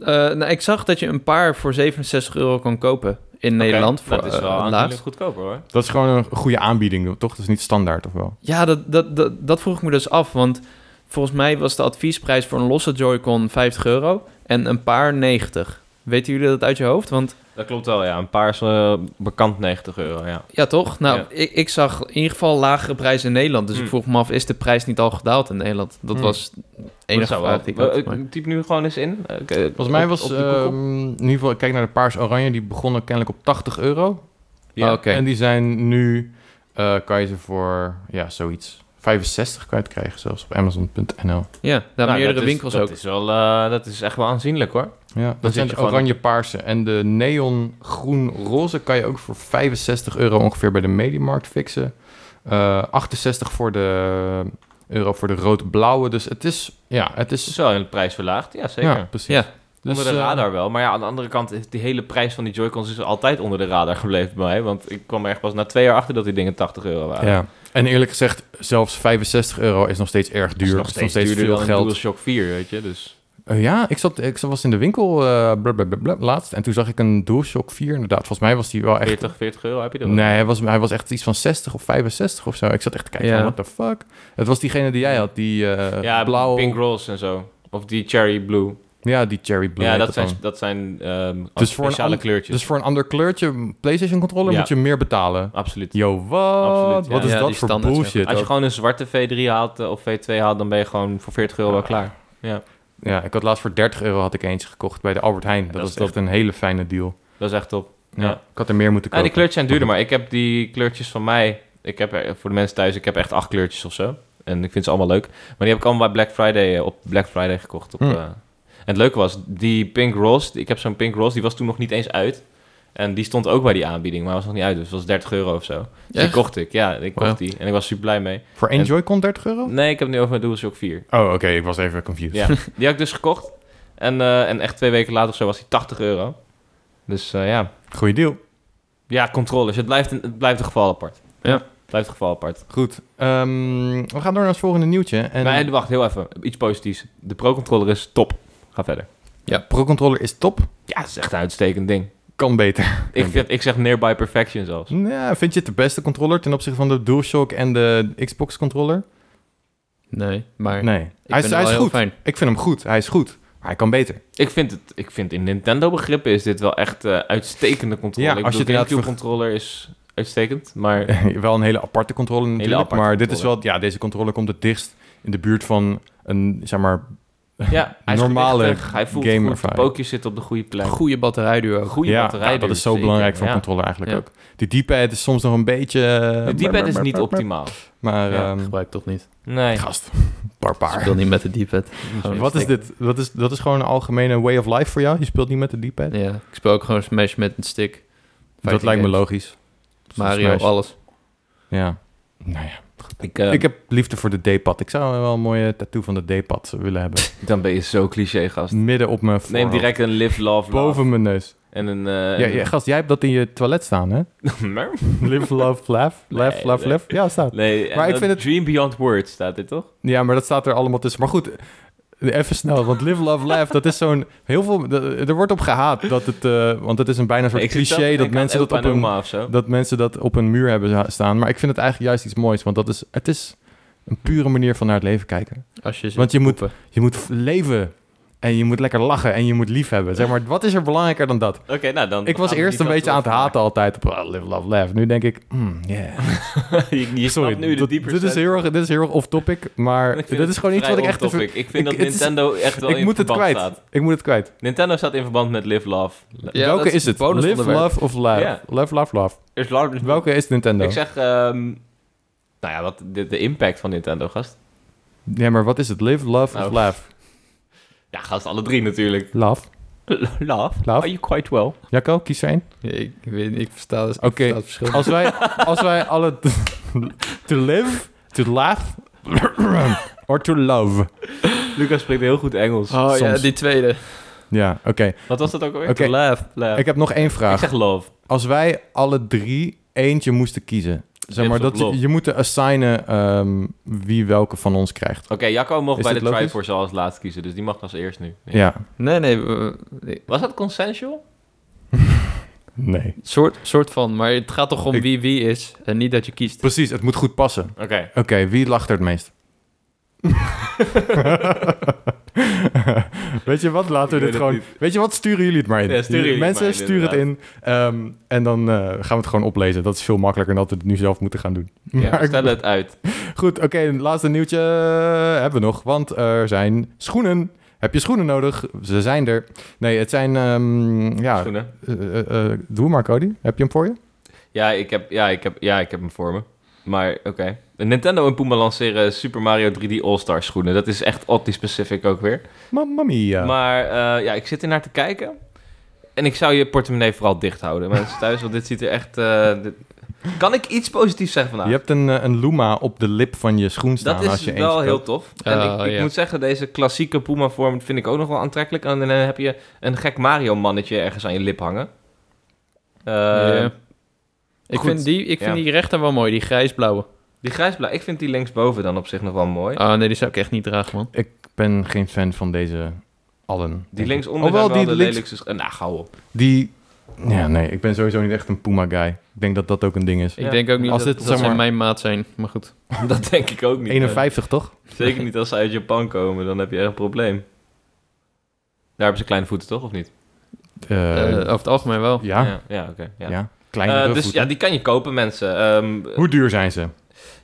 Speaker 1: Eh, nou, ik zag dat je een paar voor 67 euro kan kopen in Nederland. Voor,
Speaker 3: dat is
Speaker 1: eh,
Speaker 3: wel aanzienlijk
Speaker 1: laagst.
Speaker 3: goedkoper hoor.
Speaker 2: Dat is gewoon een goede aanbieding, toch? Dat is niet standaard, of wel?
Speaker 1: Ja, dat, dat, dat, dat vroeg ik me dus af. Want volgens mij was de adviesprijs voor een losse Joy-Con 50 euro en een paar 90. Weten jullie dat uit je hoofd? Want
Speaker 3: Dat klopt wel, ja. Een paar is eh, bekant 90 euro, ja.
Speaker 1: ja, toch? Nou,
Speaker 3: Ja.
Speaker 1: Ik, ik zag in ieder geval lagere prijzen in Nederland. Dus
Speaker 3: Hmm.
Speaker 1: ik vroeg me af, is de prijs niet al gedaald in Nederland? Dat
Speaker 2: Hmm.
Speaker 1: was de enige
Speaker 3: Dat zou
Speaker 1: vraag die ik had.
Speaker 3: Eh,
Speaker 1: maar-
Speaker 3: typ nu gewoon eens in. Eh, ik, eh,
Speaker 2: Volgens mij
Speaker 3: op-
Speaker 2: was,
Speaker 3: op die Google.
Speaker 2: ehm, in ieder geval, ik kijk naar de paars-oranje, die begonnen kennelijk op 80 euro. Nou,
Speaker 3: ja.
Speaker 1: Ah, Oké.
Speaker 2: En die zijn nu, eh, kan je ze voor, ja, zoiets, 65 kwijtkrijgen, zelfs op amazon.nl.
Speaker 1: Ja, daar
Speaker 3: Nou,
Speaker 1: meerdere
Speaker 3: dat is-
Speaker 1: winkels
Speaker 3: dat
Speaker 1: ook.
Speaker 3: Is wel, eh, dat is echt wel aanzienlijk hoor.
Speaker 2: Ja,
Speaker 3: zit
Speaker 2: dat zijn
Speaker 3: je
Speaker 2: de
Speaker 3: gewoon op-
Speaker 2: oranje paarse. En de neon groen roze kan je ook voor 65 euro ongeveer bij de Mediamarkt fixen. Eh 68 voor de ehm, euro voor de rood-blauwe. Dus het is, ja, het
Speaker 3: Het is
Speaker 2: is...
Speaker 3: wel een prijs verlaagd, ja zeker.
Speaker 2: Ja, precies.
Speaker 1: Ja.
Speaker 2: Dus,
Speaker 3: onder de
Speaker 2: eh,
Speaker 3: radar wel. Maar ja, aan de andere kant, is die hele prijs van die Joy-Cons is altijd onder de radar gebleven bij mij. Want ik kwam er echt pas na twee jaar achter dat die dingen 80 euro waren.
Speaker 2: ja. En eerlijk gezegd, zelfs 65 euro is nog steeds erg
Speaker 3: Dat
Speaker 2: duur.
Speaker 3: is
Speaker 2: Is
Speaker 3: nog steeds, duurder dan een DualShock 4, weet je. Dus
Speaker 2: Eh, ja, ik zat, ik was in de winkel eh bla, bla, bla, bla, laatst. En toen zag ik een DualShock 4 inderdaad. Volgens mij was die wel echt...
Speaker 3: 40, 40 euro heb je dat.
Speaker 2: Nee, hij was, hij was echt iets van 60 of 65 of zo. Ik zat echt te kijken,
Speaker 1: Ja.
Speaker 2: van, what the fuck? Het was diegene die jij had, die eh
Speaker 3: Ja,
Speaker 2: blauwe...
Speaker 3: Pink Rolls en zo. Of die Cherry Blue.
Speaker 2: Ja, die cherry blue.
Speaker 3: ja,
Speaker 2: heet
Speaker 3: dat zijn,
Speaker 2: dan.
Speaker 3: dat zijn ehm,
Speaker 2: Dus voor een
Speaker 3: speciale
Speaker 2: an-
Speaker 3: kleurtjes.
Speaker 2: Dus voor een ander kleurtje PlayStation controller
Speaker 3: Ja.
Speaker 2: moet je meer betalen.
Speaker 3: Absoluut.
Speaker 2: Yo, wat?
Speaker 3: Absoluut, ja.
Speaker 2: Wat is
Speaker 1: Ja,
Speaker 2: dat
Speaker 1: die
Speaker 2: voor
Speaker 1: standaard zijn
Speaker 2: bullshit?
Speaker 3: Als je
Speaker 2: dus- ook?
Speaker 3: gewoon een zwarte V3 haalt eh, of V2 haalt, dan ben je gewoon voor 40 euro wel
Speaker 2: Ah,
Speaker 3: klaar.
Speaker 2: Ja, ik had laatst voor 30 euro had ik eentje gekocht bij de Albert Heijn. Dat,
Speaker 3: dat
Speaker 2: was
Speaker 3: is top.
Speaker 2: echt een hele fijne deal.
Speaker 3: Dat is echt top.
Speaker 2: Ja.
Speaker 3: Ja.
Speaker 2: Ik had er meer moeten
Speaker 3: Ja,
Speaker 2: kopen.
Speaker 3: die kleurtjes zijn duurder, maar ik heb die kleurtjes van mij... Ik heb er, voor de mensen thuis, ik heb echt acht kleurtjes of zo. En ik vind ze allemaal leuk. Maar die heb ik allemaal bij Black Friday, eh, op Black Friday gekocht. Op,
Speaker 2: Hmm.
Speaker 3: eh. En het leuke was, die Pink Rose, die- ik heb zo'n Pink Rose, die was toen nog niet eens uit. En die stond ook bij die aanbieding, maar was nog niet uit. Dus dat was 30 euro of zo. Dus die
Speaker 1: Echt?
Speaker 3: kocht ik, ja, ik kocht
Speaker 2: Wauw.
Speaker 3: die. En ik was super blij mee.
Speaker 2: Voor één
Speaker 3: En-
Speaker 2: Joy-Con 30 euro?
Speaker 3: Nee, ik heb het nu over mijn DualShock 4.
Speaker 2: Oh, oké. ik was even confused.
Speaker 3: Ja, die had ik dus gekocht. En, eh, en echt twee weken later of zo was die 80 euro. Dus eh, ja.
Speaker 2: Goeie deal.
Speaker 3: ja, controllers. Het blijft een, het blijft een geval apart.
Speaker 1: Ja.
Speaker 3: Het blijft een geval apart.
Speaker 2: Goed. Ehm, we gaan door naar het volgende nieuwtje. En
Speaker 3: Maar eh, wacht, heel even. Iets positiefs. De Pro Controller is top. Ga verder.
Speaker 2: Pro Controller is top.
Speaker 3: Ja, dat is echt een uitstekend ding.
Speaker 2: Kan beter.
Speaker 3: Ik, vind, ik zeg nearby perfection zelfs.
Speaker 2: Ja, vind je het de beste controller ten opzichte van de DualShock en de Xbox controller?
Speaker 1: Nee, maar
Speaker 2: Nee.
Speaker 1: ik
Speaker 2: Hij
Speaker 1: vind het
Speaker 2: is, hij is
Speaker 1: wel
Speaker 2: goed.
Speaker 1: heel fijn.
Speaker 2: Ik vind hem goed. Hij is goed. Maar hij kan beter.
Speaker 3: Ik vind, het, ik vind in Nintendo begrippen is dit wel echt eh, uitstekende controller.
Speaker 2: Ja,
Speaker 3: ik
Speaker 2: als je
Speaker 3: bedoel,
Speaker 2: het
Speaker 3: GameCube controller is uitstekend, maar
Speaker 2: wel een hele aparte controller natuurlijk,
Speaker 3: aparte
Speaker 2: maar dit is wel,
Speaker 3: controller.
Speaker 2: ja, deze controller komt het dichtst in de buurt van een, zeg maar,
Speaker 3: ja, hij is
Speaker 2: Normale
Speaker 3: gewichtig, hij voelt
Speaker 2: gamer
Speaker 3: goed, de
Speaker 2: vibe.
Speaker 3: pookjes zitten op de goede plek.
Speaker 1: Goede batterijduo. ehm, ook.
Speaker 3: Goede
Speaker 2: ja,
Speaker 3: batterij.
Speaker 2: ja, dat
Speaker 3: dus,
Speaker 2: is zo
Speaker 3: zeker,
Speaker 2: belangrijk voor
Speaker 3: ja.
Speaker 2: een controller eigenlijk
Speaker 1: Ja.
Speaker 2: ook. Die D-pad is soms nog een beetje... eh,
Speaker 3: De
Speaker 2: brr,
Speaker 3: D-pad is
Speaker 2: brr,
Speaker 3: niet
Speaker 2: brr, brr.
Speaker 3: optimaal.
Speaker 2: Maar,
Speaker 3: Ja,
Speaker 2: ehm,
Speaker 1: Gebruik toch niet.
Speaker 3: Nee.
Speaker 2: gast,
Speaker 1: Ik
Speaker 2: barbaar.
Speaker 1: speel niet met de deep
Speaker 2: Wat is dit? Dat is, dat is gewoon een algemene way of life voor jou? Je speelt niet met de D-pad?
Speaker 1: Ja, ik speel ook gewoon Smash met een stick.
Speaker 2: dat
Speaker 1: Fighting
Speaker 2: lijkt me
Speaker 1: games.
Speaker 2: logisch.
Speaker 1: Mario,
Speaker 2: Smash.
Speaker 1: alles.
Speaker 2: Ja. Nou ja.
Speaker 3: Ik, eh,
Speaker 2: Ik heb liefde voor de D-pad. Ik zou wel een mooie tattoo van de D-pad willen hebben.
Speaker 3: Dan ben je zo cliché, gast.
Speaker 2: Midden op mijn
Speaker 3: Neem
Speaker 2: voorhoofd.
Speaker 3: direct een live, love, love.
Speaker 2: Boven mijn neus.
Speaker 3: En een... eh,
Speaker 2: Ja, ja, gast, jij hebt dat in je toilet staan, hè?
Speaker 3: Maar-
Speaker 2: Live, love, laugh. Laugh,
Speaker 3: Nee,
Speaker 2: love,
Speaker 3: nee.
Speaker 2: laugh. Ja, staat.
Speaker 3: nee,
Speaker 2: Maar
Speaker 3: maar
Speaker 2: ik vind het-
Speaker 3: Dream Beyond Words staat dit, toch?
Speaker 2: Ja, maar dat staat er allemaal tussen. Maar goed, eh, even snel. Want live, love, laugh, dat is zo'n... Heel veel... d- Er wordt op gehaat dat het... eh, want het is een bijna soort
Speaker 3: Ik zit zelf te
Speaker 2: cliché dat
Speaker 3: denken aan
Speaker 2: mensen dat,
Speaker 3: opa
Speaker 2: op
Speaker 3: en
Speaker 2: een,
Speaker 3: oma of zo.
Speaker 2: dat mensen dat op een muur hebben za- staan. Maar ik vind het eigenlijk juist iets moois. Want dat is... Het is een pure manier van naar het leven kijken.
Speaker 1: Als je zit
Speaker 2: Want je
Speaker 1: te
Speaker 2: moet-
Speaker 1: poepen.
Speaker 2: Je moet leven... En je moet lekker lachen en je moet lief hebben. Zeg maar, wat is er belangrijker dan dat?
Speaker 3: Oké, nou dan...
Speaker 2: Ik was
Speaker 3: gaan we
Speaker 2: eerst een
Speaker 3: die
Speaker 2: beetje aan het
Speaker 3: kant op.
Speaker 2: haten altijd op ah, live, love, laugh. Nu denk ik, mm, yeah.
Speaker 3: je je snapt nu de
Speaker 2: dat-
Speaker 3: dieper
Speaker 2: dit, is heel erg, dit is heel erg off-topic, maar dit is gewoon iets wat ik echt... even-
Speaker 3: Ik vind
Speaker 2: ik-
Speaker 3: dat
Speaker 2: het is-
Speaker 3: Nintendo echt wel
Speaker 2: ik
Speaker 3: in
Speaker 2: moet het
Speaker 3: verband
Speaker 2: kwijt.
Speaker 3: staat.
Speaker 2: Ik moet het kwijt.
Speaker 3: Nintendo staat in verband met Live Love.
Speaker 1: Ja, dat
Speaker 2: Welke
Speaker 1: is
Speaker 2: is
Speaker 1: het
Speaker 2: het? Live,
Speaker 1: bonusonderwerp.
Speaker 2: love of laugh?
Speaker 3: Ja.
Speaker 2: Love, love, love.
Speaker 3: Er is larger-
Speaker 2: Welke is Nintendo?
Speaker 3: Ik zeg... ehm, nou ja, wat, de, de impact van Nintendo, gast.
Speaker 2: Ja, maar wat is het? Live, love of
Speaker 3: Oh.
Speaker 2: laugh?
Speaker 3: Ja, gast, alle drie natuurlijk.
Speaker 2: Love.
Speaker 3: Love?
Speaker 2: Love.
Speaker 3: Are you quite well?
Speaker 2: Jacco, kies er één.
Speaker 1: Ja, ik, ik weet niet, ik versta, dus,
Speaker 2: Oké.
Speaker 1: het verschil. niet.
Speaker 2: Als wij, als wij alle... to live, to laugh, or to love.
Speaker 3: Lucas spreekt heel goed Engels.
Speaker 1: Oh ja,
Speaker 2: soms.
Speaker 1: die tweede.
Speaker 2: Ja, oké.
Speaker 3: Wat was dat ook alweer?
Speaker 2: Oké.
Speaker 3: To laugh. laugh.
Speaker 2: Ik heb nog één
Speaker 3: Ik
Speaker 2: vraag.
Speaker 3: zeg love.
Speaker 2: Als wij alle drie eentje moesten kiezen... Zeg maar,
Speaker 3: Live of
Speaker 2: dat, je-
Speaker 3: love.
Speaker 2: je moet assignen ehm, wie welke van ons krijgt.
Speaker 3: Oké, Jacco mocht
Speaker 2: Is
Speaker 3: bij de
Speaker 2: dit logisch?
Speaker 3: Triforce al als laatst kiezen, dus die mag als eerst nu. Ja.
Speaker 2: Ja.
Speaker 1: Nee, nee. we- we-
Speaker 3: Was dat consensual?
Speaker 2: Nee.
Speaker 1: soort, soort van, maar het gaat toch om
Speaker 2: Ik-
Speaker 1: wie wie is en niet dat je kiest.
Speaker 2: Precies, het moet goed passen.
Speaker 3: Oké.
Speaker 2: Oké, wie lacht er het meest? Weet je wat, laten
Speaker 3: Ik weet
Speaker 2: we dit
Speaker 3: het
Speaker 2: gewoon...
Speaker 3: niet.
Speaker 2: Weet je wat, sturen jullie het maar in.
Speaker 3: Ja, sturen jullie het
Speaker 2: Mensen,
Speaker 3: maar in,
Speaker 2: sturen het in. ehm, en dan eh, gaan we het gewoon oplezen. Dat is veel makkelijker dan dat we het nu zelf moeten gaan doen.
Speaker 3: Ja,
Speaker 2: Maar ik-
Speaker 3: stel het uit.
Speaker 2: Goed, oké, een laatste nieuwtje eh, hebben we nog. Want er zijn schoenen. Heb je schoenen nodig? Ze zijn er. Nee, het zijn... ehm, ja,
Speaker 3: Schoenen.
Speaker 2: eh, eh, eh, doe maar, Cody. Heb je hem voor je?
Speaker 3: Ja, ik heb, ja, ik heb, ja, ik heb hem voor me. Maar oké. Nintendo en Puma lanceren Super Mario 3D All-Star schoenen. Dat is echt optisch specific ook weer.
Speaker 2: Mamma mia.
Speaker 3: Maar eh, ja, ik zit er naar te kijken. En ik zou je portemonnee vooral dicht houden, mensen thuis. Want dit ziet er echt... eh, dit- Kan ik iets positiefs zeggen vandaag?
Speaker 2: Je hebt een, eh, een Luma op de lip van je schoen staan.
Speaker 3: Dat is
Speaker 2: Dus nou, als je
Speaker 3: wel
Speaker 2: eentje
Speaker 3: heel
Speaker 2: koopt.
Speaker 3: tof. En
Speaker 1: Oh,
Speaker 3: ik, ik
Speaker 1: ja.
Speaker 3: moet zeggen, deze klassieke Puma-vorm vind ik ook nog wel aantrekkelijk. En dan heb je een gek Mario-mannetje ergens aan je lip hangen. Eh,
Speaker 1: Ja. ik
Speaker 3: goed.
Speaker 1: vind, die, ik vind
Speaker 3: Ja.
Speaker 1: die rechter wel mooi, die grijsblauwe.
Speaker 3: Die grijsblauw, ik vind die linksboven dan op zich nog wel mooi.
Speaker 1: Ah nee, die zou ik echt niet dragen, man.
Speaker 2: Ik ben geen fan van deze allen. denk
Speaker 3: Die
Speaker 2: ik.
Speaker 3: linksonder
Speaker 2: Hoewel
Speaker 3: zijn wel
Speaker 2: die
Speaker 3: de
Speaker 2: links-
Speaker 3: lelijkste... sch- eh, Nou, hou op.
Speaker 2: Die... Ja, nee, ik ben sowieso niet echt een Puma guy. Ik denk dat dat ook een ding is.
Speaker 1: Ik
Speaker 3: Ja.
Speaker 1: denk ook niet
Speaker 2: Als
Speaker 1: dat,
Speaker 2: dit,
Speaker 1: dat
Speaker 2: zeg
Speaker 1: zij
Speaker 2: maar-
Speaker 1: mijn maat zijn, maar goed.
Speaker 3: Dat denk ik ook niet.
Speaker 2: 51, toch?
Speaker 3: Zeker niet als ze uit Japan komen, dan heb je echt een probleem. hebben ze kleine voeten toch, of niet?
Speaker 1: Eh,
Speaker 2: Eh,
Speaker 1: over het algemeen wel.
Speaker 2: ja, ja,
Speaker 3: ja, ja, oké. ja.
Speaker 2: kleinere
Speaker 3: Eh, dus
Speaker 2: voeten.
Speaker 3: ja, die kan je kopen, mensen. Ehm,
Speaker 2: Hoe duur zijn ze?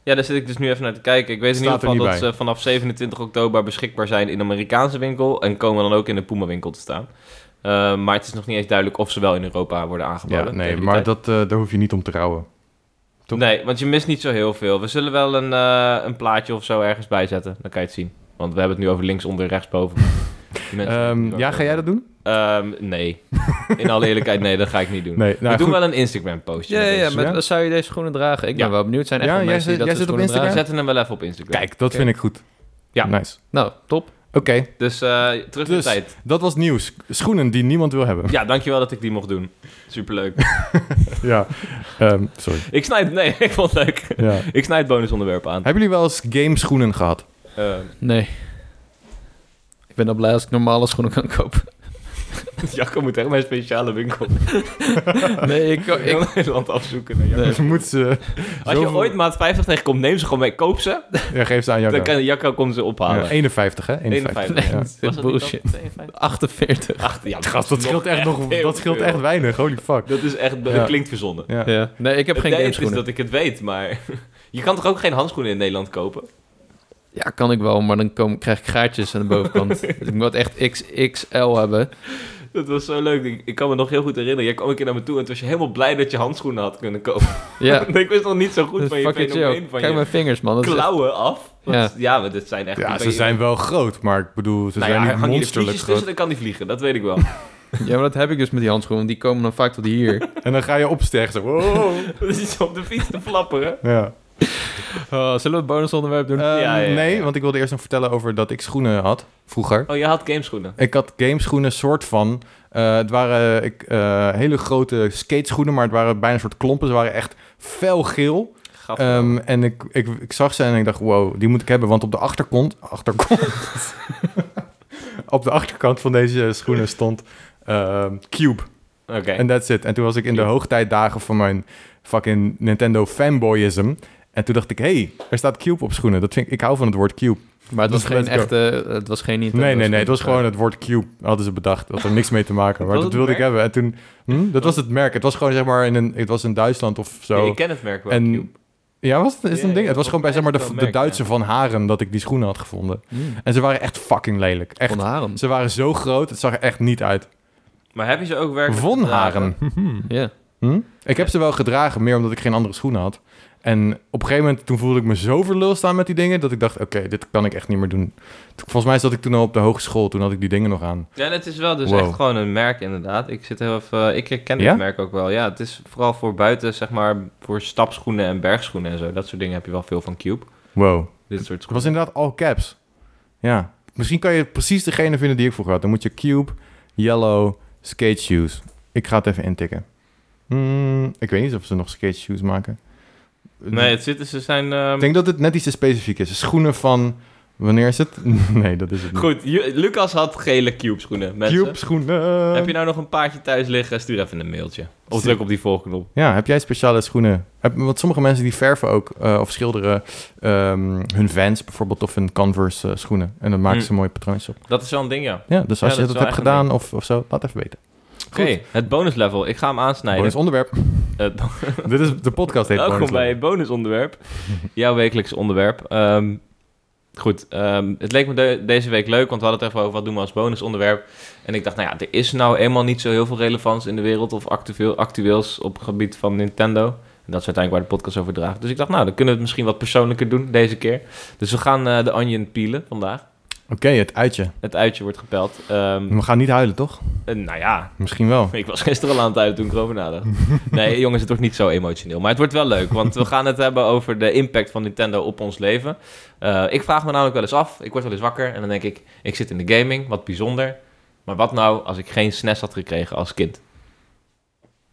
Speaker 3: ja, daar zit ik dus nu even naar te kijken. Ik weet in
Speaker 2: Staat
Speaker 3: ieder
Speaker 2: er
Speaker 3: geval
Speaker 2: niet
Speaker 3: dat
Speaker 2: bij.
Speaker 3: ze vanaf 27 oktober beschikbaar zijn in de Amerikaanse winkel. En komen dan ook in de Puma winkel te staan. Ehm, maar het is nog niet eens duidelijk of ze wel in Europa worden aangeboden.
Speaker 2: Ja,
Speaker 3: tegen
Speaker 2: nee,
Speaker 3: die
Speaker 2: maar
Speaker 3: tijd.
Speaker 2: dat, eh, daar hoef je niet om te rouwen. toch?
Speaker 3: Nee, want je mist niet zo heel veel. We zullen wel een, eh, een plaatje of zo ergens bijzetten. Dan kan je het zien. Want we hebben het nu over linksonder, rechtsboven. Die mensen-
Speaker 2: Ehm, ja, ga jij dat doen?
Speaker 3: Ehm, nee. In alle eerlijkheid, nee, dat ga ik niet doen.
Speaker 2: Nee, nou,
Speaker 3: we doen
Speaker 2: goed.
Speaker 3: wel een Instagram postje.
Speaker 1: Ja,
Speaker 3: met
Speaker 1: ja,
Speaker 3: deze.
Speaker 1: maar
Speaker 2: Ja.
Speaker 1: wat zou je deze schoenen dragen? Ik ben
Speaker 3: Ja.
Speaker 1: wel benieuwd. Zijn echt
Speaker 2: Ja,
Speaker 1: wel
Speaker 2: jij
Speaker 1: mensen
Speaker 2: zit-
Speaker 1: die dat
Speaker 2: jij
Speaker 1: soort
Speaker 2: zit op
Speaker 1: schoenen
Speaker 3: We
Speaker 1: dragen.
Speaker 2: Instagram?
Speaker 3: zetten hem wel even op Instagram.
Speaker 2: Kijk, dat
Speaker 1: Oké.
Speaker 2: vind ik goed.
Speaker 3: Ja.
Speaker 2: Nice.
Speaker 1: Nou, top.
Speaker 2: Oké,
Speaker 3: Dus eh, terug in de
Speaker 2: Dus-
Speaker 3: tijd.
Speaker 2: dat was nieuws. Schoenen die niemand wil hebben.
Speaker 3: Ja, dankjewel dat ik die mocht doen. Superleuk.
Speaker 2: ja. Ehm, sorry.
Speaker 3: ik snijd... Nee, ik vond het leuk.
Speaker 2: Ja.
Speaker 3: Ik snijd bonusonderwerpen aan.
Speaker 2: Hebben jullie wel eens gameschoenen gehad?
Speaker 3: Eh,
Speaker 1: Nee. Ik ben dan blij als ik normale schoenen kan kopen.
Speaker 3: Jacco moet echt mijn speciale winkel
Speaker 1: Nee, ik...
Speaker 3: in heel Nederland afzoeken. Nee, Jacco.
Speaker 1: Nee.
Speaker 2: Dus moet ze...
Speaker 3: Als je
Speaker 2: zoveel-
Speaker 3: ooit maat 50 tegenkomt, neem ze gewoon mee. Koop ze.
Speaker 2: Ja, geef ze aan jou.
Speaker 3: Dan kan Jacco komt ze ophalen.
Speaker 2: ja, 51, hè? 51.
Speaker 3: 51.
Speaker 1: Nee,
Speaker 3: Was dat niet
Speaker 1: bullshit.
Speaker 3: dan 52?
Speaker 1: 48.
Speaker 3: Ach, ja, maar
Speaker 2: Gast, dat
Speaker 3: is
Speaker 2: scheelt echt nog...
Speaker 3: heel
Speaker 2: Dat scheelt
Speaker 3: veel.
Speaker 2: echt weinig. Holy fuck.
Speaker 3: Dat is echt... Dat
Speaker 2: Ja.
Speaker 3: klinkt verzonnen.
Speaker 2: Ja.
Speaker 1: Ja. Nee, ik heb
Speaker 3: Het
Speaker 1: geen
Speaker 3: idee is
Speaker 1: gameschoenen.
Speaker 3: dat ik het weet, maar... Je kan toch ook geen handschoenen in Nederland kopen?
Speaker 1: Ja, kan ik wel, maar dan kom, krijg ik gaatjes aan de bovenkant. dus ik moet echt XXL hebben.
Speaker 3: Dat was zo leuk. Ik, ik kan me nog heel goed herinneren. Jij kwam een keer naar me toe en toen was je helemaal blij dat je handschoenen had kunnen kopen.
Speaker 1: Ja,
Speaker 3: ik wist nog niet zo
Speaker 1: dat
Speaker 3: goed
Speaker 1: is
Speaker 3: van je
Speaker 1: fucking
Speaker 3: fenomeen
Speaker 1: chill.
Speaker 3: van
Speaker 1: Kijk
Speaker 3: je
Speaker 1: mijn vingers, man. Dat is echt-
Speaker 3: klauwen af. Want, ja. maar dit zijn echt...
Speaker 2: Ja,
Speaker 3: ben
Speaker 2: ze
Speaker 3: je-
Speaker 2: zijn wel groot, maar ik bedoel, ze
Speaker 3: Nou ja,
Speaker 2: zijn niet
Speaker 3: hang je de
Speaker 2: monsterlijk
Speaker 3: vliegjes
Speaker 2: groot.
Speaker 3: tussen, dan kan die vliegen. Dat weet ik wel.
Speaker 1: ja, maar dat heb ik dus met die handschoenen. want Die komen dan vaak tot hier.
Speaker 2: En dan ga je opstijgen. Zo. wow.
Speaker 3: dat Dus is iets op de fiets te flapperen.
Speaker 2: Ja.
Speaker 1: Oh, zullen we het bonusonderwerp doen?
Speaker 2: Ehm,
Speaker 3: ja, ja.
Speaker 2: Nee, want ik wilde eerst nog vertellen over dat ik schoenen had vroeger.
Speaker 3: Oh, je had gameschoenen.
Speaker 2: Ik had gameschoenen, soort van. Eh, het waren ik, eh, hele grote skateschoenen, maar het waren bijna een soort klompen. Ze waren echt felgeel.
Speaker 3: Gaf
Speaker 2: Ehm, en ik, ik, ik zag ze en ik dacht, wow, die moet ik hebben. Want op de achterkant... achterkant op de achterkant van deze schoenen stond ehm, Cube.
Speaker 3: Oké.
Speaker 2: En that's it. En toen was ik in de
Speaker 3: Cute.
Speaker 2: hoogtijdagen van mijn fucking Nintendo fanboyism. En toen dacht ik, hey, er staat Cube op schoenen. Dat vind ik, ik hou van het woord Cube.
Speaker 1: Maar het was
Speaker 2: Dus let's
Speaker 1: geen
Speaker 2: go.
Speaker 1: echte... Het was geen Nintendo
Speaker 2: Nee, nee, nee. Het was
Speaker 1: schoen.
Speaker 2: gewoon het woord Cube. Hadden ze bedacht. Dat had er niks mee te maken. Maar
Speaker 3: Was
Speaker 2: dat
Speaker 3: het
Speaker 2: wilde ik
Speaker 3: merk?
Speaker 2: hebben. En toen... Hm? Dat was het merk. Het was gewoon, zeg maar, in een, het was in Duitsland of zo.
Speaker 3: ik ken het merk wel.
Speaker 2: en... Ja, was het, is het
Speaker 3: Ja,
Speaker 2: een ding?
Speaker 3: ja,
Speaker 2: Het was gewoon bij zeg maar,
Speaker 3: wel
Speaker 2: de, de
Speaker 3: merk,
Speaker 2: Duitse van Haren dat ik die schoenen had gevonden.
Speaker 1: Mm.
Speaker 2: En ze waren echt fucking lelijk.
Speaker 1: Echt.
Speaker 2: Echt. Ze waren zo groot, het zag er echt niet uit.
Speaker 3: Maar heb je ze ook werkelijk
Speaker 2: Von Haren.
Speaker 1: Ja.
Speaker 2: Hm? Ik heb ze wel gedragen, meer omdat ik geen andere schoenen had. En op een gegeven moment toen voelde ik me zo verlul staan met die dingen... dat ik dacht, oké, dit kan ik echt niet meer doen. Toen- Volgens mij zat ik toen al op de hogeschool, toen had ik die dingen nog aan.
Speaker 3: Ja, en het is wel dus
Speaker 2: Wow.
Speaker 3: echt gewoon een merk inderdaad. Ik zit heel even, ik herken
Speaker 2: Ja?
Speaker 3: dit merk ook wel. Ja, het is vooral voor buiten, zeg maar, voor stapschoenen en bergschoenen en zo. Dat soort dingen heb je wel veel van Cube.
Speaker 2: Wow.
Speaker 3: Dit soort
Speaker 2: Het
Speaker 3: schoenen.
Speaker 2: was inderdaad all caps. Ja. Misschien kan je precies degene vinden die ik vroeger had. Dan moet je Cube, Yellow, Skate Shoes. Ik ga het even intikken. Hmm, ik weet niet of ze nog Skate Shoes maken.
Speaker 3: Nee, het zit, ze zijn... ehm,
Speaker 2: Ik denk dat het net iets te specifiek is. Schoenen van... Wanneer is het? Nee, dat is het niet.
Speaker 3: Goed, Ju- Lucas had gele Cube schoenen, mensen.
Speaker 2: Cube schoenen.
Speaker 3: Heb je nou nog een paardje thuis liggen? Stuur even een mailtje. Of druk op die volgknop.
Speaker 2: Ja, heb jij speciale schoenen? Heb, want sommige mensen die verven ook eh, of schilderen ehm, hun Vans bijvoorbeeld of hun Converse eh, schoenen. En dan maken
Speaker 3: Hm.
Speaker 2: ze mooie patroontjes op.
Speaker 3: Dat is wel een ding, ja.
Speaker 2: Ja, dus
Speaker 3: Ja, dat
Speaker 2: als
Speaker 3: is
Speaker 2: je dat,
Speaker 3: wel
Speaker 2: hebt
Speaker 3: echt een
Speaker 2: gedaan of, of zo, laat even weten.
Speaker 3: Oké, het bonuslevel. Ik ga hem aansnijden. Eh,
Speaker 2: Bonus onderwerp.
Speaker 3: Het bo-
Speaker 2: Dit is de podcast heet
Speaker 3: Welkom
Speaker 2: Bonus
Speaker 3: bij
Speaker 2: Level.
Speaker 3: het bonusonderwerp. Jouw wekelijks onderwerp. Ehm, goed, ehm, het leek me de- deze week leuk, want we hadden het even over wat doen we als bonusonderwerp. En ik dacht, nou ja, er is nou eenmaal niet zo heel veel relevant in de wereld of actueel, actueels op het gebied van Nintendo. En dat is uiteindelijk waar de podcast over draagt. Dus ik dacht, nou, dan kunnen we het misschien wat persoonlijker doen deze keer. Dus we gaan eh, de onion peelen vandaag.
Speaker 2: Oké, het uitje.
Speaker 3: Het uitje wordt gepeld. Ehm,
Speaker 2: We gaan niet huilen, toch?
Speaker 3: en nou ja,
Speaker 2: Misschien wel.
Speaker 3: ik was gisteren al aan het uit toen ik erover nadacht. Nee, jongens, het wordt niet zo emotioneel. Maar het wordt wel leuk, want we gaan het hebben over de impact van Nintendo op ons leven. Eh, ik vraag me namelijk wel eens af, ik word wel eens wakker en dan denk ik... ik zit in de gaming, wat bijzonder. Maar wat nou als ik geen SNES had gekregen als kind?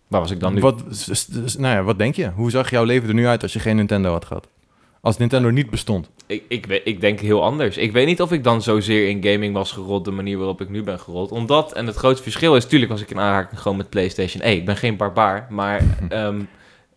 Speaker 3: Waar was ik dan nu?
Speaker 2: Wat, s- s- s- nou ja, wat denk je? Hoe zag jouw leven er nu uit als je geen Nintendo had gehad? Als Nintendo niet bestond.
Speaker 3: Ik, ik, we- ik denk heel anders. Ik weet niet of ik dan zozeer in gaming was gerold... de manier waarop ik nu ben gerold. Omdat, en het grootste verschil is... natuurlijk was ik in aanraking gewoon met PlayStation 1. Ik ben geen barbaar, maar... ehm,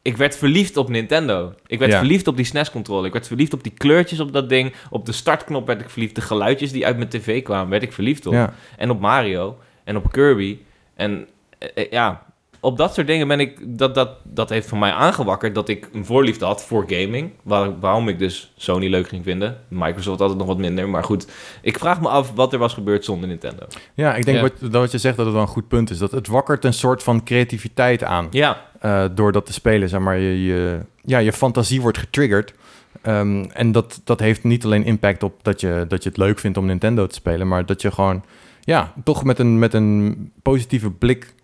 Speaker 3: ik werd verliefd op Nintendo. Ik werd
Speaker 2: Ja.
Speaker 3: verliefd op die SNES-controller. Ik werd verliefd op die kleurtjes op dat ding. Op de startknop werd ik verliefd. De geluidjes die uit mijn tv kwamen, werd ik verliefd op.
Speaker 2: Ja.
Speaker 3: En op Mario. En op Kirby. En eh, eh, ja, op dat soort dingen ben ik... Dat, dat, dat heeft van mij aangewakkerd dat ik een voorliefde had voor gaming. Waar, waarom ik dus Sony leuk ging vinden. Microsoft altijd nog wat minder. Maar goed, ik vraag me af wat er was gebeurd zonder Nintendo.
Speaker 2: ja, ik denk
Speaker 1: Ja.
Speaker 2: Wat, dat wat je zegt dat het wel een goed punt is. Dat het wakkert een soort van creativiteit aan.
Speaker 3: Ja,
Speaker 2: eh, door dat te spelen, zeg maar, je, je, ja, je fantasie wordt getriggerd. Ehm, en dat, dat heeft niet alleen impact op dat je, dat je het leuk vindt om Nintendo te spelen, maar dat je gewoon, ja, toch met een, met een positieve blik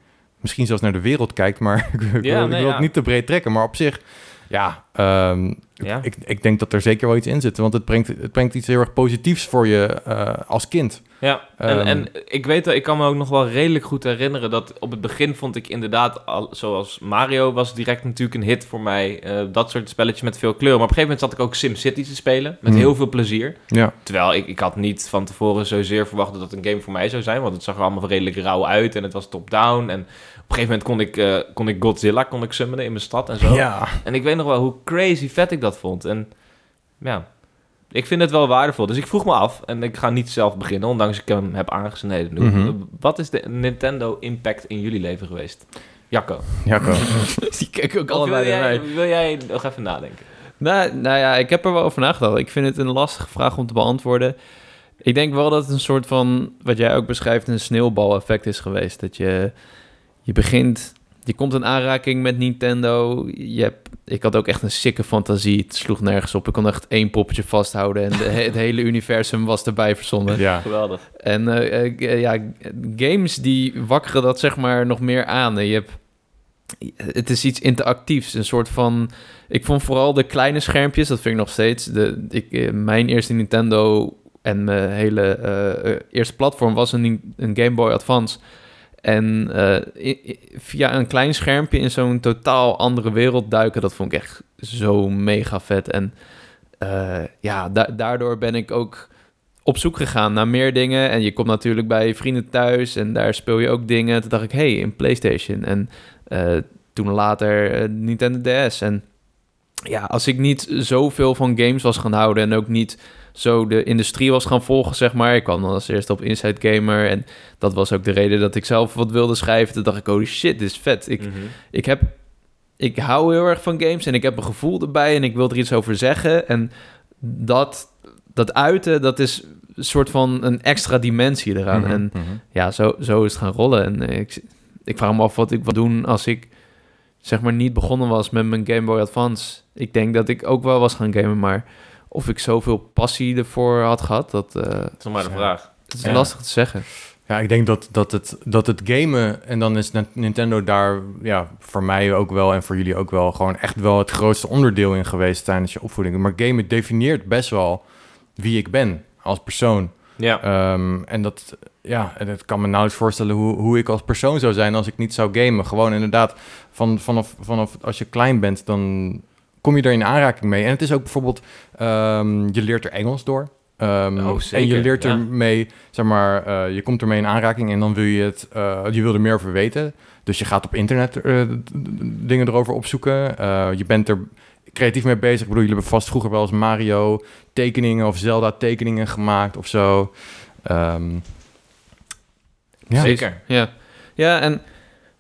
Speaker 2: misschien zelfs naar de wereld kijkt. Maar ik, wil- ik
Speaker 3: Ja,
Speaker 2: wil,
Speaker 3: nee,
Speaker 2: ik wil
Speaker 3: ja.
Speaker 2: het niet te breed trekken, maar op zich, ja, ehm,
Speaker 3: Ja.
Speaker 2: Ik, ik denk dat er zeker wel iets in zit. Want het brengt, het brengt iets heel erg positiefs voor je eh, als kind.
Speaker 3: ja. En,
Speaker 2: Ehm.
Speaker 3: en ik weet dat ik kan me ook nog wel redelijk goed herinneren dat op het begin vond ik inderdaad, al, zoals Mario was direct natuurlijk een hit voor mij. eh, dat soort spelletjes met veel kleur. Maar op een gegeven moment zat ik ook SimCity te spelen met
Speaker 2: Hmm.
Speaker 3: heel veel plezier.
Speaker 2: Ja,
Speaker 3: Terwijl ik, ik had niet van tevoren zozeer verwacht dat het een game voor mij zou zijn. Want het zag er allemaal redelijk rauw uit en het was top-down. En op een gegeven moment kon ik, eh, kon ik Godzilla kon ik summonen in mijn stad en zo.
Speaker 2: ja.
Speaker 3: En ik weet nog wel hoe crazy vet ik dat vond. En ja, ik vind het wel waardevol. Dus ik vroeg me af, en ik ga niet zelf beginnen, ondanks ik hem heb aangesneden. nu.
Speaker 2: Mhm.
Speaker 3: Wat is de Nintendo impact in jullie leven geweest? Jacco,
Speaker 2: Jacco.
Speaker 1: Die kijken ook
Speaker 3: of wil,
Speaker 1: allebei naar mij.
Speaker 3: jij, wil jij nog even nadenken?
Speaker 1: Nou, nou ja, ik heb er wel over nagedacht. Ik vind het een lastige vraag om te beantwoorden. Ik denk wel dat het een soort van, wat jij ook beschrijft, een sneeuwbaleffect is geweest. Dat je, je begint, je komt in aanraking met Nintendo. Je hebt, ik had ook echt een sikke fantasie. Het sloeg nergens op. Ik kon echt één poppetje vasthouden en de- het hele universum was erbij verzonnen.
Speaker 2: ja.
Speaker 3: Geweldig.
Speaker 1: En eh, eh, eh, ja, games die wakkeren dat zeg maar nog meer aan. En Je hebt, het is iets interactiefs, een soort van... Ik vond vooral de kleine schermpjes, dat vind ik nog steeds... De, ik, eh, mijn eerste Nintendo en mijn hele eh, eh, eerste platform was een, een Game Boy Advance. En eh, i- i- via een klein schermpje in zo'n totaal andere wereld duiken, dat vond ik echt zo mega vet. En eh, ja, da- daardoor ben ik ook op zoek gegaan naar meer dingen. En je komt natuurlijk bij vrienden thuis en daar speel je ook dingen. Toen dacht ik, hey, een PlayStation. En eh, toen later eh, Nintendo DS. En ja, als ik niet zoveel van games was gaan houden en ook niet zo de industrie was gaan volgen, zeg maar. Ik kwam dan als eerste op Inside Gamer en dat was ook de reden dat ik zelf wat wilde schrijven. Toen dacht ik, oh shit, dit is vet. Ik,
Speaker 3: Mhm.
Speaker 1: ik heb... Ik hou heel erg van games en ik heb een gevoel erbij en ik wil er iets over zeggen. En dat, dat uiten, dat is een soort van een extra dimensie eraan.
Speaker 2: Mhm,
Speaker 1: En
Speaker 2: mhm.
Speaker 1: ja, zo, zo is het gaan rollen. En eh, ik, ik vraag me af wat ik wil doen als ik zeg maar niet begonnen was met mijn Game Boy Advance. Ik denk dat ik ook wel was gaan gamen, maar of ik zoveel passie ervoor had gehad, dat eh,
Speaker 3: Dat is nog maar de
Speaker 2: Ja.
Speaker 3: vraag.
Speaker 1: het is
Speaker 2: Ja.
Speaker 1: lastig te zeggen.
Speaker 2: Ja, ik denk dat, dat, het, dat het gamen, en dan is Nin- Nintendo daar ja, voor mij ook wel en voor jullie ook wel gewoon echt wel het grootste onderdeel in geweest tijdens je opvoeding. Maar gamen definieert best wel wie ik ben als persoon.
Speaker 3: Ja.
Speaker 2: Ehm, en dat, ja, en het kan me nauwelijks voorstellen hoe, hoe ik als persoon zou zijn als ik niet zou gamen. Gewoon inderdaad, van, vanaf, vanaf als je klein bent, dan kom je er in aanraking mee. En het is ook bijvoorbeeld, ehm, je leert er Engels door. Ehm,
Speaker 3: Oh,
Speaker 2: en je
Speaker 3: zeker,
Speaker 2: leert
Speaker 3: ja.
Speaker 2: ermee, zeg maar, eh, je komt ermee in aanraking en dan wil je het, eh, je wil er meer over weten. Dus je gaat op internet eh, d- d- dingen erover opzoeken. Eh, je bent er creatief mee bezig. Ik bedoel, jullie hebben vast vroeger wel eens Mario tekeningen of Zelda tekeningen gemaakt of zo. Ehm, ja.
Speaker 3: Zeker.
Speaker 1: Ja, ja en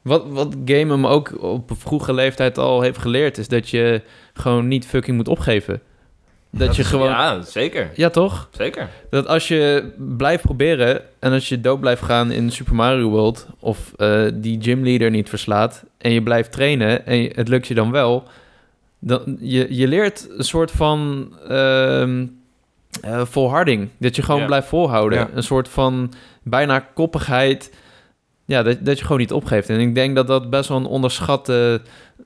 Speaker 1: wat, wat game hem ook op een vroege leeftijd al heeft geleerd, is dat je gewoon niet fucking moet opgeven. Dat, je
Speaker 3: is-
Speaker 1: gewoon...
Speaker 3: Ja, zeker.
Speaker 1: ja toch?
Speaker 3: Zeker.
Speaker 1: Dat als je blijft proberen en als je dood blijft gaan in Super Mario World of eh, die gymleader niet verslaat en je blijft trainen en je- het lukt je dan wel, dan je, je leert een soort van ehm, eh, volharding. Dat je gewoon
Speaker 3: Ja.
Speaker 1: blijft volhouden.
Speaker 2: Ja.
Speaker 1: Een soort van bijna koppigheid. Ja, dat, dat je gewoon niet opgeeft. En ik denk dat dat best wel een onderschatte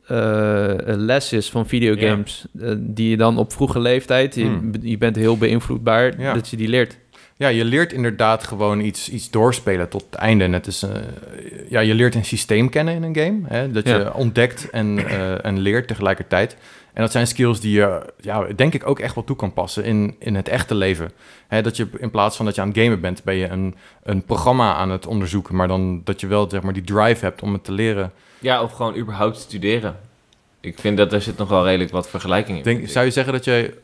Speaker 1: eh, les is van videogames. eh, die je dan op vroege leeftijd, je,
Speaker 2: Hmm.
Speaker 1: je bent heel beïnvloedbaar,
Speaker 2: Ja.
Speaker 1: dat je die leert.
Speaker 2: Ja, je leert inderdaad gewoon iets, iets doorspelen tot het einde. En het is, eh, ja, je leert een systeem kennen in een game. Hè? Dat
Speaker 1: Ja.
Speaker 2: je ontdekt en, eh, en leert tegelijkertijd. En dat zijn skills die je, ja, denk ik, ook echt wel toe kan passen in, in het echte leven. Hè, dat je in plaats van dat je aan het gamen bent, ben je een, een programma aan het onderzoeken. Maar dan dat je wel zeg maar, die drive hebt om het te leren.
Speaker 3: Ja, of gewoon überhaupt studeren. Ik vind dat er zit nog wel redelijk wat vergelijking in.
Speaker 2: Denk,
Speaker 3: vind
Speaker 2: zou je zeggen dat jij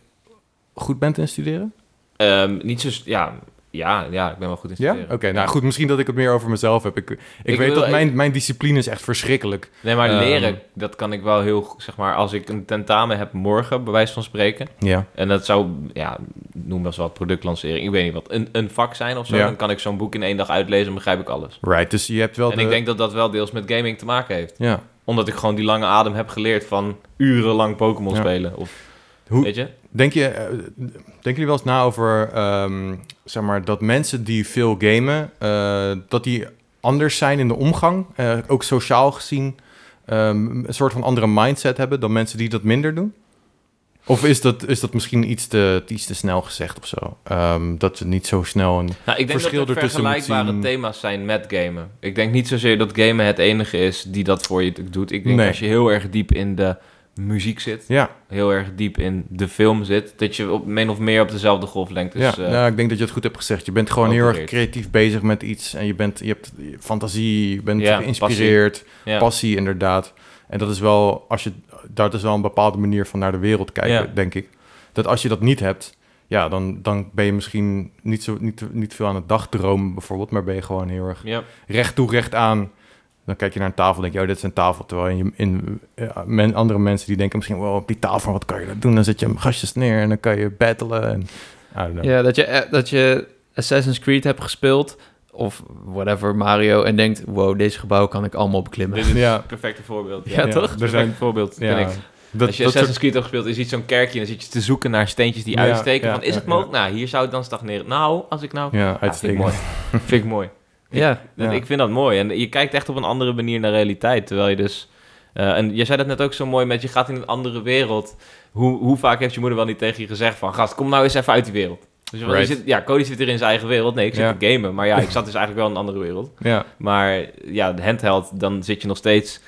Speaker 2: goed bent in studeren?
Speaker 3: ik. Ehm, niet zo... s- Ja, ja, ja, ik ben wel goed in
Speaker 2: Ja?
Speaker 3: studeren.
Speaker 2: Oké, nou goed, misschien dat ik het meer over mezelf heb. Ik, ik, weet
Speaker 3: wil-
Speaker 2: dat mijn, mijn discipline is echt verschrikkelijk.
Speaker 3: Nee, maar
Speaker 2: Ehm.
Speaker 3: leren, dat kan ik wel heel... go- Zeg maar, als ik een tentamen heb morgen, bij wijze van spreken...
Speaker 2: Ja.
Speaker 3: En dat zou, ja, noem dat wat productlancering. Ik weet niet wat. Een, een vak zijn of zo.
Speaker 2: Ja.
Speaker 3: Dan kan ik zo'n boek in één dag uitlezen en begrijp ik alles.
Speaker 2: Right, dus je hebt wel
Speaker 3: En
Speaker 2: de...
Speaker 3: ik denk dat dat wel deels met gaming te maken heeft.
Speaker 2: Ja.
Speaker 3: Omdat ik gewoon die lange adem heb geleerd van urenlang Pokémon
Speaker 2: Ja.
Speaker 3: spelen. Of,
Speaker 2: Hoe-
Speaker 3: weet je?
Speaker 2: Denk je, eh, denken jullie wel eens na over, ehm, zeg maar, dat mensen die veel gamen, eh, dat die anders zijn in de omgang, eh, ook sociaal gezien, ehm, een soort van andere mindset hebben dan mensen die dat minder doen? Of is dat, is dat misschien iets te, iets te snel gezegd of zo? Ehm, dat we niet zo snel een...
Speaker 3: Nou, ik denk
Speaker 2: Verschil
Speaker 3: dat er
Speaker 2: ertussen moet
Speaker 3: vergelijkbare
Speaker 2: zien.
Speaker 3: thema's zijn met gamen. Ik denk niet zozeer dat gamen het enige is die dat voor je doet. Ik denk
Speaker 2: Nee.
Speaker 3: als je heel erg diep in de muziek zit,
Speaker 2: Ja,
Speaker 3: heel erg diep in de film zit, dat je op min of meer op dezelfde golflengte is.
Speaker 2: ja.
Speaker 3: eh,
Speaker 2: ja, ik denk dat je het goed hebt gezegd. Je bent gewoon heel erg
Speaker 3: Geopereerd.
Speaker 2: creatief bezig met iets en je, bent, je hebt fantasie, je bent
Speaker 3: Ja,
Speaker 2: geïnspireerd.
Speaker 3: ja.
Speaker 2: passie inderdaad. En dat is wel, als je, dat is wel een bepaalde manier van naar de wereld kijken,
Speaker 3: Ja.
Speaker 2: denk ik. Dat als je dat niet hebt, ja, dan, dan ben je misschien niet, zo, niet, niet veel aan het dagdromen bijvoorbeeld, maar ben je gewoon heel erg
Speaker 3: Ja.
Speaker 2: recht toe, recht aan. Dan kijk je naar een tafel en denk je, oh, dit is een tafel. Terwijl je in, ja, men, andere mensen die denken misschien, wow, op die tafel, wat kan je dat doen? Dan zet je hem gastjes neer en dan kan je battelen. En, I don't know.
Speaker 1: Ja, dat je, eh, dat je Assassin's Creed hebt gespeeld of whatever, Mario, en denkt, wow, deze gebouw kan ik allemaal beklimmen.
Speaker 3: Dit is
Speaker 2: Ja.
Speaker 3: het perfecte voorbeeld.
Speaker 1: Ja, toch?
Speaker 2: Er
Speaker 3: Perfect
Speaker 2: zijn,
Speaker 3: voorbeeld,
Speaker 2: ja,
Speaker 3: vind ik.
Speaker 2: dat,
Speaker 3: Als je
Speaker 2: dat soort-
Speaker 3: Assassin's Creed hebt gespeeld, je ziet zo'n kerkje en dan zit je te zoeken naar steentjes die
Speaker 2: Ja,
Speaker 3: uitsteken.
Speaker 2: ja,
Speaker 3: van, is
Speaker 2: ja,
Speaker 3: het mogelijk? Nou, hier zou het dan stagneren. Nou, als ik nou...
Speaker 2: ja,
Speaker 3: Ja, vind ik
Speaker 2: uitstekend.
Speaker 3: mooi. vind ik mooi.
Speaker 1: Ja,
Speaker 3: Dat-
Speaker 2: Ja.
Speaker 3: Ik vind dat mooi. En je kijkt echt op een andere manier naar realiteit. Terwijl je dus... eh, en jij zei dat net ook zo mooi met je gaat in een andere wereld. Hoe, hoe vaak heeft je moeder wel niet tegen je gezegd van... Gast, kom nou eens even uit die wereld. Dus je-
Speaker 2: Right.
Speaker 3: je zit, ja, Cody zit er in zijn eigen wereld. Nee, ik zit
Speaker 2: Ja.
Speaker 3: te gamen. Maar ja, ik zat dus eigenlijk wel in een andere wereld.
Speaker 2: Ja.
Speaker 3: Maar ja, de handheld, dan zit je nog steeds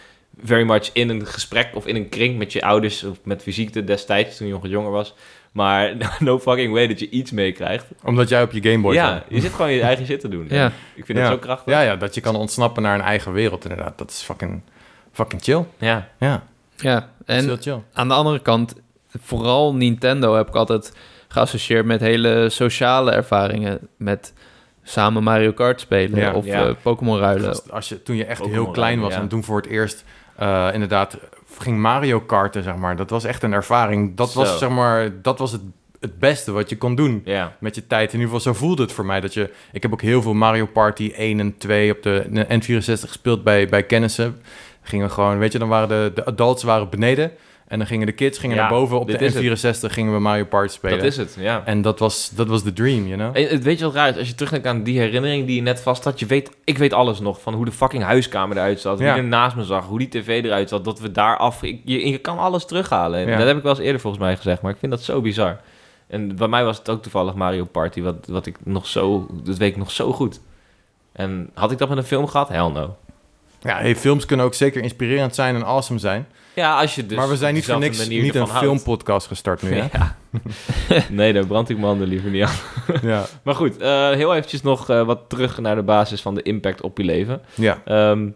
Speaker 3: very much in een gesprek of in een kring met je ouders of met fysiek destijds toen je nog jonger was. Maar no fucking way dat je iets meekrijgt.
Speaker 2: Omdat jij op je Game Boy zat.
Speaker 3: Ja, je zit gewoon je eigen shit te doen.
Speaker 1: ja.
Speaker 3: Ik vind dat zo krachtig.
Speaker 2: Ja, ja, dat je kan ontsnappen naar een eigen wereld, inderdaad. Dat is fucking, fucking chill.
Speaker 3: Ja.
Speaker 2: Ja,
Speaker 1: ja.
Speaker 2: en,
Speaker 1: En
Speaker 2: dat is heel chill.
Speaker 1: Aan de andere kant, vooral Nintendo heb ik altijd geassocieerd met hele sociale ervaringen. Met samen Mario Kart spelen
Speaker 2: Ja.
Speaker 1: of
Speaker 3: Ja.
Speaker 1: eh, Pokémon ruilen.
Speaker 2: Gast, Als je, toen je echt
Speaker 3: Ook
Speaker 2: heel
Speaker 3: wel
Speaker 2: klein
Speaker 3: raar,
Speaker 2: was
Speaker 3: ja.
Speaker 2: en toen voor het eerst eh, inderdaad ging Mario karten, zeg maar. Dat was echt een ervaring. Dat was,
Speaker 3: Zo.
Speaker 2: zeg maar, dat was het, het beste wat je kon doen.
Speaker 3: Ja.
Speaker 2: Met je tijd. In ieder geval, zo voelde het voor mij. Dat je, ik heb ook heel veel Mario Party 1 en 2 op de N64 gespeeld bij, bij kennissen. Gingen gewoon, weet je, dan waren de, de adults waren beneden. En dan gingen de kids gingen
Speaker 3: Ja,
Speaker 2: naar boven op de
Speaker 3: dit is het.
Speaker 2: N64 gingen we Mario Party spelen.
Speaker 3: Dat is het, ja.
Speaker 2: En dat was, dat was de dream, you know?
Speaker 3: En het- weet je wat raar is? Als je terugdenkt aan die herinnering die je net vast had. Je weet, ik weet alles nog van hoe de fucking huiskamer eruit zat.
Speaker 2: Ja.
Speaker 3: Wie er naast me zag. Hoe die tv eruit zat. Dat we daar af... ik- je, je kan alles terughalen. En
Speaker 2: Ja.
Speaker 3: Dat heb ik wel eens eerder volgens mij gezegd. Maar ik vind dat zo bizar. En bij mij was het ook toevallig Mario Party. Wat, wat ik nog zo... Dat weet ik nog zo goed. En had ik dat met een film gehad? Hell no.
Speaker 2: Ja, hey, films kunnen ook zeker inspirerend zijn en awesome zijn.
Speaker 3: Ja, als je dus...
Speaker 2: maar we zijn niet voor
Speaker 3: dezelfde
Speaker 2: niks
Speaker 3: manier
Speaker 2: niet een
Speaker 3: ervan houdt.
Speaker 2: filmpodcast gestart nu, hè?
Speaker 3: Ja. nee, daar brand ik mijn handen liever niet aan.
Speaker 2: ja.
Speaker 3: Maar goed, eh, heel eventjes nog eh, wat terug naar de basis van de impact op je leven.
Speaker 2: ja.
Speaker 3: Ehm,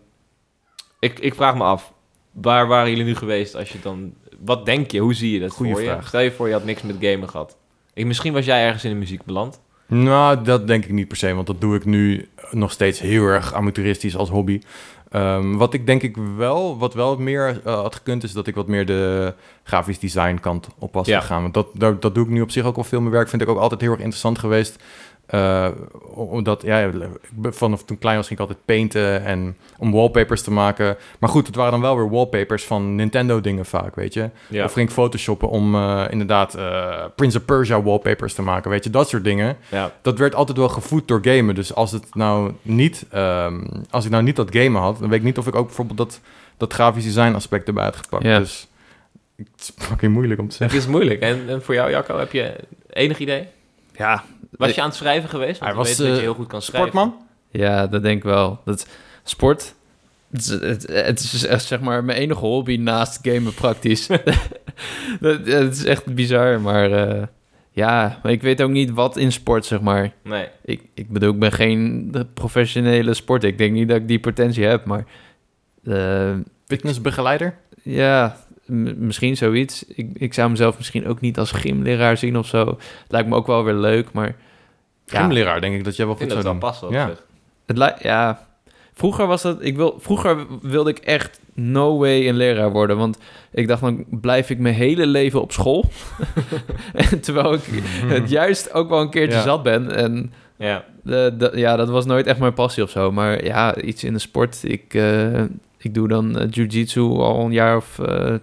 Speaker 3: ik, ik vraag me af, waar waren jullie nu geweest als je dan... Wat denk je? Hoe zie je dat
Speaker 2: Goeie
Speaker 3: voor
Speaker 2: vraag.
Speaker 3: je? Stel je voor, je had niks met gamen gehad. Ik, misschien was jij ergens in de muziek beland.
Speaker 2: Nou, dat denk ik niet per se, want dat doe ik nu nog steeds heel erg amateuristisch als hobby. Ehm, wat ik denk ik wel, wat wel meer eh, had gekund, is dat ik wat meer de grafisch design kant op was
Speaker 3: Ja.
Speaker 2: gegaan. Want dat, dat, dat doe ik nu op zich ook wel veel meer werk. Vind ik ook altijd heel erg interessant geweest. Eh, omdat, ja, ik ben- vanaf toen ik klein was ging ik altijd painten en om wallpapers te maken. Maar goed, het waren dan wel weer wallpapers van Nintendo dingen vaak, weet je.
Speaker 3: Ja.
Speaker 2: Of ging ik photoshoppen om eh, inderdaad eh, Prince of Persia wallpapers te maken, weet je. Dat soort dingen
Speaker 3: ja.
Speaker 2: dat werd altijd wel gevoed door gamen. Dus als het nou niet, ehm, als ik nou niet dat gamen had, dan weet ik niet of ik ook bijvoorbeeld dat, dat grafisch design aspect erbij had gepakt.
Speaker 1: Ja.
Speaker 2: Dus het is fucking moeilijk om te
Speaker 3: Het
Speaker 2: zeggen.
Speaker 3: is moeilijk. En, en voor jou, Jacco, heb je enig idee?
Speaker 1: Ja.
Speaker 3: Was je aan het schrijven geweest? Want
Speaker 2: Hij
Speaker 3: we
Speaker 2: was,
Speaker 3: weten dat
Speaker 2: eh,
Speaker 3: je heel goed kan schrijven.
Speaker 2: Sportman?
Speaker 1: ja, dat denk ik wel. Dat, sport, het, is- het, het is echt zeg maar mijn enige hobby naast gamen praktisch. dat, het is echt bizar, maar eh, ja, maar ik weet ook niet wat in sport zeg maar.
Speaker 3: Nee.
Speaker 1: Ik, ik bedoel, ik ben geen professionele sporter. Ik denk niet dat ik die potentie heb, maar... eh,
Speaker 2: Fitnessbegeleider?
Speaker 1: Ja, m- misschien zoiets. Ik, ik zou mezelf misschien ook niet als gymleraar zien of zo. Lijkt me ook wel weer leuk, maar... Ja,
Speaker 2: Gymleraar, denk ik dat jij wel
Speaker 3: Ik vind
Speaker 2: goed
Speaker 3: dat
Speaker 2: zou
Speaker 3: het wel
Speaker 2: doen.
Speaker 3: passen op
Speaker 2: Ja.
Speaker 3: zich.
Speaker 1: Het lijkt, ja. Vroeger was dat, ik wil, vroeger wilde ik echt no way een leraar worden, want ik dacht dan blijf ik mijn hele leven op school. En Terwijl ik
Speaker 3: Mhm.
Speaker 1: het juist ook wel een keertje
Speaker 2: Ja.
Speaker 1: zat ben en
Speaker 3: Ja.
Speaker 1: eh, dat- ja, dat was nooit echt mijn passie of zo, maar ja, iets in de sport. Ik, eh, ik doe dan eh, jiu-jitsu al een jaar of eh,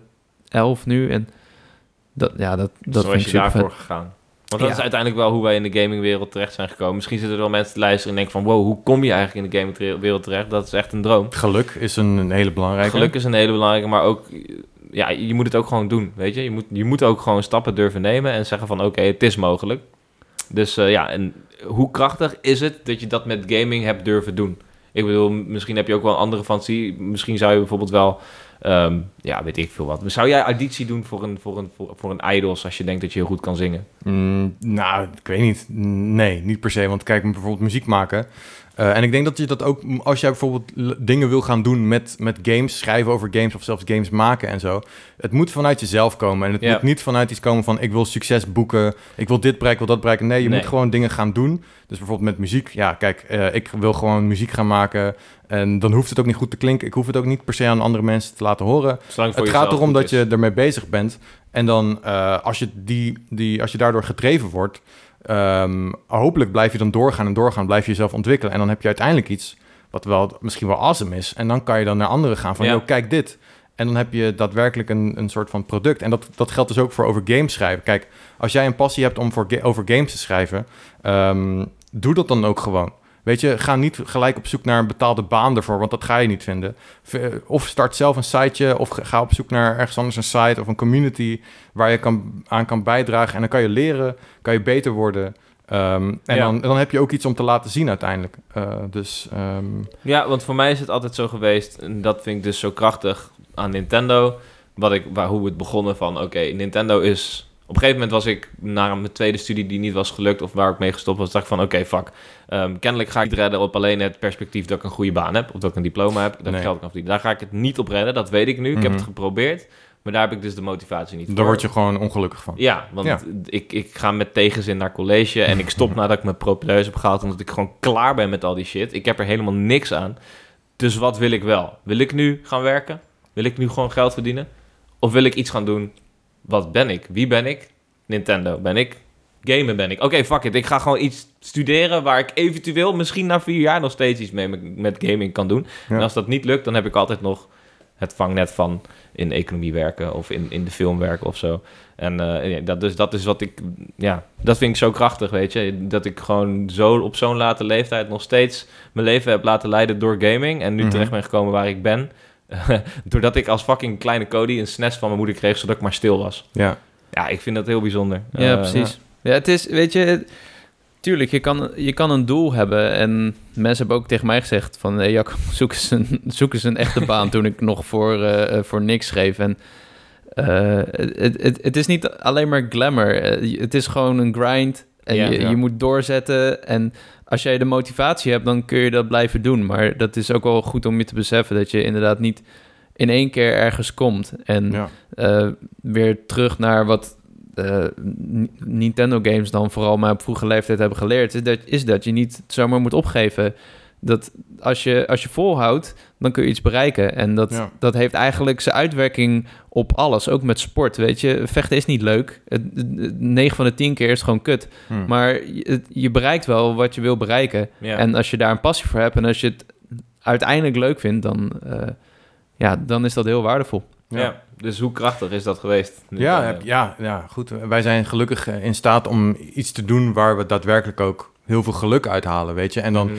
Speaker 1: elf nu en dat, ja, dat, dat
Speaker 3: Zo
Speaker 1: vind
Speaker 3: is
Speaker 1: ik
Speaker 3: Dus je
Speaker 1: super
Speaker 3: daarvoor gegaan. Want dat
Speaker 1: Ja.
Speaker 3: is uiteindelijk wel hoe wij in de gamingwereld terecht zijn gekomen. Misschien zitten er wel mensen te luisteren en denken van... wow, hoe kom je eigenlijk in de gamingwereld terecht? Dat is echt een droom.
Speaker 2: Geluk is een, een hele belangrijke.
Speaker 3: Geluk is een hele belangrijke, maar ook... Ja, je moet het ook gewoon doen, weet je? Je moet, je moet ook gewoon stappen durven nemen en zeggen van... oké, het is mogelijk. Dus eh, ja, en hoe krachtig is het dat je dat met gaming hebt durven doen? Ik bedoel, misschien heb je ook wel een andere fantasie. Misschien zou je bijvoorbeeld wel... ehm, ja, weet ik veel wat. Zou jij auditie doen voor een, voor, een, voor, voor een idols als je denkt dat je heel goed kan zingen?
Speaker 2: Mm, nou, ik weet niet. Nee, niet per se. Want kijk, bijvoorbeeld muziek maken. Eh, en ik denk dat je dat ook, m- als jij bijvoorbeeld l- dingen wil gaan doen met, met games, schrijven over games of zelfs games maken en zo. Het moet vanuit jezelf komen. En het
Speaker 3: Ja.
Speaker 2: moet niet vanuit iets komen van ik wil succes boeken, ik wil dit bereiken, ik wil dat bereiken. Nee, je
Speaker 3: Nee.
Speaker 2: moet gewoon dingen gaan doen. Dus bijvoorbeeld met muziek. Ja, kijk, eh, ik wil gewoon muziek gaan maken. En dan hoeft het ook niet goed te klinken. Ik hoef het ook niet per se aan andere mensen te laten horen.
Speaker 3: Zolang
Speaker 2: Het gaat erom dat je ermee bezig bent. En dan eh, als, je die, die, als je daardoor gedreven wordt, ehm, hopelijk blijf je dan doorgaan en doorgaan, blijf je jezelf ontwikkelen. En dan heb je uiteindelijk iets wat wel misschien wel awesome is. En dan kan je dan naar anderen gaan van,
Speaker 3: Ja.
Speaker 2: "Yo, kijk dit. En dan heb je daadwerkelijk een, een soort van product. En dat, dat geldt dus ook voor over games schrijven. Kijk, als jij een passie hebt om voor ga- over games te schrijven, ehm, doe dat dan ook gewoon. Weet je, ga niet gelijk op zoek naar een betaalde baan ervoor, want dat ga je niet vinden. V- eh, Of start zelf een siteje, of ga op zoek naar ergens anders een site of een community waar je kan, aan kan bijdragen. En dan kan je leren, kan je beter worden. Ehm, en
Speaker 3: Ja.
Speaker 2: dan, dan heb je ook iets om te laten zien uiteindelijk. Eh, dus ehm,
Speaker 3: Ja, want voor mij is het altijd zo geweest. En dat vind ik dus zo krachtig aan Nintendo. Wat ik, waar, hoe het begonnen van, oké, Nintendo is... Op een gegeven moment was ik na mijn tweede studie die niet was gelukt... of waar ik mee gestopt was, dacht ik van, oké, fuck. Ehm, kennelijk ga ik het redden op alleen het perspectief dat ik een goede baan heb... of dat ik een diploma heb, dat ik
Speaker 2: Nee.
Speaker 3: geld kan verdienen. Daar ga ik het niet op redden, dat weet ik nu. Ik heb
Speaker 2: Mhm.
Speaker 3: het geprobeerd, maar daar heb ik dus de motivatie niet voor.
Speaker 2: daar word je gewoon ongelukkig van.
Speaker 3: Ja, want
Speaker 2: Ja.
Speaker 3: Ik, ik ga met tegenzin naar college en ik stop nadat ik mijn propedeuse heb gehaald, omdat ik gewoon klaar ben met al die shit. Ik heb er helemaal niks aan. Dus wat wil ik wel? Wil ik nu gaan werken? Wil ik nu gewoon geld verdienen? Of wil ik iets gaan doen? Wat ben ik? Wie ben ik? Nintendo ben ik? Gamer ben ik? Oké, fuck it. Ik ga gewoon iets studeren waar ik eventueel misschien na vier jaar nog steeds iets mee met- met gaming kan doen.
Speaker 2: Ja.
Speaker 3: En als dat niet lukt, dan heb ik altijd nog het vangnet van in economie werken of in, in de film werken of zo. En eh, ja, dat, dus dat is wat ik, ja, dat vind ik zo krachtig, weet je. Dat ik gewoon zo op zo'n late leeftijd nog steeds mijn leven heb laten leiden door gaming. En nu
Speaker 2: Mhm.
Speaker 3: terecht ben gekomen waar ik ben. Doordat ik als fucking kleine Cody een SNES van mijn moeder kreeg, zodat ik maar stil was.
Speaker 2: Ja.
Speaker 3: Ja, ik vind dat heel bijzonder.
Speaker 1: Ja,
Speaker 3: Eh,
Speaker 1: precies. Ja. het is, weet je, het- tuurlijk, je kan, je kan een doel hebben. En mensen hebben ook tegen mij gezegd van, hey, Jacob, zoek eens een, zoek eens een echte baan toen ik nog voor, eh, eh, voor niks schreef. En eh, het, het, het is niet alleen maar glamour. Eh, je- het is gewoon een grind. En
Speaker 3: Ja,
Speaker 1: je,
Speaker 2: ja.
Speaker 1: je moet doorzetten. En als jij de motivatie hebt, dan kun je dat blijven doen. Maar dat is ook wel goed om je te beseffen dat je inderdaad niet in één keer ergens komt. En
Speaker 2: Ja.
Speaker 1: eh, weer terug naar wat eh, Ni- Nintendo games dan vooral maar op vroege leeftijd hebben geleerd, is dat, is dat je niet zomaar moet opgeven. Dat als je, als je volhoudt, dan kun je iets bereiken. En dat,
Speaker 2: Ja.
Speaker 1: dat heeft eigenlijk zijn uitwerking op alles. Ook met sport, weet je. Vechten is niet leuk. 9 van de 10 keer is het gewoon kut.
Speaker 2: Hm.
Speaker 1: Maar je, het- je bereikt wel wat je wil bereiken.
Speaker 3: Ja.
Speaker 1: En als je daar een passie voor hebt en als je het uiteindelijk leuk vindt, dan, eh, ja, dan is dat heel waardevol.
Speaker 3: ja. dus hoe krachtig is dat geweest?
Speaker 2: Ja,
Speaker 3: Nintendo?
Speaker 2: heb- ja, ja, goed. Wij zijn gelukkig eh, in staat om iets te doen waar we daadwerkelijk ook heel veel geluk uithalen, weet je. En dan,
Speaker 3: Mhm.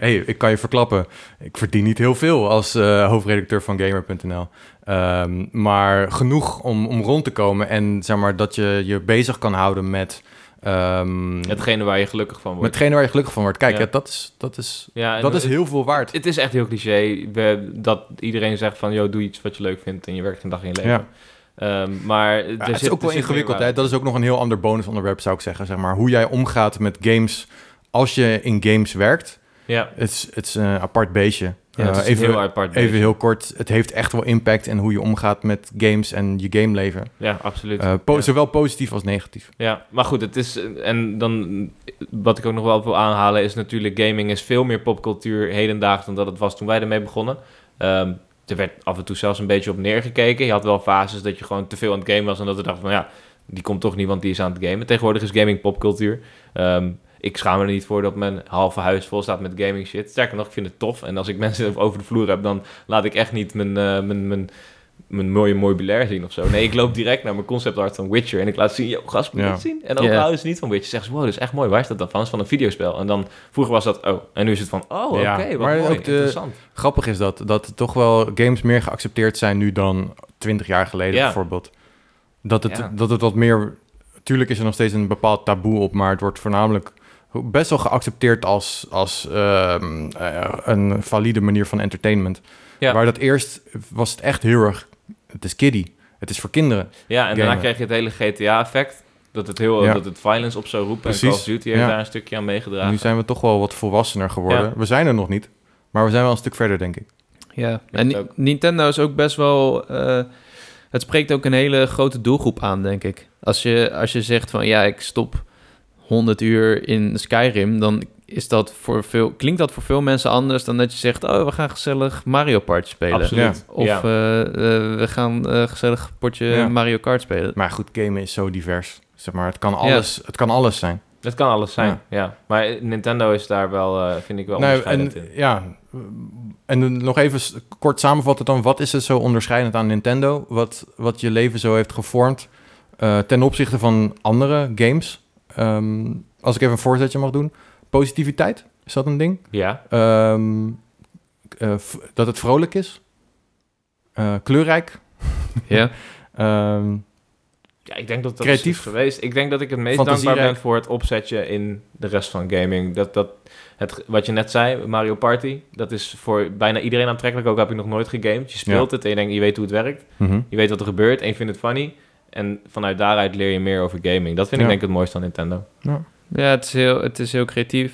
Speaker 2: hey, ik kan je verklappen, ik verdien niet heel veel als eh, hoofdredacteur van Gamer.nl. Ehm, maar genoeg om, om rond te komen en zeg maar dat je je bezig kan houden met, ehm, met
Speaker 3: Hetgene waar je gelukkig van wordt.
Speaker 2: hetgene waar je gelukkig van wordt. Kijk,
Speaker 3: Ja.
Speaker 2: ja, dat is, dat is,
Speaker 3: ja, en
Speaker 2: dat is
Speaker 3: het-
Speaker 2: heel veel waard.
Speaker 3: Het is echt heel cliché we, dat iedereen zegt van... ...joh, doe iets wat je leuk vindt en je werkt een dag in je leven.
Speaker 2: Ja.
Speaker 3: Ehm, maar er
Speaker 2: Ja,
Speaker 3: zit-
Speaker 2: het is ook
Speaker 3: er
Speaker 2: wel
Speaker 3: zit
Speaker 2: ingewikkeld.
Speaker 3: meer
Speaker 2: Hè? Dat is ook nog een heel ander bonusonderwerp, zou ik zeggen. Zeg maar. Hoe jij omgaat met games als je in games werkt.
Speaker 3: waar. Ja,
Speaker 2: Het is, het is een apart beestje.
Speaker 3: Ja, het
Speaker 2: Eh,
Speaker 3: is
Speaker 2: even,
Speaker 3: heel apart.
Speaker 2: even
Speaker 3: bezig.
Speaker 2: heel kort, het heeft echt wel impact in hoe je omgaat met games en je gameleven.
Speaker 3: Ja, absoluut.
Speaker 2: Eh, po-
Speaker 3: Ja.
Speaker 2: Zowel positief als negatief.
Speaker 3: Ja, maar goed, het is. En dan. Wat ik ook nog wel wil aanhalen is natuurlijk. Gaming is veel meer popcultuur hedendaags dan dat het was toen wij ermee begonnen. Ehm, er werd af en toe zelfs een beetje op neergekeken. Je had wel fases dat je gewoon te veel aan het gamen was. En dat we dachten van ja, die komt toch niet, want die is aan het gamen. Tegenwoordig is gaming popcultuur. Ehm, ik schaam me er niet voor dat mijn halve huis vol staat met gaming shit. Sterker nog, ik vind het tof. En als ik mensen over de vloer heb, dan laat ik echt niet mijn, eh, mijn, mijn, mijn mooie meubilair zien of zo. Nee, ik loop direct naar mijn concept art van Witcher. En ik laat zien, yo, gast, moet je
Speaker 2: Ja.
Speaker 3: dit zien? En ook
Speaker 1: Ja.
Speaker 3: houden ze niet van Witcher. Zeggen ze, wow, dat is echt mooi. Waar is dat dan van? Dat is van een videospel. En dan, vroeger was dat, oh. En nu is het van, oh,
Speaker 2: Ja.
Speaker 3: oké, wat
Speaker 2: Maar
Speaker 3: mooi,
Speaker 2: ook de-
Speaker 3: interessant.
Speaker 2: Grappig is dat, dat toch wel games meer geaccepteerd zijn nu dan 20 jaar geleden
Speaker 3: Ja.
Speaker 2: bijvoorbeeld. Dat het,
Speaker 3: Ja.
Speaker 2: dat het wat meer... Tuurlijk is er nog steeds een bepaald taboe op, maar het wordt voornamelijk best wel geaccepteerd als, als ehm, eh, een valide manier van entertainment.
Speaker 3: Ja.
Speaker 2: Waar dat eerst was het echt heel erg, het is kiddie, het is voor kinderen.
Speaker 3: Ja, en daarna
Speaker 2: gamen.
Speaker 3: kreeg je het hele GTA-effect. Dat het heel,
Speaker 2: Ja.
Speaker 3: dat het violence op zou roepen. En
Speaker 2: Precies.
Speaker 3: Call of Duty heeft
Speaker 2: Ja.
Speaker 3: daar een stukje aan meegedragen.
Speaker 2: Nu zijn we toch wel wat volwassener geworden. We zijn er nog niet, maar we zijn wel een stuk verder, denk ik.
Speaker 1: Ja,
Speaker 3: Ja,
Speaker 1: en
Speaker 3: dat
Speaker 1: Ni-
Speaker 3: ook.
Speaker 1: Nintendo is ook best wel. eh, het spreekt ook een hele grote doelgroep aan, denk ik. Als je, als je zegt van ja, ik stop 100 uur in Skyrim, dan is dat voor veel, klinkt dat voor veel mensen anders dan dat je zegt: Oh, we gaan gezellig Mario Party spelen.
Speaker 3: Absoluut.
Speaker 1: Of
Speaker 3: Ja.
Speaker 1: eh, eh, we gaan eh, gezellig potje
Speaker 2: Ja.
Speaker 1: Mario Kart spelen.
Speaker 2: Maar goed, gamen is zo divers. Zeg maar, het kan alles, het kan alles zijn.
Speaker 3: Dat kan alles zijn, ja. Maar Nintendo is daar wel, eh, vind ik wel
Speaker 2: Nou,
Speaker 3: onderscheidend
Speaker 2: en,
Speaker 3: in.
Speaker 2: ja, en dan nog even s- kort samenvatten dan. Wat is er zo onderscheidend aan Nintendo? Wat, wat je leven zo heeft gevormd eh, ten opzichte van andere games? Ehm, als ik even een voorzetje mag doen. Positiviteit, is dat een ding?
Speaker 3: Ja,
Speaker 2: Ehm, eh, v- dat het vrolijk is? Eh, kleurrijk?
Speaker 1: Ja.
Speaker 2: Ehm,
Speaker 3: ja, ik denk dat dat
Speaker 2: Creatief.
Speaker 3: is geweest. Ik denk dat ik het meest dankbaar
Speaker 2: Fantasierijk.
Speaker 3: ben voor het opzetje in de rest van gaming. Dat, dat, het, wat je net zei, Mario Party, dat is voor bijna iedereen aantrekkelijk. Ook heb ik nog nooit gegamed. Je speelt het en je denkt, je weet hoe het werkt.
Speaker 2: mhm.
Speaker 3: Je weet wat er gebeurt en je vindt het funny. En vanuit daaruit leer je meer over gaming. Dat vind ik
Speaker 2: Ja.
Speaker 3: denk ik het mooiste van Nintendo.
Speaker 1: Ja, het is, heel, het is heel creatief.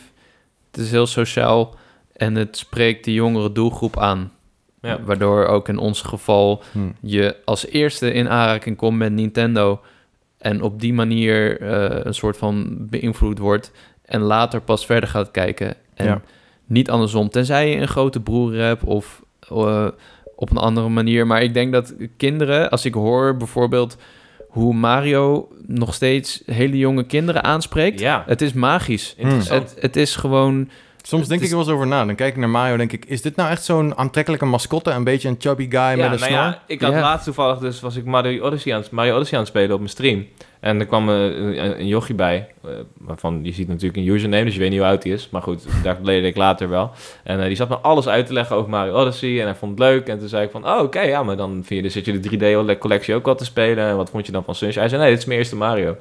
Speaker 1: Het is heel sociaal. En het spreekt de jongere doelgroep aan.
Speaker 3: Ja.
Speaker 1: Waardoor ook in ons geval
Speaker 2: Hm.
Speaker 1: je als eerste in aanraking komt met Nintendo. En op die manier eh, een soort van beïnvloed wordt. En later pas verder gaat kijken. En
Speaker 2: Ja.
Speaker 1: niet andersom. Tenzij je een grote broer hebt of eh, op een andere manier. Maar ik denk dat kinderen, als ik hoor bijvoorbeeld hoe Mario nog steeds hele jonge kinderen aanspreekt.
Speaker 3: Ja,
Speaker 1: Het is magisch.
Speaker 2: Eh,
Speaker 3: interessant.
Speaker 1: Het, het is gewoon.
Speaker 2: Soms denk
Speaker 1: is-
Speaker 2: ik er wel eens over na. Dan kijk ik naar Mario denk ik... is dit nou echt zo'n aantrekkelijke mascotte? Een beetje een chubby guy met een
Speaker 3: nou
Speaker 2: snor?
Speaker 3: Ja, ik had
Speaker 1: Ja.
Speaker 3: laatst toevallig dus was ik Mario Odyssey aan, het- Mario Odyssey aan het spelen op mijn stream. En er kwam eh, een, een jochie bij, eh, waarvan je ziet natuurlijk een username, dus je weet niet hoe oud hij is. Maar goed, daar leerde ik later wel. En eh, die zat me alles uit te leggen over Mario Odyssey en hij vond het leuk. En toen zei ik van, oh oké, ja, maar dan vind je, zit je de 3D-collectie ook al te spelen. En wat vond je dan van Sunshine? Hij zei, nee, dit is mijn eerste Mario.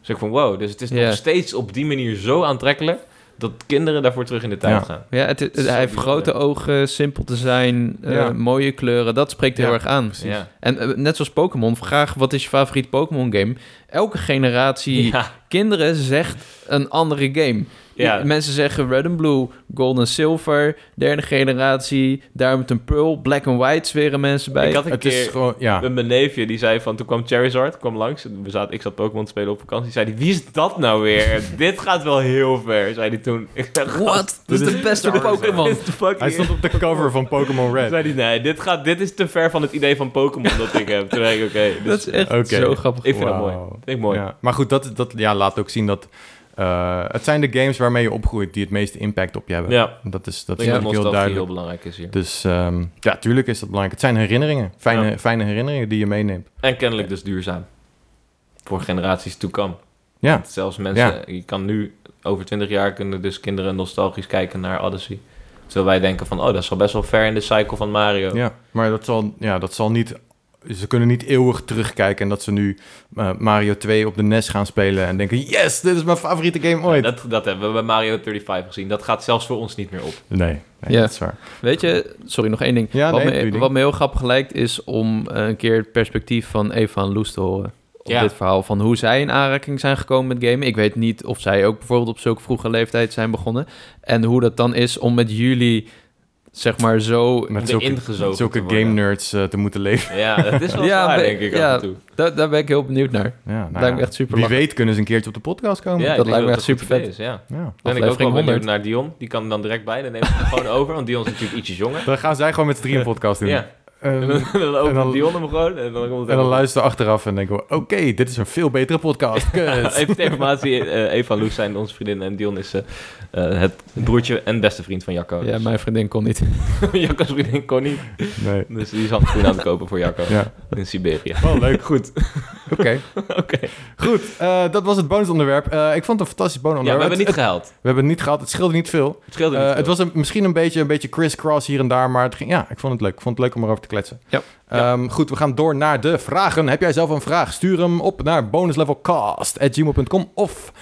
Speaker 3: dus ik van, wow, dus het is
Speaker 1: Ja.
Speaker 3: nog steeds op die manier zo aantrekkelijk dat kinderen daarvoor terug in de tijd
Speaker 2: Ja.
Speaker 3: gaan.
Speaker 1: Ja, het, het-
Speaker 3: Zo
Speaker 1: hij heeft
Speaker 3: bizar.
Speaker 1: grote ogen, simpel te zijn, eh,
Speaker 2: Ja.
Speaker 1: mooie kleuren. Dat spreekt heel
Speaker 2: Ja,
Speaker 1: erg aan.
Speaker 3: Ja.
Speaker 1: En eh, net zoals Pokémon, vraag wat is je favoriet Pokémon game? Elke generatie kinderen zegt een andere game.
Speaker 3: Ja.
Speaker 1: I- Mensen zeggen Red and Blue, Gold en Silver, derde generatie, Diamond and Pearl, Black and White zweren mensen bij.
Speaker 3: Ik had een
Speaker 2: Het
Speaker 3: keer...
Speaker 2: is gewoon... Ja.
Speaker 3: Met mijn neefje, die zei van... Toen kwam Charizard, kwam langs. en We zaten, ik zat Pokémon te spelen op vakantie. Zei die, wie is dat nou weer? Dit gaat wel heel ver, zei hij toen. Ik zeg,
Speaker 1: What? Dit is de beste
Speaker 2: Charizard.
Speaker 1: Pokémon.
Speaker 2: Hij stond op de cover van Pokémon Red.
Speaker 3: Zei hij, nee, dit, gaat, dit is te ver van het idee van Pokémon dat ik heb. Toen dacht ik, oké. dit
Speaker 1: Dat is echt
Speaker 2: Oké.
Speaker 1: zo grappig.
Speaker 3: Ik vind dat
Speaker 2: Wauw.
Speaker 3: mooi. Vind ik mooi.
Speaker 2: Ja. Maar goed, dat, dat ja, laat ook zien dat... eh, het zijn de games waarmee je opgroeit die het meeste impact op je hebben.
Speaker 3: Ja,
Speaker 2: Dat is, dat
Speaker 3: ik
Speaker 2: is
Speaker 3: denk dat
Speaker 2: natuurlijk heel
Speaker 3: nostalgie heel
Speaker 2: duidelijk.
Speaker 3: belangrijk is hier.
Speaker 2: Dus ehm, ja, tuurlijk is dat belangrijk. Het zijn herinneringen. Fijne, fijne herinneringen die je meeneemt.
Speaker 3: En kennelijk dus duurzaam. Voor generaties to come.
Speaker 2: Ja,
Speaker 3: Want Zelfs mensen, je kan nu over 20 jaar kunnen dus kinderen nostalgisch kijken naar Odyssey. Terwijl wij denken van, oh, dat is al best wel ver in de cycle van Mario.
Speaker 2: ja. maar dat zal, ja, dat zal niet... Ze kunnen niet eeuwig terugkijken en dat ze nu eh, Mario 2 op de NES gaan spelen en denken... Yes, dit is mijn favoriete game ooit.
Speaker 3: Dat, dat hebben we bij Mario 35 gezien. Dat gaat zelfs voor ons niet meer op.
Speaker 2: Nee, nee
Speaker 1: Ja.
Speaker 2: dat is waar.
Speaker 1: Weet je, sorry, nog één ding.
Speaker 2: Ja,
Speaker 1: wat,
Speaker 2: nee, doe je
Speaker 1: me,
Speaker 2: ding.
Speaker 1: wat me heel grappig lijkt is om eh, een keer het perspectief van Eva en Loes te horen. Op
Speaker 3: Ja.
Speaker 1: dit verhaal van hoe zij in aanraking zijn gekomen met gamen. Ik weet niet of zij ook bijvoorbeeld op zulke vroege leeftijd zijn begonnen. En hoe dat dan is om met jullie zeg maar zo...
Speaker 2: Met
Speaker 3: de
Speaker 2: zulke,
Speaker 3: ingezogen
Speaker 2: zulke
Speaker 3: te worden.
Speaker 2: game nerds eh, te moeten leven.
Speaker 3: Ja, dat is wel
Speaker 1: Ja,
Speaker 3: zwaar,
Speaker 1: maar-
Speaker 3: denk ik,
Speaker 1: ja.
Speaker 3: af en toe.
Speaker 1: Da- daar ben ik heel benieuwd naar.
Speaker 2: Ja, nou
Speaker 1: Lijkt me
Speaker 2: ja.
Speaker 1: echt super
Speaker 2: Wie
Speaker 1: lachen.
Speaker 2: weet kunnen ze een keertje op de podcast komen.
Speaker 3: Ja, ik
Speaker 1: dat
Speaker 3: denk
Speaker 1: lijkt me
Speaker 3: dat
Speaker 1: echt
Speaker 3: dat een goed
Speaker 1: supervet.
Speaker 3: idee is, Ja.
Speaker 2: Ja.
Speaker 3: Dan ben ik ook wel
Speaker 1: Aflevering 100.
Speaker 3: benieuwd naar Dion. Die kan dan direct bij. Dan neem ik hem gewoon over. Want Dion is natuurlijk ietsje jonger.
Speaker 2: Dan gaan zij gewoon met z'n drieën een podcast doen.
Speaker 3: Ja.
Speaker 2: Ehm,
Speaker 3: En dan, dan
Speaker 2: en
Speaker 3: opent
Speaker 2: dan-
Speaker 3: Dion hem gewoon. En dan komt het
Speaker 2: en dan
Speaker 3: helemaal-
Speaker 2: luisteren we achteraf en denken we... Oké, dit is een veel betere podcast. Kut.
Speaker 3: Even ter informatie. eh Eva en Loes zijn onze vriendinnen. En Dion is eh, eh, het broertje en beste vriend van
Speaker 2: Oh,
Speaker 3: Jacco.
Speaker 1: Ja,
Speaker 3: Dus-
Speaker 1: mijn vriendin kon niet.
Speaker 3: Jacco's vriendin kon niet.
Speaker 2: Nee.
Speaker 3: Dus die is handgroen aan het kopen voor Jacco.
Speaker 2: Ja. Oh,
Speaker 3: In Siberië.
Speaker 2: Wel leuk. Goed. Oké.
Speaker 3: Oké.
Speaker 2: Goed, eh, dat was het bonusonderwerp. Eh, ik vond het een fantastisch
Speaker 3: Ja, we
Speaker 2: bonusonderwerp.
Speaker 3: hebben niet
Speaker 2: Het-
Speaker 3: gehaald.
Speaker 2: het- we hebben het niet gehad. Het scheelde niet veel.
Speaker 3: Het scheelde
Speaker 2: Eh,
Speaker 3: niet
Speaker 2: het
Speaker 3: veel.
Speaker 2: was een- misschien een beetje, een beetje crisscross hier en daar, maar het ging, ja, ik vond het leuk. Ik vond het leuk om erover te kletsen.
Speaker 1: Ja.
Speaker 2: Ehm, Goed, we gaan door naar de vragen. Heb jij zelf een vraag? Stuur hem op naar bonuslevelcast.gmail.com of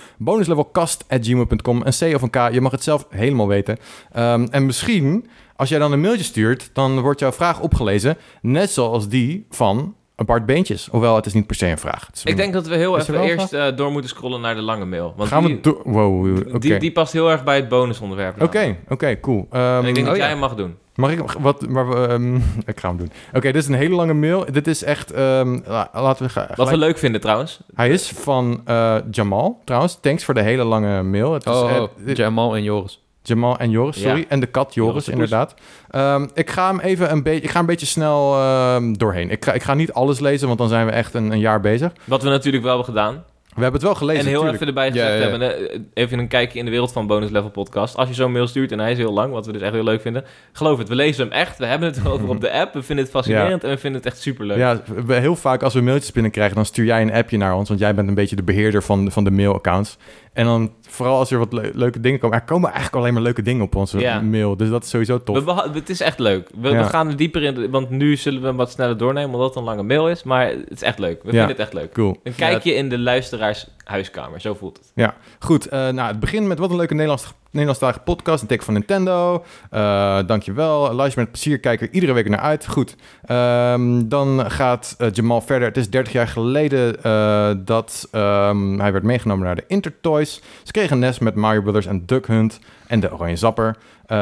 Speaker 2: bonuslevelcast.gmail.com. Een C of een K, je mag het zelf helemaal weten. Ehm, en misschien, als jij dan een mailtje stuurt, dan wordt jouw vraag opgelezen. Net zoals die van Bart Beentjes. Hoewel, het is niet per se een vraag. Het is
Speaker 3: Ik
Speaker 2: een-
Speaker 3: denk dat we heel
Speaker 2: Is er
Speaker 3: even
Speaker 2: wel
Speaker 3: eerst eh, door moeten scrollen naar de lange mail. Want
Speaker 2: Gaan
Speaker 3: die,
Speaker 2: we door? Wow, oké.
Speaker 3: die, die past heel erg bij het bonusonderwerp.
Speaker 2: Oké,
Speaker 3: namelijk.
Speaker 2: oké, cool. Ehm,
Speaker 3: En ik denk dat
Speaker 1: oh
Speaker 3: jij
Speaker 1: ja.
Speaker 3: hem mag doen.
Speaker 2: Mag ik wat? Maar, we, ehm, ik ga hem doen. Oké, dit is een hele lange mail. Dit is echt. ehm, la- laten we gaan.
Speaker 3: Wat we leuk vinden trouwens.
Speaker 2: Hij is van eh, Jamal. Trouwens, thanks voor de hele lange mail. Het is,
Speaker 1: Oh,
Speaker 2: eh,
Speaker 1: oh,
Speaker 2: dit-
Speaker 1: Jamal en Joris.
Speaker 2: Jamal en Joris, sorry.
Speaker 3: Ja.
Speaker 2: En de kat Joris,
Speaker 3: Joris de Poes.
Speaker 2: inderdaad. Ehm, ik ga hem even een beetje. Ik ga een beetje snel ehm, doorheen. Ik ga, ik ga niet alles lezen, want dan zijn we echt een, een jaar bezig.
Speaker 3: Wat we natuurlijk wel hebben gedaan.
Speaker 2: We hebben het wel gelezen.
Speaker 3: en heel
Speaker 2: tuurlijk.
Speaker 3: even erbij gezegd
Speaker 1: Ja, ja, ja.
Speaker 3: hebben, eh, even een kijkje in de wereld van Bonus Level Podcast. Als je zo'n mail stuurt, en hij is heel lang, wat we dus echt heel leuk vinden. Geloof het, we lezen hem echt. We hebben het erover op de app. We vinden het fascinerend en we vinden het echt superleuk.
Speaker 2: Ja, we- heel vaak als we mailtjes binnenkrijgen, dan stuur jij een appje naar ons. Want jij bent een beetje de beheerder van, van de mailaccounts. En dan, vooral als er wat le- leuke dingen komen. Er komen eigenlijk alleen maar leuke dingen op onze
Speaker 3: Ja.
Speaker 2: mail. Dus dat is sowieso tof.
Speaker 3: We beha- het is echt leuk. We, we
Speaker 2: Ja.
Speaker 3: gaan er dieper in, de- want nu zullen we hem wat sneller doornemen, omdat het een lange mail is. Maar het is echt leuk. We vinden het echt leuk.
Speaker 2: Cool.
Speaker 3: Een kijkje in de luisteraars huiskamer, zo voelt het.
Speaker 2: Goed, eh, nou, het begint met wat een leuke Nederlands, Nederlandstalige podcast. Een tech van Nintendo. Eh, dankjewel. Luister met plezier, kijk er iedere week naar uit. Goed, ehm, dan gaat eh, Jamal verder. Het is 30 jaar geleden eh, dat ehm, hij werd meegenomen naar de Intertoys. Ze kregen een nest met Mario Brothers en Duck Hunt en de Oranje Zapper. Eh,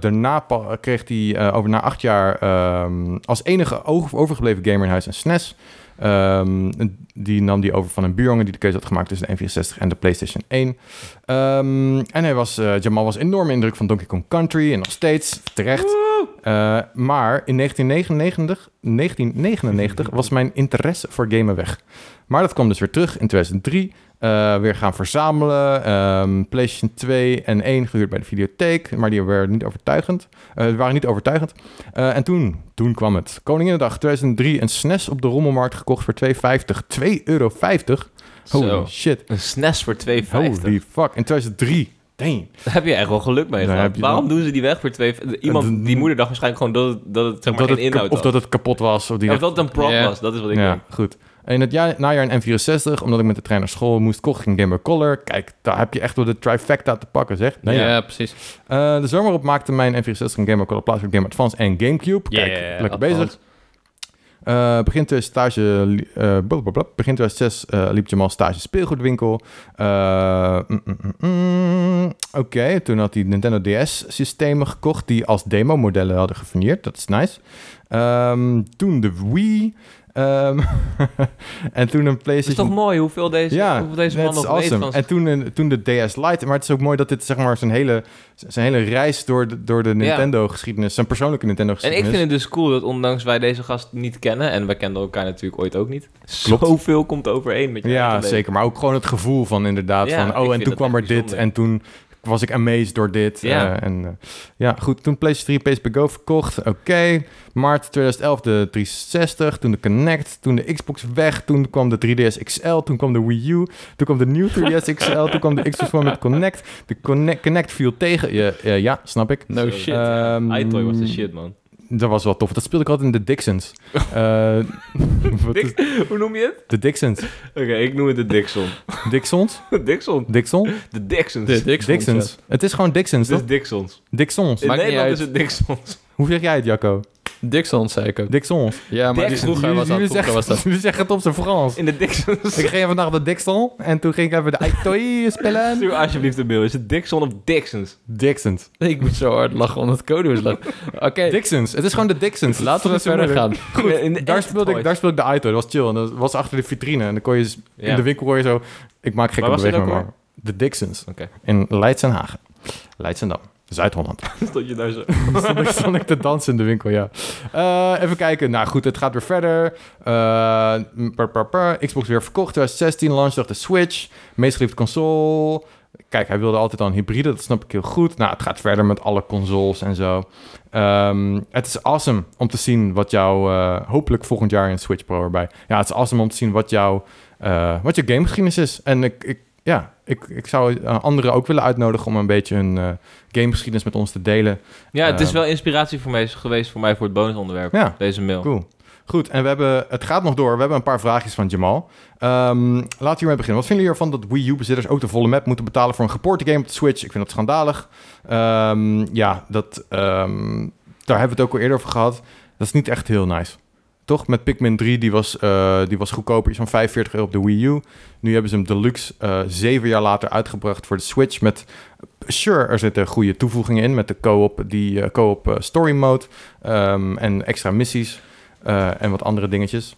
Speaker 2: daarna pa- kreeg hij eh, over na acht jaar ehm, als enige oog- overgebleven gamer in huis een SNES. Ehm, die nam die over van een buurjongen die de keuze had gemaakt tussen de N64 en de PlayStation 1. Ehm, en hij was, eh, Jamal was enorm indruk van Donkey Kong Country en nog steeds terecht. Eh, maar in 1999, 1999 was mijn interesse voor gamen weg. Maar dat kwam dus weer terug in 2003. Eh, weer gaan verzamelen. ehm, PlayStation 2 en 1 gehuurd bij de videotheek. Maar die waren niet overtuigend. Eh, die waren niet overtuigend. Eh, en toen, toen kwam het. Koninginnedag 2003 een SNES op de rommelmarkt gekocht voor 2,50. 2,50 euro. Holy
Speaker 3: Zo.
Speaker 2: shit.
Speaker 3: Een SNES voor 2,50.
Speaker 2: Holy fuck. In 2003. Dang.
Speaker 3: Daar heb je echt wel geluk mee
Speaker 2: Daar
Speaker 3: gehad.
Speaker 2: heb je
Speaker 3: Waarom
Speaker 2: dan-
Speaker 3: doen ze die weg voor 2,50? Iemand,
Speaker 2: dat-
Speaker 3: die moeder dacht waarschijnlijk gewoon dat het, dat het, zeg maar,
Speaker 2: dat
Speaker 3: geen
Speaker 2: het kap-
Speaker 3: inhoud
Speaker 2: of
Speaker 3: had.
Speaker 2: dat het kapot was. Of die
Speaker 3: Ja, of dat het een prop
Speaker 1: Ja.
Speaker 3: was, dat is wat ik
Speaker 2: ja,
Speaker 3: denk.
Speaker 2: goed. In het jaar, najaar een N64, omdat ik met de trein naar school moest, kocht ik een Game Boy Color. Kijk, daar heb je echt door de trifecta te pakken, zeg. Nou
Speaker 1: Ja,
Speaker 2: ja.
Speaker 1: precies.
Speaker 2: Eh, de zomer op maakte mijn N64 een Game Boy Color plaats voor Game Advance en Gamecube. Kijk,
Speaker 1: Ja,
Speaker 2: lekker
Speaker 1: althans.
Speaker 2: bezig. Eh, begin 2000 stage, li- eh, blablabla. begin 2006 eh, liep Jamal stage speelgoedwinkel. Eh, mm, mm, mm, mm. Oké, toen had hij Nintendo DS systemen gekocht die als demo modellen hadden gefunieerd. Dat is nice. Ehm, toen de Wii. Ehm, en toen een
Speaker 3: Het is toch
Speaker 2: PlayStation.
Speaker 3: mooi hoeveel deze, hoeveel deze man
Speaker 2: that's
Speaker 3: nog weet
Speaker 2: awesome.
Speaker 3: van zijn-
Speaker 2: En toen, een- toen de DS Lite. Maar het is ook mooi dat dit zeg maar zijn hele, zijn hele reis door de, door de Nintendo-geschiedenis, zijn persoonlijke
Speaker 3: En
Speaker 2: Nintendo-geschiedenis.
Speaker 3: ik vind het dus cool dat ondanks wij deze gast niet kennen... en wij kenden elkaar natuurlijk ooit ook niet...
Speaker 2: Klopt.
Speaker 3: zoveel komt overeen met je eigen
Speaker 2: Ja,
Speaker 3: leven.
Speaker 2: zeker. Maar ook gewoon het gevoel van inderdaad
Speaker 3: Ja, ik
Speaker 2: van... oh, en
Speaker 3: vind
Speaker 2: toen
Speaker 3: dat
Speaker 2: kwam
Speaker 3: echt
Speaker 2: er dit
Speaker 3: bijzonder.
Speaker 2: en toen was ik amazed door dit.
Speaker 3: Ja.
Speaker 2: Eh, en, eh, ja, goed. Toen PlayStation 3 PSP Go verkocht. Oké. Maart 2011 de 360. Toen de Connect. Toen de Xbox weg. Toen kwam de 3DS XL. Toen kwam de Wii U. Toen kwam de nieuwe 3DS XL. toen kwam de Xbox One met Connect. De Connect, Connect viel tegen. Ja, ja, ja, snap ik.
Speaker 1: No
Speaker 3: Zo.
Speaker 1: shit.
Speaker 2: Ehm,
Speaker 3: iToy was de shit, man.
Speaker 2: Dat was wel tof. Dat speelde ik altijd in de Dixons. Eh, wat is-
Speaker 3: Hoe noem je het?
Speaker 2: de Dixons.
Speaker 3: Oké, ik noem het de Dixon.
Speaker 2: Dixons?
Speaker 3: Dixon.
Speaker 2: Dixon?
Speaker 3: De Dixons.
Speaker 1: De
Speaker 3: Dit
Speaker 1: Dixons.
Speaker 2: Dixons. Het is gewoon Dixons,
Speaker 3: is
Speaker 2: toch?
Speaker 3: Dixons.
Speaker 2: Dixons.
Speaker 3: In
Speaker 1: Maakt niet uit.
Speaker 3: Nederland is het Dixons.
Speaker 2: Hoe zeg jij het, Jacco?
Speaker 1: Dixon, zei ik ook.
Speaker 2: Dixons.
Speaker 1: Ja, maar
Speaker 3: Dixon.
Speaker 1: vroeger was dat.
Speaker 2: Jullie
Speaker 1: Vroeger
Speaker 2: zeggen-
Speaker 1: was dat.
Speaker 2: jullie zeggen het op zijn Frans.
Speaker 3: In de Dixons.
Speaker 2: Ik ging vandaag de Dixon en toen ging ik even de Aitoi spelen.
Speaker 3: Stuur alsjeblieft een mail. Is het Dixon of Dixons?
Speaker 2: Dixons.
Speaker 1: Ik moet zo hard lachen, want het code was lang. Oké,
Speaker 2: Dixons. Het is gewoon de Dixons.
Speaker 1: laten we
Speaker 2: Dat is zo
Speaker 1: verder gaan.
Speaker 3: Goed, in de
Speaker 2: Daar
Speaker 3: echt
Speaker 2: speelde, ik,
Speaker 3: ooit.
Speaker 2: daar speelde ik de Aito. Dat was chill. En dat was achter de vitrine. En dan kon je dus-
Speaker 3: Ja.
Speaker 2: in de winkel hoor je zo... Ik maak gekke
Speaker 3: Waar was dit
Speaker 2: bewegingen,
Speaker 3: ook
Speaker 2: maar... De Dixons.
Speaker 3: Oké.
Speaker 2: In Leidsenhagen. Leidsendam. Zuid-Holland.
Speaker 3: Stond je daar zo.
Speaker 2: stond, ik, stond ik te dansen in de winkel, ja. Eh, even kijken. Nou goed, het gaat weer verder. Eh, m- per, per, per. Xbox weer verkocht. 2016 launchdag de Switch. Meest geliefde console. Kijk, hij wilde altijd al een hybride. Dat snap ik heel goed. Nou, het gaat verder met alle consoles en zo. Ehm, het is awesome om te zien wat jouw... eh, hopelijk volgend jaar in Switch Pro erbij. Ja, het is awesome om te zien wat jouw... eh, wat je gamegeschiedenis is. En ik... ik ja, ik, ik zou eh, anderen ook willen uitnodigen om een beetje hun eh, gamegeschiedenis met ons te delen.
Speaker 3: Ja, het is
Speaker 2: Ehm.
Speaker 3: wel inspiratie voor mij, geweest voor mij voor het bonusonderwerp.
Speaker 2: Ja,
Speaker 3: Deze mail.
Speaker 2: Cool. Goed, en we hebben, het gaat nog door. We hebben een paar vraagjes van Jamal. Ehm, laten we hiermee beginnen. Wat vinden jullie ervan dat Wii U-bezitters ook de volle map moeten betalen voor een geporte game op de Switch? Ik vind dat schandalig. Ehm, ja, dat, ehm, daar hebben we het ook al eerder over gehad. Dat is niet echt heel nice. Toch? Met Pikmin 3, die was, eh, die was goedkoper, iets van 45 euro op de Wii U. Nu hebben ze hem deluxe eh, zeven jaar later uitgebracht voor de Switch. Met, sure, er zitten goede toevoegingen in met de co-op, die, eh, co-op eh, story mode ehm, en extra missies. Eh, en wat andere dingetjes.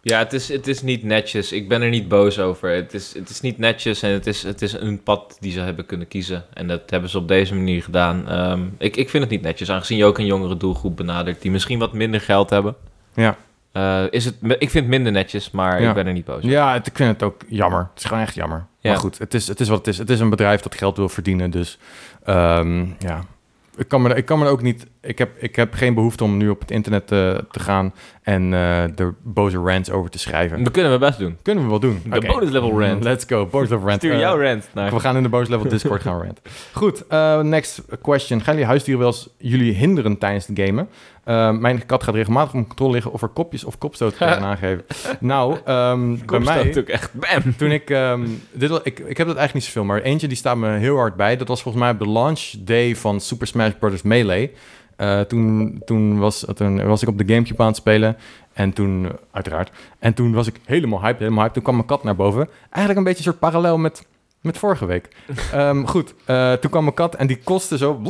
Speaker 3: Ja, het is, het is niet netjes. Ik ben er niet boos over. Het is, het is niet netjes en het is, het is een pad die ze hebben kunnen kiezen. En dat hebben ze op deze manier gedaan. Ehm, ik, ik vind het niet netjes, aangezien je ook een jongere doelgroep benadert... die misschien wat minder geld hebben.
Speaker 2: Ja.
Speaker 3: Eh, is het, ik vind het minder netjes, maar
Speaker 2: Ja.
Speaker 3: ik ben er niet boos over.
Speaker 2: Ja, het- ik vind het ook jammer. Het is gewoon echt jammer.
Speaker 3: Ja.
Speaker 2: Maar goed, het is, het is wat het is. Het is een bedrijf dat geld wil verdienen. Dus ehm, ja, ik kan, me, er- ik kan me er ook niet... Ik heb, ik heb geen behoefte om nu op het internet eh, te gaan... en eh er boze rants over te schrijven.
Speaker 3: We kunnen we best doen.
Speaker 2: Kunnen we wel doen.
Speaker 3: De bonus level rant.
Speaker 2: Let's go, bonus level rant.
Speaker 3: Stuur
Speaker 2: Eh,
Speaker 3: jouw rant naar.
Speaker 2: We gaan in de bonus level Discord gaan rant. Goed, eh, next question. Gaan jullie huisdieren wel eens jullie hinderen tijdens het gamen? Eh, mijn kat gaat regelmatig om controle liggen of er kopjes of kopstoten tegen aangeven. Nou, ehm, bij
Speaker 3: Kom, staat
Speaker 2: mij...
Speaker 3: natuurlijk echt bam.
Speaker 2: Toen ik, ehm, dit, wa- ik, ik heb dat eigenlijk niet zoveel, maar eentje die staat me heel hard bij. Dat was volgens mij op de launch day van Super Smash Bros. Melee. Eh, toen, toen, was, toen was ik op de Gamecube aan het spelen. En toen, eh, uiteraard. En toen was ik helemaal hyped, helemaal hyped. Toen kwam mijn kat naar boven. Eigenlijk een beetje een soort parallel met, met vorige week. Ehm, goed, eh, toen kwam mijn kat en die kostte zo,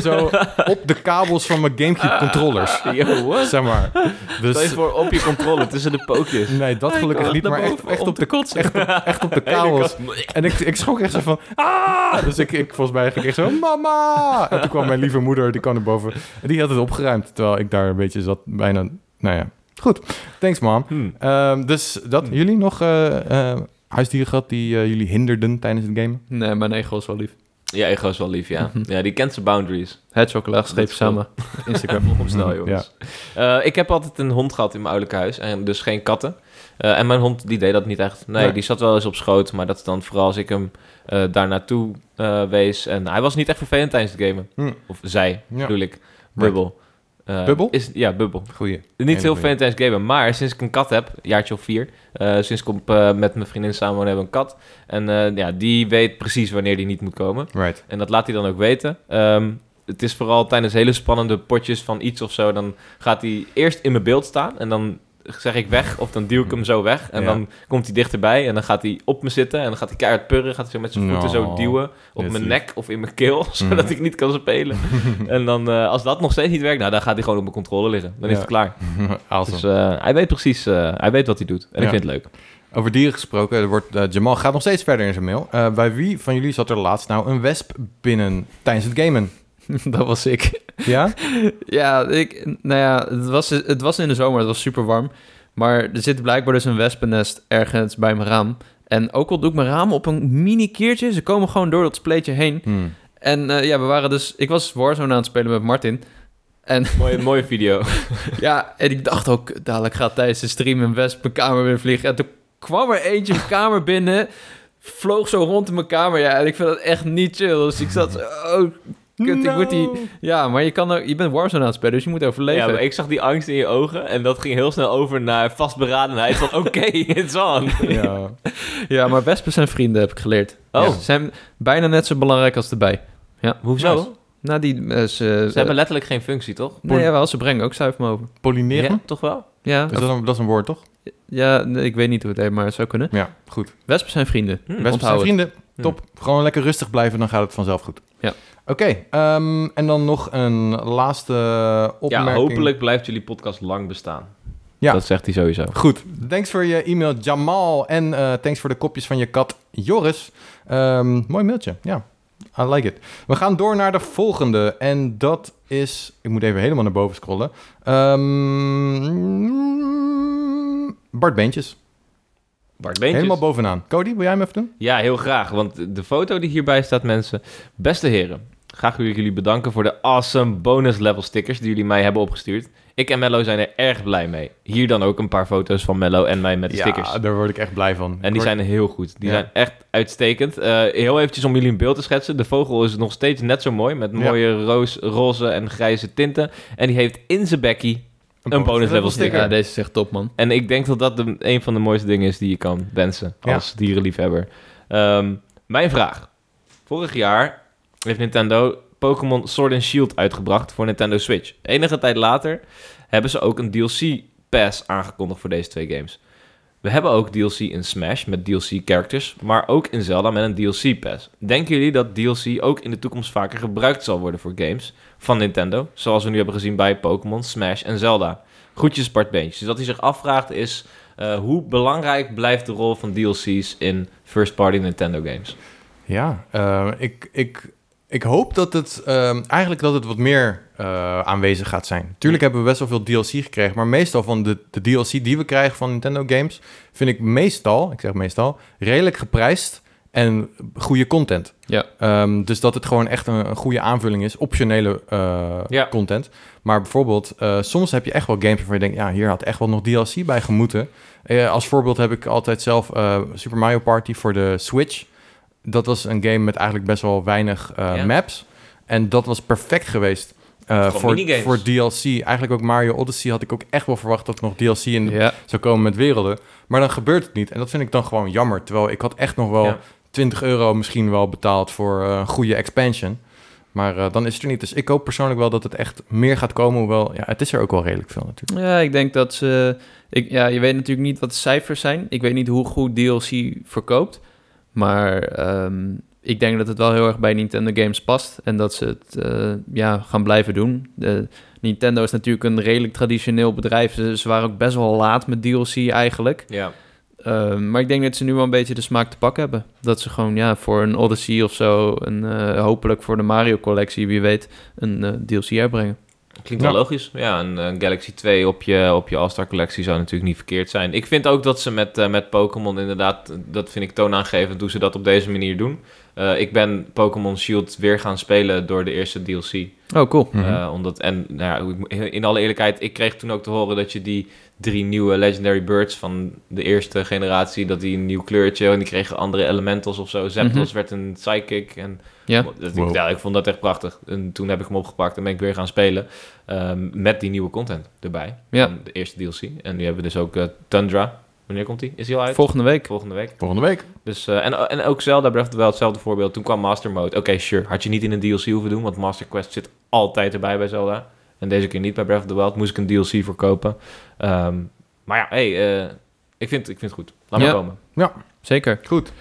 Speaker 2: zo op de kabels van mijn Gamecube controllers.
Speaker 3: Yo, what?
Speaker 2: Zeg maar.
Speaker 3: Stel je Oh
Speaker 2: Dus,
Speaker 3: voor op je controle, tussen de pookjes.
Speaker 2: nee, dat gelukkig niet, maar echt, echt, op de,
Speaker 1: kotsen.
Speaker 2: echt, op, echt op de kabels. En ik, ik schrok echt zo van, ah! Dus ik, ik volgens mij ging ik echt zo, mama! En toen kwam mijn lieve moeder, die kwam erboven. En die had het opgeruimd, terwijl ik daar een beetje zat, bijna, nou ja. Goed, thanks mom.
Speaker 3: Hmm.
Speaker 2: Ehm, dus dat, jullie nog eh, eh, huisdieren gehad die eh, jullie hinderden tijdens het gamen?
Speaker 1: Nee, mijn ego is wel lief.
Speaker 3: Ja, Ego is wel lief, ja.
Speaker 2: Mhm.
Speaker 3: Ja, die kent zijn boundaries.
Speaker 1: Hedgehog laag
Speaker 3: Dat
Speaker 1: streep
Speaker 3: is cool.
Speaker 1: samen.
Speaker 3: Instagram volg
Speaker 2: Hm,
Speaker 3: hem snel, jongens. Eh, ik heb altijd een hond gehad in mijn ouderlijk huis. En dus geen katten. Eh, en mijn hond, die deed dat niet echt. Nee,
Speaker 2: Nee.
Speaker 3: die zat wel eens op schoot. Maar dat is dan vooral als ik hem eh, daar naartoe eh, wees. En hij was niet echt vervelend tijdens het gamen.
Speaker 2: Hm.
Speaker 3: Of zij,
Speaker 2: Ja.
Speaker 3: bedoel ik. Bubbel. Eh,
Speaker 2: Bubbel?
Speaker 3: Is, ja, bubbel.
Speaker 2: Goeie.
Speaker 3: Niet heel
Speaker 2: goeie.
Speaker 3: vervelend tijdens het gamen, maar sinds ik een kat heb, een jaartje of vier, eh, sinds ik op, eh, met mijn vriendin samen woon, hebben we een kat. En eh, ja, die weet precies wanneer die niet moet komen.
Speaker 2: Right.
Speaker 3: En dat laat hij dan ook weten. Ehm, het is vooral tijdens hele spannende potjes van iets of zo. Dan gaat hij eerst in mijn beeld staan. En dan zeg ik weg. Of dan duw ik hem zo weg. En
Speaker 2: Ja.
Speaker 3: dan komt hij dichterbij. En dan gaat hij op me zitten. En dan gaat hij keihard purren. Gaat hij zo met zijn voeten zo
Speaker 2: Nou,
Speaker 3: duwen.
Speaker 2: dit
Speaker 3: Op
Speaker 2: is
Speaker 3: mijn
Speaker 2: lief.
Speaker 3: nek of in mijn keel. Zodat
Speaker 2: Mhm.
Speaker 3: ik niet kan spelen. en dan, eh, als dat nog steeds niet werkt. Nou, dan gaat hij gewoon op mijn controle liggen. Dan is
Speaker 2: Ja.
Speaker 3: het klaar.
Speaker 2: awesome.
Speaker 3: Dus eh, hij weet precies. eh, hij weet wat hij doet. En
Speaker 2: Ja.
Speaker 3: ik vind het leuk.
Speaker 2: eh, Over dieren gesproken, er wordt, eh, Jamal gaat nog steeds verder in zijn mail. Eh, bij wie van jullie zat er laatst nou een wesp binnen tijdens het gamen?
Speaker 1: dat was ik.
Speaker 2: Ja?
Speaker 1: Ja, ik, nou ja, het was, het was in de zomer, het was super warm. Maar er zit blijkbaar dus een wespennest ergens bij mijn raam. En ook al doe ik mijn raam op een mini keertje, ze komen gewoon door dat spleetje heen.
Speaker 2: Hmm.
Speaker 1: En eh, ja, we waren dus, ik was Warzone aan het spelen met Martin.
Speaker 3: Mooie, mooie video.
Speaker 1: Ja, en ik dacht ook, dadelijk gaat tijdens de stream een wesp mijn kamer weer vliegen. En toen kwam er eentje mijn kamer binnen, vloog zo rond in mijn kamer. Ja, en ik vind dat echt niet chill. Dus ik zat zo, oh, kut, ik moet die... Ja, maar je, kan ook, je bent Warzone aan het spelen, dus je moet overleven.
Speaker 3: Ja, maar ik zag die angst in je ogen en dat ging heel snel over naar vastberadenheid van oké, it's on.
Speaker 2: Ja.
Speaker 1: Ja, maar wespen zijn vrienden, heb ik geleerd.
Speaker 3: Oh.
Speaker 1: Ja, ze zijn bijna net zo belangrijk als de bij.
Speaker 3: Hoezo?
Speaker 2: Nice.
Speaker 1: Nou, die... eh, ze,
Speaker 3: Ze hebben letterlijk geen functie, toch?
Speaker 1: nee, jawel, ze brengen ook zuivermogen.
Speaker 2: Pollineren?
Speaker 3: Ja, toch wel?
Speaker 1: Ja,
Speaker 2: Dus dat, is een, dat is een woord, toch?
Speaker 1: ja nee, ik weet niet hoe het heet, maar het zou kunnen.
Speaker 2: Ja, goed.
Speaker 1: Wespen zijn vrienden.
Speaker 3: Hm.
Speaker 2: Best zijn
Speaker 1: onthoud
Speaker 2: vrienden. Top. Gewoon lekker rustig blijven, dan gaat het vanzelf goed.
Speaker 1: Ja.
Speaker 2: Oké, ehm, en dan nog een laatste opmerking.
Speaker 3: Ja, hopelijk blijft jullie podcast lang bestaan.
Speaker 2: Ja.
Speaker 3: Dat zegt hij sowieso.
Speaker 2: Goed, thanks voor je e-mail Jamal en eh, thanks voor de kopjes van je kat Joris. Ehm, mooi mailtje, ja. I like it. We gaan door naar de volgende en dat is... Ik moet even helemaal naar boven scrollen. Ehm, Bart Beentjes,
Speaker 3: Bart Beentjes.
Speaker 2: helemaal bovenaan. Cody, wil jij hem even doen?
Speaker 3: Ja, heel graag. Want de foto die hierbij staat, mensen. Beste heren, graag wil ik jullie bedanken voor de awesome bonus level stickers die jullie mij hebben opgestuurd. Ik en Mello zijn er erg blij mee. Hier dan ook een paar foto's van Mello en mij met de stickers.
Speaker 2: Ja, daar word ik echt blij van.
Speaker 3: En die zijn heel goed. Die
Speaker 2: Ja.
Speaker 3: zijn echt uitstekend. Eh, heel eventjes om jullie een beeld te schetsen. De vogel is nog steeds net zo mooi. Met
Speaker 2: Ja.
Speaker 3: mooie roos, roze en grijze tinten. En die heeft in zijn bekkie een bonus level sticker.
Speaker 1: Ja, deze is echt top, man.
Speaker 3: En ik denk dat dat de, een van de mooiste dingen is die je kan wensen
Speaker 2: Ja.
Speaker 3: als dierenliefhebber. Ehm, mijn vraag. Vorig jaar heeft Nintendo Pokémon Sword and Shield uitgebracht voor Nintendo Switch. Enige tijd later hebben ze ook een DLC pass aangekondigd voor deze twee games. We hebben ook DLC in Smash met DLC characters, maar ook in Zelda met een DLC pass. Denken jullie dat DLC ook in de toekomst vaker gebruikt zal worden voor games van Nintendo, zoals we nu hebben gezien bij Pokémon, Smash en Zelda? Groetjes Bart Beentjes. Dus wat hij zich afvraagt is, eh, hoe belangrijk blijft de rol van DLC's in first-party Nintendo games?
Speaker 2: Ja, eh, ik, ik, ik hoop dat het ehm, eigenlijk dat het wat meer eh, aanwezig gaat zijn. Tuurlijk hebben we best wel veel DLC gekregen, maar meestal van de, de DLC die we krijgen van Nintendo games, vind ik meestal, ik zeg meestal, redelijk geprijsd en goede content.
Speaker 1: Ja.
Speaker 2: Ehm, dus dat het gewoon echt een, een goede aanvulling is, optionele eh,
Speaker 3: Ja.
Speaker 2: content. Maar bijvoorbeeld, eh, soms heb je echt wel games waarvan je denkt, ja, hier had echt wel nog DLC bij gemoeten. Eh, als voorbeeld heb ik altijd zelf eh, Super Mario Party voor de Switch. Dat was een game met eigenlijk best wel weinig eh,
Speaker 3: Ja.
Speaker 2: maps. En dat was perfect geweest eh,
Speaker 3: Gewoon
Speaker 2: voor,
Speaker 3: minigames.
Speaker 2: voor DLC. Eigenlijk ook Mario Odyssey had ik ook echt wel verwacht dat er nog DLC in
Speaker 1: Ja,
Speaker 2: zou komen met werelden. Maar dan gebeurt het niet. En dat vind ik dan gewoon jammer. Terwijl ik had echt nog wel
Speaker 3: Ja.
Speaker 2: 20 euro misschien wel betaald voor eh, een goede expansion. Maar eh, dan is het er niet. Dus ik hoop persoonlijk wel dat het echt meer gaat komen. Hoewel, ja, het is er ook wel redelijk veel natuurlijk.
Speaker 1: ja ik denk dat ze... Ik, ja, je weet natuurlijk niet wat de cijfers zijn. Ik weet niet hoe goed DLC verkoopt. Maar ehm, ik denk dat het wel heel erg bij Nintendo games past. En dat ze het eh, ja, gaan blijven doen. De, Nintendo is natuurlijk een redelijk traditioneel bedrijf. Ze, ze waren ook best wel laat met DLC eigenlijk.
Speaker 3: Ja.
Speaker 1: Ehm, maar ik denk dat ze nu wel een beetje de smaak te pakken hebben. Dat ze gewoon ja, voor een Odyssey of zo, en eh, hopelijk voor de Mario-collectie, wie weet, een eh, DLC uitbrengen.
Speaker 3: Klinkt wel
Speaker 2: Ja.
Speaker 3: logisch. Ja, een, een Galaxy 2 op je, op je All-Star collectie zou natuurlijk niet verkeerd zijn. Ik vind ook dat ze met, eh, met Pokémon inderdaad, dat vind ik toonaangevend, hoe ze dat op deze manier doen. Eh, ik ben Pokémon Shield weer gaan spelen door de eerste DLC.
Speaker 1: Oh, cool.
Speaker 3: Eh, omdat, en nou ja, ik moet- in alle eerlijkheid, ik kreeg toen ook te horen dat je die drie nieuwe Legendary Birds van de eerste generatie, dat die een nieuw kleurtje en die kregen andere elementals of zo. Zapdos
Speaker 1: Mhm.
Speaker 3: werd een Psychic en
Speaker 1: Ja.
Speaker 3: dat, ik-
Speaker 2: Wow.
Speaker 3: ja, ik vond dat echt prachtig. En toen heb ik hem opgepakt en ben ik weer gaan spelen ehm, met die nieuwe content erbij.
Speaker 1: Ja.
Speaker 3: Van De eerste DLC. En nu hebben we dus ook eh, Tundra. Wanneer komt die? Is die al uit?
Speaker 1: Volgende week.
Speaker 3: Volgende week.
Speaker 2: Volgende week.
Speaker 3: Dus, eh, en, en ook Zelda Breath of the Wild, hetzelfde voorbeeld. Toen kwam Master Mode. Oké, sure. Had je niet in een DLC hoeven doen, want Master Quest zit altijd erbij bij Zelda. En deze keer niet bij Breath of the Wild. Moest ik een DLC voor kopen. Ehm, maar ja, hey, eh, ik, vind, ik vind het goed. Laat
Speaker 1: Ja.
Speaker 3: maar komen.
Speaker 1: Zeker.
Speaker 2: Goed.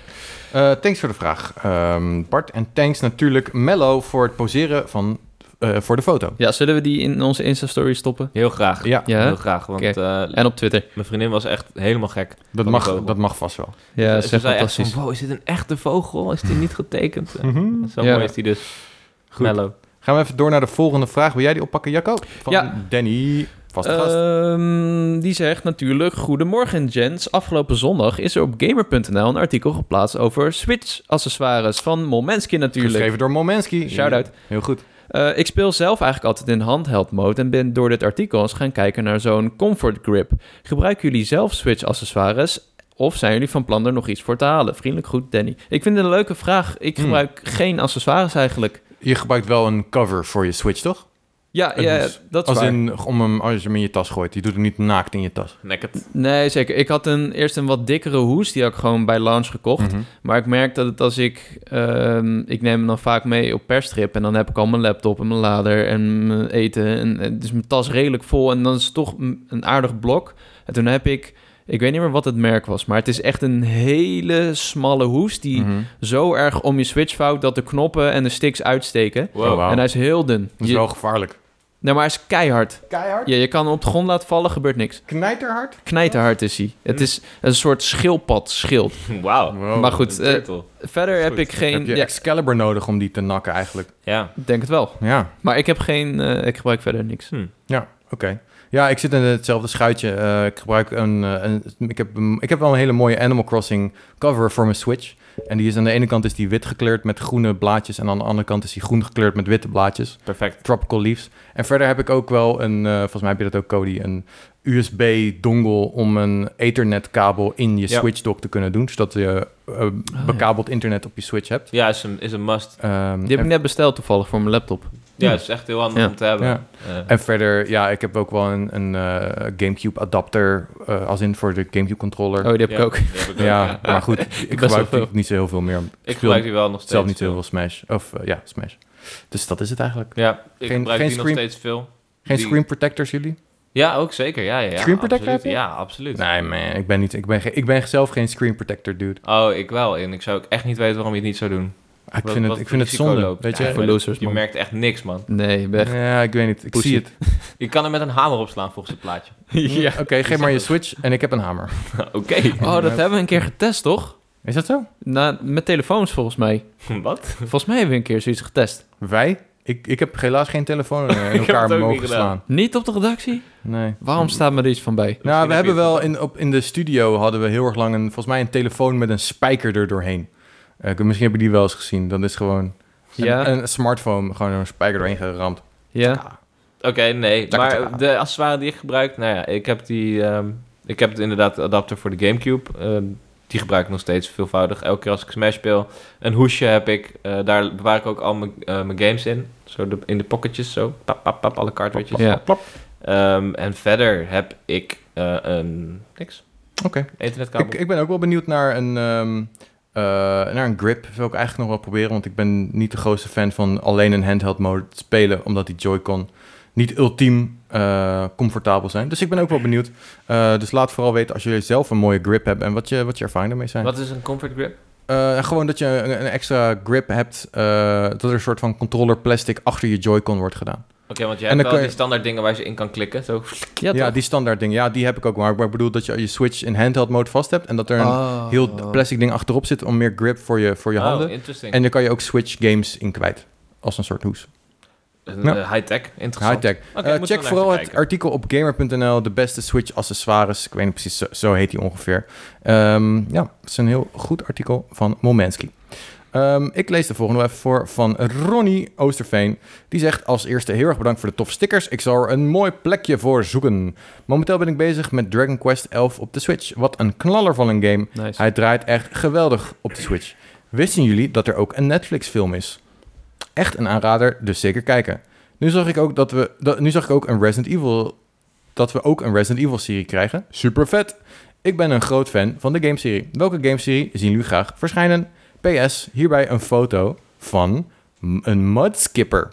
Speaker 2: Eh, thanks voor de vraag, ehm, Bart. En thanks natuurlijk Mello voor het poseren van, eh, voor de foto.
Speaker 1: Ja, zullen we die in onze Insta-story stoppen?
Speaker 3: Heel graag.
Speaker 2: Ja,
Speaker 1: Ja.
Speaker 3: Heel graag, want
Speaker 1: Oké.
Speaker 3: eh,
Speaker 1: En op Twitter.
Speaker 3: mijn vriendin was echt helemaal gek.
Speaker 2: dat,
Speaker 3: die
Speaker 2: mag,
Speaker 3: vogel.
Speaker 2: dat mag vast wel.
Speaker 1: Ja,
Speaker 3: Ze
Speaker 1: dat is echt
Speaker 3: zei echt
Speaker 1: fantastisch.
Speaker 3: van, wow, is dit een echte vogel? Is die niet getekend?
Speaker 2: Mhm.
Speaker 3: Zo
Speaker 1: Ja.
Speaker 3: mooi is die dus.
Speaker 2: Goed.
Speaker 3: Mellow.
Speaker 2: Gaan we even door naar de volgende vraag. Wil jij die oppakken, Jacco? Van
Speaker 1: Ja. Eh,
Speaker 2: Danny, vaste gast.
Speaker 1: Ehm, die zegt natuurlijk: Goedemorgen, gents. Afgelopen zondag is er op gamer.nl een artikel geplaatst over Switch-accessoires van Momenski natuurlijk.
Speaker 2: Geschreven door Momenski.
Speaker 1: Shout-out.
Speaker 2: Heel goed.
Speaker 1: Eh, ik speel zelf eigenlijk altijd in handheld mode en ben door dit artikel eens gaan kijken naar zo'n comfort grip. Gebruiken jullie zelf Switch accessoires of zijn jullie van plan er nog iets voor te halen? Vriendelijk goed, Danny. Ik vind het een leuke vraag. Ik
Speaker 2: Hmm.
Speaker 1: gebruik geen accessoires eigenlijk.
Speaker 2: Je gebruikt wel een cover voor je Switch, toch?
Speaker 1: Ja,
Speaker 2: Het
Speaker 1: ja
Speaker 2: is-
Speaker 1: dat is
Speaker 2: Als,
Speaker 1: waar.
Speaker 2: in, om hem, als je hem in je tas gooit. Je doet hem niet naakt in je tas.
Speaker 3: Naked.
Speaker 1: Nee, zeker. Ik had een, eerst een wat dikkere hoes, die had ik gewoon bij Lounge gekocht.
Speaker 2: Mhm.
Speaker 1: Maar ik merk dat het als ik... ehm, ik neem hem dan vaak mee op perstrip en dan heb ik al mijn laptop en mijn lader en mijn eten. En, en dus mijn tas redelijk vol en dan is het toch een een aardig blok. En toen heb ik... Ik weet niet meer wat het merk was, maar het is echt een hele smalle hoes die
Speaker 2: Mhm.
Speaker 1: zo erg om je switch vouwt dat de knoppen en de sticks uitsteken.
Speaker 3: Wow.
Speaker 2: Oh, wauw.
Speaker 1: En hij is heel dun.
Speaker 2: Dat is
Speaker 1: Je-
Speaker 2: wel gevaarlijk.
Speaker 1: Nee, maar hij is keihard.
Speaker 2: Keihard?
Speaker 1: Ja, je kan hem op de grond laten vallen, gebeurt niks.
Speaker 2: Knijterhard?
Speaker 1: Knijterhard is hij.
Speaker 3: Mm.
Speaker 1: Het is een soort schildpad schild.
Speaker 3: Wauw.
Speaker 2: Wow.
Speaker 1: maar goed,
Speaker 3: Een
Speaker 1: eh,
Speaker 3: turtle.
Speaker 1: verder heb
Speaker 3: Goed.
Speaker 1: ik geen...
Speaker 2: Heb je
Speaker 1: Ja,
Speaker 2: Excalibur nodig om die te nakken eigenlijk?
Speaker 3: ja.
Speaker 1: ik denk het wel.
Speaker 2: Ja,
Speaker 1: Maar ik heb geen... eh, ik gebruik verder niks.
Speaker 3: Hm.
Speaker 2: oké. Ja, ik zit in hetzelfde schuitje. Eh, ik gebruik een, eh, een- ik, heb, een- ik heb wel een hele mooie Animal Crossing cover voor mijn Switch. En die is aan de ene kant is die wit gekleurd met groene blaadjes. En aan de andere kant is die groen gekleurd met witte blaadjes.
Speaker 3: Perfect.
Speaker 2: Tropical Leaves. En verder heb ik ook wel een, eh, volgens mij heb je dat ook Cody, een USB-dongle om een ethernet-kabel in je
Speaker 3: Ja.
Speaker 2: Switch dock te kunnen doen. Zodat je eh, bekabeld internet op je Switch hebt.
Speaker 3: Ja, is een, is een must.
Speaker 2: Ehm,
Speaker 1: Ah, Die heb
Speaker 2: en-
Speaker 1: ik net besteld toevallig voor mijn laptop.
Speaker 3: Ja, is echt heel handig
Speaker 1: Ja.
Speaker 3: om te hebben.
Speaker 2: Ja.
Speaker 3: Eh,
Speaker 2: En verder, ja, ik heb ook wel een, een eh, GameCube adapter, eh, als in voor de GameCube controller.
Speaker 1: Oh, die heb ik
Speaker 3: ja,
Speaker 1: ook.
Speaker 3: die heb ik ook,
Speaker 2: ja,
Speaker 3: ja.
Speaker 2: maar goed, ik gebruik
Speaker 1: veel.
Speaker 2: die niet zo heel veel meer.
Speaker 3: Ik
Speaker 2: speel
Speaker 3: gebruik die wel nog steeds.
Speaker 2: zelf niet zo heel veel Smash. Of eh, ja, Smash. Dus dat is het eigenlijk.
Speaker 3: Ja, ik
Speaker 2: Geen-
Speaker 3: gebruik
Speaker 2: geen
Speaker 3: die
Speaker 2: screen-
Speaker 3: nog steeds veel.
Speaker 2: Geen
Speaker 3: Die-
Speaker 2: screen protectors jullie?
Speaker 3: Ja, ook zeker. Ja, ja, ja,
Speaker 2: Screen protector
Speaker 3: absoluut.
Speaker 2: heb je?
Speaker 3: Ja, absoluut.
Speaker 2: Nee man, ik ben, niet, ik, ben ge- ik ben zelf geen screen protector dude.
Speaker 3: Oh, ik wel. En ik zou ook echt niet weten waarom je het niet zou doen.
Speaker 2: Ah, Ik
Speaker 3: Wat-
Speaker 2: vind
Speaker 3: wat
Speaker 2: het, ik vind het
Speaker 3: risico
Speaker 2: zonde,
Speaker 3: loopt.
Speaker 2: weet
Speaker 3: Ja,
Speaker 2: je?
Speaker 1: voor
Speaker 3: maar
Speaker 1: losers,
Speaker 3: Je
Speaker 1: man.
Speaker 3: merkt echt niks, man.
Speaker 1: Nee, je bent echt-
Speaker 2: Ja, ik weet niet. Ik
Speaker 1: Pussy.
Speaker 2: zie het.
Speaker 3: Je kan er met een hamer op slaan volgens het plaatje.
Speaker 1: ja.
Speaker 2: Oké, geef maar je Switch en ik heb een hamer.
Speaker 3: Oké.
Speaker 1: Oh, dat hebben we een keer getest, toch?
Speaker 2: Is dat zo?
Speaker 1: Na, met telefoons, volgens mij.
Speaker 2: Nou,
Speaker 3: Wat?
Speaker 1: Volgens mij hebben we een keer zoiets getest.
Speaker 2: Wij? Ik, ik heb helaas geen telefoon eh, in
Speaker 3: heb het
Speaker 2: elkaar
Speaker 3: ook
Speaker 2: mogen
Speaker 3: niet gedaan.
Speaker 2: slaan.
Speaker 1: Niet op de redactie?
Speaker 2: Nee.
Speaker 3: Mm.
Speaker 1: Waarom staat me er iets van bij?
Speaker 2: Nou, we
Speaker 3: heb je het
Speaker 2: hebben wel in, op, in de studio hadden we heel erg lang een, volgens mij een telefoon met een spijker er doorheen. Eh, ik- misschien heb je die wel eens gezien. Dan is gewoon een,
Speaker 1: Ja,
Speaker 2: een smartphone gewoon een spijker doorheen geramd.
Speaker 1: ja.
Speaker 3: Oké, nee.
Speaker 2: Taka, taka.
Speaker 3: Maar de accessoires die ik gebruik... Nou ja, ik heb die... ehm, ik heb inderdaad de adapter voor de Gamecube. Ehm, die gebruik ik nog steeds veelvoudig. Elke keer als ik Smash speel. Een hoesje heb ik. Eh, daar bewaar ik ook al mijn eh, mijn games in. Zo de, in de pocketjes, zo. Pap, pap, pap, alle cartridges.
Speaker 1: Ja.
Speaker 3: Ehm, en verder heb ik eh, een... Niks.
Speaker 2: Oké.
Speaker 3: Internetkabel.
Speaker 2: Ik, ik ben ook wel benieuwd naar een, ehm, eh, naar een grip. Wil ik eigenlijk nog wel proberen, want ik ben niet de grootste fan van alleen een handheld mode spelen, omdat die Joy-Con niet ultiem eh, comfortabel zijn. Dus ik ben ook wel benieuwd. Eh, dus laat vooral weten als jullie zelf een mooie grip hebben en wat je, wat je ervaringen ermee zijn.
Speaker 3: Wat is een comfort grip?
Speaker 2: Eh, gewoon dat je een, een extra grip hebt, eh, dat er een soort van controller plastic achter je Joy-Con wordt gedaan.
Speaker 3: Oké, want je
Speaker 2: En
Speaker 3: hebt
Speaker 2: dan
Speaker 3: wel
Speaker 2: kun je-
Speaker 3: die standaard dingen waar je in kan klikken. Zo.
Speaker 1: Ja,
Speaker 2: Ja,
Speaker 1: toch?
Speaker 2: die standaard ding. Ja, die heb ik ook. Maar ik bedoel dat je je Switch in handheld mode vast hebt en dat er een
Speaker 1: Oh.
Speaker 2: heel plastic ding achterop zit om meer grip voor je, voor je
Speaker 3: Oh,
Speaker 2: handen.
Speaker 3: interesting.
Speaker 2: En daar kan je ook Switch games in kwijt. Als een soort hoes.
Speaker 3: Een,
Speaker 2: Ja.
Speaker 3: eh, high-tech, interessant.
Speaker 2: High-tech.
Speaker 3: moeten
Speaker 2: Eh,
Speaker 3: we
Speaker 2: check
Speaker 3: naar
Speaker 2: vooral
Speaker 3: even
Speaker 2: het
Speaker 3: kijken.
Speaker 2: artikel op gamer.nl. De beste Switch accessoires. Ik weet niet precies, zo, zo heet die ongeveer. Ehm, ja, het is een heel goed artikel van Momenski. Ehm, ik lees de volgende wel even voor van Ronnie Oosterveen. Die zegt als eerste heel erg bedankt voor de tof stickers. Ik zal er een mooi plekje voor zoeken. Momenteel ben ik bezig met Dragon Quest 11 op de Switch. Wat een knaller van een game.
Speaker 1: Nice.
Speaker 2: Hij draait echt geweldig op de Switch. Wisten jullie dat er ook een Netflix-film is? Echt een aanrader, dus zeker kijken. Nu zag ik ook dat we, dat, nu zag ik ook een Resident Evil, dat we ook een Resident Evil-serie krijgen. Super vet. Ik ben een groot fan van de gameserie. Welke gameserie zien jullie graag verschijnen? PS, hierbij een foto van m- een mudskipper.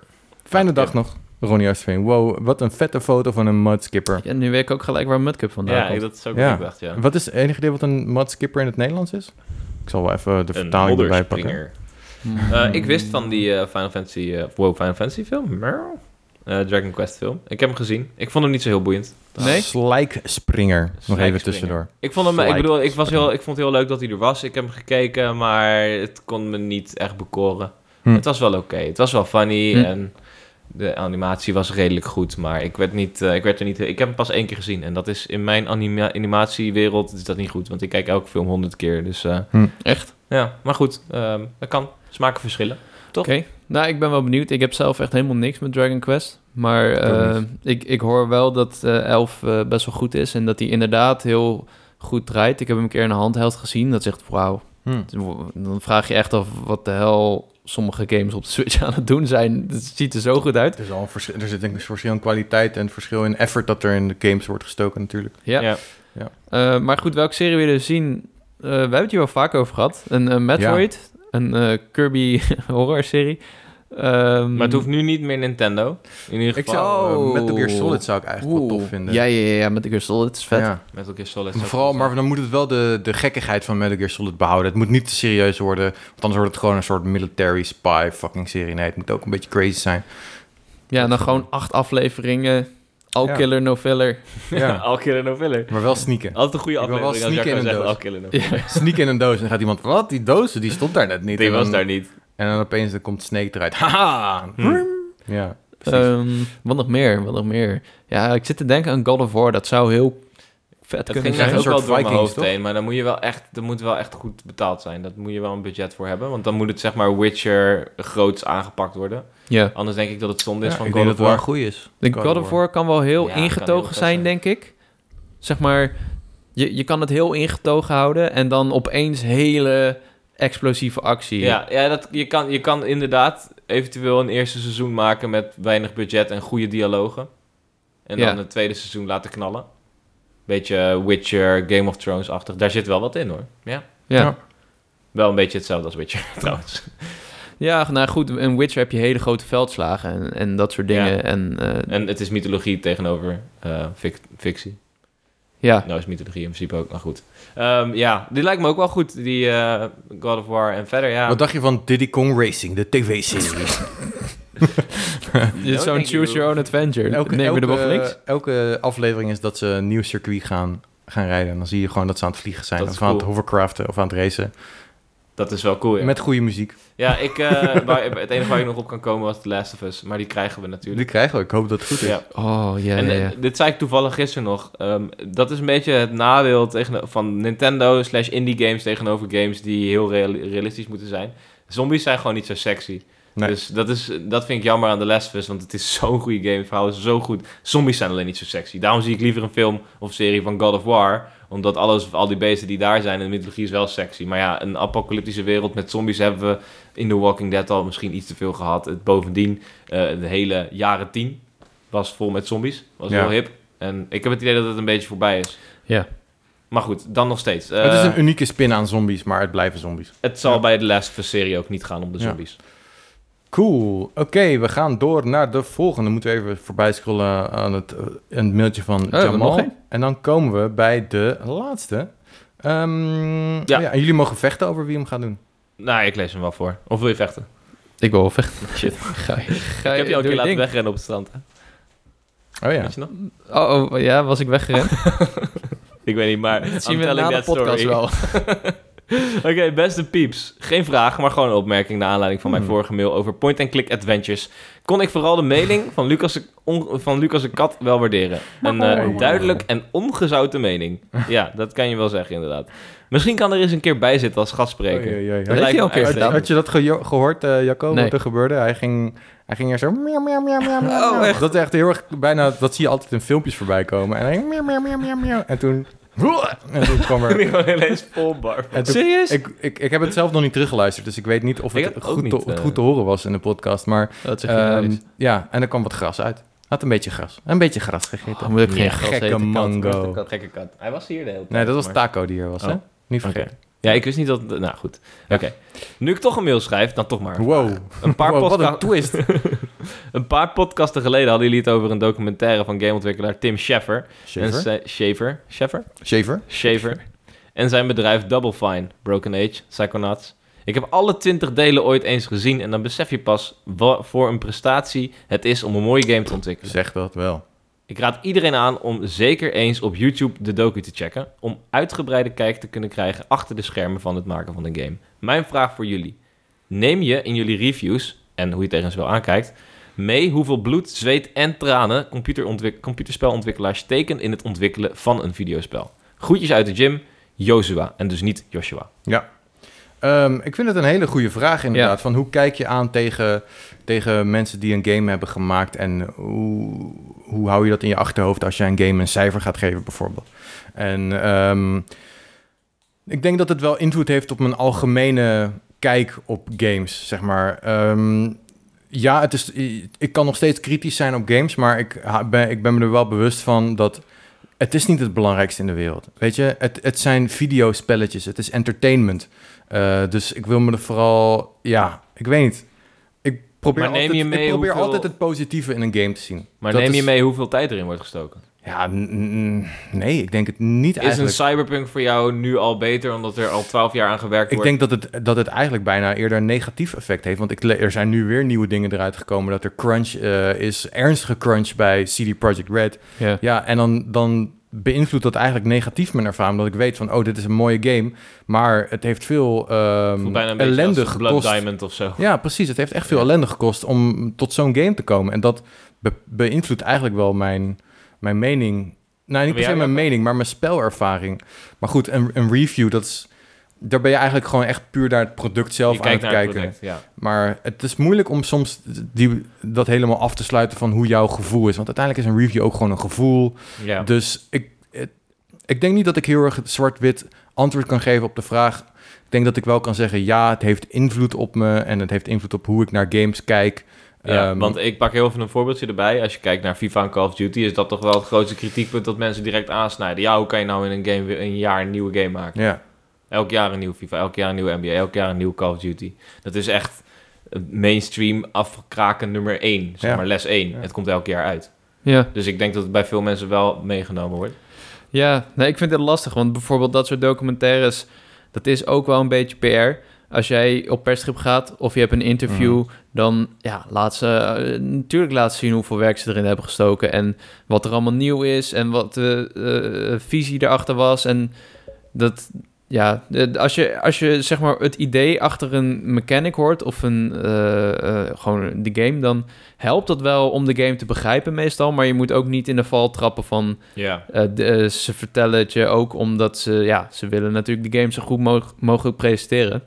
Speaker 2: Fijne dag nog, Ronnie Oostveen. Wow, wat een vette foto van een mudskipper.
Speaker 1: Ja, nu weet ik ook gelijk waar Mudcup vandaan
Speaker 3: Ja,
Speaker 1: komt.
Speaker 3: dat is ook
Speaker 2: Ja.
Speaker 3: wat ik dacht, ja.
Speaker 2: Wat is het enige idee wat een mudskipper in het Nederlands is? Ik zal wel even de vertaling erbij pakken.
Speaker 3: modderspringer. Eh, ik
Speaker 1: Mm.
Speaker 3: wist van die eh, Final Fantasy... eh, wow, Final Fantasy film? Merl? Eh, Dragon Quest film. Ik heb hem gezien. Ik vond hem niet zo heel boeiend.
Speaker 1: Nee?
Speaker 2: Slijkspringer. Nog even
Speaker 3: Slijkspringer.
Speaker 2: tussendoor.
Speaker 3: Ik vond hem...
Speaker 2: Slijt.
Speaker 3: Ik bedoel, ik, was heel, ik vond het heel leuk dat hij er was. Ik heb hem gekeken, maar het kon me niet echt bekoren.
Speaker 2: Hm.
Speaker 3: Het was wel oké. Het was wel funny
Speaker 1: Hm.
Speaker 3: en... De animatie was redelijk goed, maar ik werd, niet, eh, ik werd er niet... Ik heb hem pas één keer gezien. En dat is in mijn anima- animatiewereld is dat niet goed. Want ik kijk elke film honderd keer. Dus eh,
Speaker 1: Echt?
Speaker 3: Ja, maar goed, ehm, dat kan. Smaken verschillen.
Speaker 1: Oké. Nou, ik ben wel benieuwd. Ik heb zelf echt helemaal niks met Dragon Quest. Maar
Speaker 2: ook
Speaker 1: eh, ik, ik hoor wel dat eh, Elf eh, best wel goed is. En dat hij inderdaad heel goed draait. Ik heb hem een keer in een handheld gezien. Dat zegt, wauw.
Speaker 2: Hm.
Speaker 1: Dan vraag je echt af, wat de hel sommige games op de Switch aan het doen zijn. Het ziet er zo goed uit.
Speaker 2: Er, is al een verschil, er zit denk ik een verschil in kwaliteit en verschil in effort dat er in de games wordt gestoken natuurlijk.
Speaker 1: Ja.
Speaker 3: Ja.
Speaker 2: Ja.
Speaker 1: Eh, maar goed, welke serie willen we zien? Eh, we hebben het hier wel vaak over gehad. Een eh, Metroid, een eh, Kirby horror serie. Ehm,
Speaker 3: Maar het hoeft nu niet meer Nintendo. In ieder
Speaker 2: Mm. Ik
Speaker 3: geval. ehm,
Speaker 2: zou
Speaker 1: Oh.
Speaker 2: eh, Metal Gear Solid zou ik eigenlijk wel
Speaker 1: Oeh.
Speaker 2: tof vinden.
Speaker 1: Ja, ja, ja, ja, met de Crystal, het is vet.
Speaker 2: Ja.
Speaker 3: Metal Gear Solid.
Speaker 2: Maar
Speaker 3: zou
Speaker 2: vooral,
Speaker 3: cool zijn.
Speaker 2: maar dan moet het wel de, de gekkigheid van Metal Gear Solid behouden. Het moet niet te serieus worden, want anders wordt het gewoon een soort military spy fucking serie. Nee, het moet ook een beetje crazy zijn.
Speaker 1: Ja, en dan
Speaker 3: eh,
Speaker 1: gewoon acht afleveringen. All
Speaker 2: Ja.
Speaker 1: killer, no filler.
Speaker 2: Ja.
Speaker 3: Al killer no filler.
Speaker 2: Maar wel sneaken.
Speaker 3: Altijd een goede
Speaker 2: Ik wil wel
Speaker 3: aflevering als
Speaker 2: sneaken
Speaker 3: Jacco
Speaker 2: in een
Speaker 3: zegt
Speaker 2: doos.
Speaker 3: al killer no filler.
Speaker 1: Ja.
Speaker 2: Sneaken in een doos en dan gaat iemand, wat? Die dozen, die stond daar net niet.
Speaker 3: Die
Speaker 2: en dan,
Speaker 3: was daar niet.
Speaker 2: En dan opeens dan komt Snake eruit. Haha! Ja, precies.
Speaker 1: Ehm, wat nog meer, wat nog meer. Ja, ik zit te denken aan God of War. Dat zou heel vet
Speaker 3: Dat
Speaker 1: kunnen
Speaker 3: ging
Speaker 2: zijn
Speaker 1: zijn.
Speaker 3: echt ook
Speaker 2: een soort
Speaker 3: wel door mijn
Speaker 2: Vikings,
Speaker 3: hoofd
Speaker 2: toch?
Speaker 3: heen, maar dan moet je wel echt, dat moet wel echt goed betaald zijn. Dat moet je wel een budget voor hebben, want dan moet het zeg maar Witcher groots aangepakt worden.
Speaker 1: Ja,
Speaker 3: Anders denk ik dat het zonde is
Speaker 2: Ja,
Speaker 3: van
Speaker 2: ik
Speaker 3: God
Speaker 2: denk
Speaker 3: of
Speaker 2: dat het wel
Speaker 3: War.
Speaker 2: goed is.
Speaker 1: de God of War kan wel heel
Speaker 3: Ja, kan heel
Speaker 1: ingetogen
Speaker 3: vet
Speaker 1: zijn,
Speaker 3: zijn.
Speaker 1: denk ik. Zeg maar, je, je kan het heel ingetogen houden en dan opeens hele explosieve actie.
Speaker 3: Ja, ja dat, je, kan, je kan inderdaad eventueel een eerste seizoen maken met weinig budget en goede dialogen. En dan
Speaker 1: Ja.
Speaker 3: het tweede seizoen laten knallen. Beetje eh, Witcher, Game of Thrones-achtig. Daar zit wel wat in hoor. Ja.
Speaker 1: ja.
Speaker 2: Ja.
Speaker 3: Wel een beetje hetzelfde als Witcher trouwens.
Speaker 1: Ja, nou goed, in Witcher heb je hele grote veldslagen en, en dat soort dingen.
Speaker 3: Ja.
Speaker 1: En, eh,
Speaker 3: En het is mythologie tegenover eh, fic- fictie.
Speaker 1: ja,
Speaker 3: Nou is mythologie in principe ook, maar goed. Ehm, ja, die lijkt me ook wel goed, die eh, God of War. En verder, ja.
Speaker 2: Wat dacht je van Diddy Kong Racing, de tv-serie?
Speaker 1: dit is zo'n
Speaker 3: thank you.
Speaker 1: choose your own adventure. Neem je er wel voor niks?
Speaker 2: elke aflevering is dat ze een nieuw circuit gaan, gaan rijden. En dan zie je gewoon dat ze aan het vliegen zijn.
Speaker 3: Dat
Speaker 2: Of
Speaker 3: is
Speaker 2: aan het
Speaker 3: cool.
Speaker 2: hovercraften of aan het racen.
Speaker 3: dat is wel cool, ja.
Speaker 2: Met goede muziek.
Speaker 3: Ja, ik, eh, waar- het enige waar ik nog op kan komen was The Last of Us. Maar die krijgen we natuurlijk.
Speaker 2: Die krijgen we. Ik hoop dat het goed is.
Speaker 3: Ja.
Speaker 1: Oh, ja,
Speaker 3: en
Speaker 1: ja,
Speaker 3: eh,
Speaker 1: ja.
Speaker 3: dit zei ik toevallig gisteren nog. Ehm, dat is een beetje het nadeel tegen, van Nintendo slash indie games tegenover games die heel real- realistisch moeten zijn. Zombies zijn gewoon niet zo sexy.
Speaker 2: Nee.
Speaker 3: Dus dat, is, dat vind ik jammer aan The Last of Us, want het is zo'n goede game. Het verhaal is zo goed. Zombies zijn alleen niet zo sexy. Daarom zie ik liever een film of serie van God of War. Omdat alles, al die beesten die daar zijn in de mythologie is wel sexy. Maar ja, een apocalyptische wereld met zombies hebben we in The Walking Dead al misschien iets te veel gehad. Het, bovendien, eh, de hele jaren tien was vol met zombies. Was
Speaker 2: Ja.
Speaker 3: heel hip. En ik heb het idee dat het een beetje voorbij is.
Speaker 1: Ja.
Speaker 3: Maar goed, dan nog steeds. Eh,
Speaker 2: het is een unieke spin aan zombies, maar het blijven zombies.
Speaker 3: zal
Speaker 2: Ja.
Speaker 3: bij de Last of Us serie ook niet gaan om de
Speaker 2: Ja.
Speaker 3: zombies.
Speaker 2: Cool. Oké, we gaan door naar de volgende. Moeten we even voorbij scrollen aan het, eh, een mailtje van
Speaker 1: Oh, we hebben nog
Speaker 2: Jamal.
Speaker 1: één.
Speaker 2: En dan komen we bij de laatste. Ehm, ja. en jullie mogen vechten over wie hem gaat doen.
Speaker 3: Nou, ik lees hem wel voor. Of wil je vechten?
Speaker 1: Ik wil wel vechten. Shit. Ga je, ga
Speaker 3: ik heb je al een
Speaker 1: Eh, doe
Speaker 3: keer laten
Speaker 1: ding.
Speaker 3: wegrennen op het strand. Hè?
Speaker 2: Oh ja.
Speaker 3: Weet je nog?
Speaker 1: Oh, oh, ja, was ik weggerend?
Speaker 3: Ik weet niet, maar
Speaker 1: Dat
Speaker 3: I'm
Speaker 1: zien we na
Speaker 3: telling
Speaker 1: de
Speaker 3: that
Speaker 1: podcast
Speaker 3: story.
Speaker 1: wel.
Speaker 3: Oké, beste pieps. Geen vraag, maar gewoon een opmerking naar aanleiding van mijn
Speaker 2: Hmm.
Speaker 3: vorige mail over point-and-click adventures. Kon ik vooral de mailing van Lucas, de- on- van Lucas de Kat wel waarderen. Een eh,
Speaker 2: Oh.
Speaker 3: duidelijk en ongezouten mening. Ja, dat kan je wel zeggen inderdaad. Misschien kan er eens een keer bij zitten als gastspreker.
Speaker 2: Oei, oei, oei.
Speaker 3: Dat
Speaker 1: Heeft
Speaker 3: lijkt
Speaker 1: hij
Speaker 3: me
Speaker 1: al een keer
Speaker 3: echt
Speaker 1: gedaan?
Speaker 2: Had je dat gejo- gehoord, eh Jacco,
Speaker 1: Nee.
Speaker 2: wat er gebeurde? Hij ging, hij ging er zo... Miau, miau, miau, miau, miau.
Speaker 1: Oh, echt?
Speaker 2: Dat is echt heel erg... Bijna, dat zie je altijd in filmpjes voorbij komen. En hij ging... Miau, miau, miau, miau, miau. En toen... En toen kwam er...
Speaker 3: Gewoon ineens vol bar.
Speaker 2: En toen,
Speaker 1: Serieus?
Speaker 2: ik, ik, ik heb het zelf nog niet teruggeluisterd, dus ik weet niet of
Speaker 3: Ik
Speaker 2: het
Speaker 3: heb ook
Speaker 2: goed,
Speaker 3: niet,
Speaker 2: te, of het
Speaker 3: eh,
Speaker 2: goed te horen was in de podcast. Maar
Speaker 1: Dat zeg je nou
Speaker 2: ehm
Speaker 1: niet.
Speaker 2: ja, en er kwam wat gras uit. Had een beetje gras. Een beetje gras gegeten.
Speaker 1: Ehm, Dan Oh, moet ik geen
Speaker 3: Ja,
Speaker 1: gras
Speaker 2: gekke
Speaker 1: eten, kat.
Speaker 2: mango.
Speaker 3: Kat, gekke kat. Hij was hier de hele tijd.
Speaker 2: nee, dat was
Speaker 3: maar-
Speaker 2: Taco die er was, hè?
Speaker 3: Oh.
Speaker 2: Niet
Speaker 3: Oké.
Speaker 2: vergeten.
Speaker 3: Ja, ik wist niet dat... Nou, goed. Oké. Nu ik toch een mail schrijf, dan toch maar.
Speaker 2: Wow.
Speaker 3: Een paar,
Speaker 2: Wow, wat
Speaker 3: podca-
Speaker 2: een twist.
Speaker 3: een paar podcasten geleden hadden jullie het over een documentaire van gameontwikkelaar Tim Schafer. En
Speaker 2: Shaver?
Speaker 3: zij- Shaver? Schafer?
Speaker 2: Shaver?
Speaker 3: Shaver. En zijn bedrijf Double Fine, Broken Age, Psychonauts. Ik heb alle twintig delen ooit eens gezien en dan besef je pas wat voor een prestatie het is om een mooie game te ontwikkelen.
Speaker 2: Zeg dat wel.
Speaker 3: Ik raad iedereen aan om zeker eens op YouTube de docu te checken. Om uitgebreide kijk te kunnen krijgen achter de schermen van het maken van een game. Mijn vraag voor jullie. Neem je in jullie reviews, en hoe je tegen wel aankijkt, mee hoeveel bloed, zweet en tranen computerontwik- computerspelontwikkelaars steken in het ontwikkelen van een videospel? Groetjes uit de gym, Joshua. En dus niet Joshua.
Speaker 2: Ehm, ik vind het een hele goede vraag inderdaad. Van hoe kijk je aan tegen, tegen mensen die een game hebben gemaakt... en hoe, hoe hou je dat in je achterhoofd als je een game een cijfer gaat geven bijvoorbeeld? En ehm, ik denk dat het wel invloed heeft op mijn algemene kijk op games, zeg maar. Ehm, ja, het is, ik kan nog steeds kritisch zijn op games, maar ik ha- ben, ik ben me er wel bewust van dat het is niet het belangrijkste in de wereld. Weet je, het, het zijn videospelletjes, het is entertainment. Eh, dus ik wil me er vooral, ja, ik weet niet. Ik probeer,
Speaker 3: Maar neem je
Speaker 2: altijd,
Speaker 3: mee
Speaker 2: ik probeer
Speaker 3: hoeveel-
Speaker 2: altijd het positieve in een game te zien.
Speaker 3: Maar
Speaker 2: Dat
Speaker 3: neem je
Speaker 2: is-
Speaker 3: mee hoeveel tijd erin wordt gestoken?
Speaker 2: Ja, n- n- nee, ik denk het niet
Speaker 3: Is
Speaker 2: eigenlijk.
Speaker 3: een cyberpunk voor jou nu al beter, omdat er al 12 jaar aan gewerkt
Speaker 2: Ik
Speaker 3: wordt?
Speaker 2: denk dat het, dat het eigenlijk bijna eerder een negatief effect heeft. Want ik, le- er zijn nu weer nieuwe dingen eruit gekomen. Dat er crunch eh, is, ernstige crunch bij CD Projekt Red.
Speaker 1: Ja.
Speaker 2: Ja, en dan, dan beïnvloedt dat eigenlijk negatief mijn ervaring. Omdat ik weet van, oh, dit is een mooie game. Maar het heeft veel ehm,
Speaker 3: Voelt bijna een beetje
Speaker 2: ellende
Speaker 3: als Blood
Speaker 2: gekost.
Speaker 3: Diamond of zo.
Speaker 2: Ja, precies. Het heeft echt veel ellende gekost om tot zo'n game te komen. En dat be- beïnvloedt eigenlijk wel mijn, mijn mening. Nou, niet
Speaker 3: Maar
Speaker 2: per se
Speaker 3: jij
Speaker 2: mijn
Speaker 3: hebt-
Speaker 2: mening, maar mijn spelervaring. Maar goed, een, een review, dat is... Daar ben je eigenlijk gewoon echt puur naar het product zelf
Speaker 3: Je
Speaker 2: aan het
Speaker 3: kijkt naar het
Speaker 2: kijken.
Speaker 3: product, ja.
Speaker 2: Maar het is moeilijk om soms die, dat helemaal af te sluiten van hoe jouw gevoel is. Want uiteindelijk is een review ook gewoon een gevoel.
Speaker 3: ja.
Speaker 2: Dus ik, het- ik denk niet dat ik heel erg zwart-wit antwoord kan geven op de vraag. Ik denk dat ik wel kan zeggen, ja, het heeft invloed op me en het heeft invloed op hoe ik naar games kijk.
Speaker 3: Ja,
Speaker 2: Ehm,
Speaker 3: want ik pak heel even een voorbeeldje erbij. Als je kijkt naar FIFA en Call of Duty, is dat toch wel het grootste kritiekpunt dat mensen direct aansnijden. Ja, hoe kan je nou in een game weer een jaar een nieuwe game maken?
Speaker 2: ja,
Speaker 3: Elk jaar een nieuwe FIFA, elk jaar een nieuwe NBA, elk jaar een nieuwe Call of Duty. Dat is echt mainstream afkraken nummer 1, zeg
Speaker 2: Ja.
Speaker 3: maar les 1.
Speaker 2: Ja.
Speaker 3: Het komt elk jaar uit.
Speaker 1: Ja.
Speaker 3: Dus ik denk dat het bij veel mensen wel meegenomen wordt.
Speaker 1: Ja, nee, ik vind het lastig, want bijvoorbeeld dat soort documentaires, dat is ook wel een beetje PR. Als jij op persschip gaat of je hebt een interview, dan ja, laat ze eh, natuurlijk laten zien hoeveel werk ze erin hebben gestoken en wat er allemaal nieuw is en wat de eh, visie erachter was. En dat, ja, eh, als je, als je zeg maar het idee achter een mechanic hoort of een, eh, eh, gewoon de game, dan helpt dat wel om de game te begrijpen meestal. Maar je moet ook niet in de val trappen van
Speaker 3: Ja.
Speaker 1: eh, de- eh, ze vertellen het je ook omdat ze, ja, ze willen natuurlijk de game zo goed mo- mogelijk presenteren.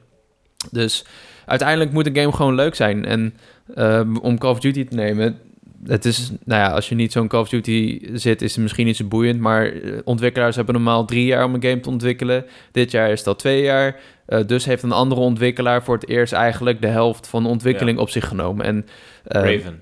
Speaker 1: Dus uiteindelijk moet een game gewoon leuk zijn. En ehm, om Call of Duty te nemen, het is, nou ja, als je niet zo'n Call of Duty zit, is het misschien niet zo boeiend. Maar eh, ontwikkelaars hebben normaal drie jaar om een game te ontwikkelen. Dit jaar is dat twee jaar. Eh, dus heeft een andere ontwikkelaar voor het eerst eigenlijk de helft van de ontwikkeling op zich genomen. En, eh,
Speaker 3: Raven.
Speaker 2: Ehm,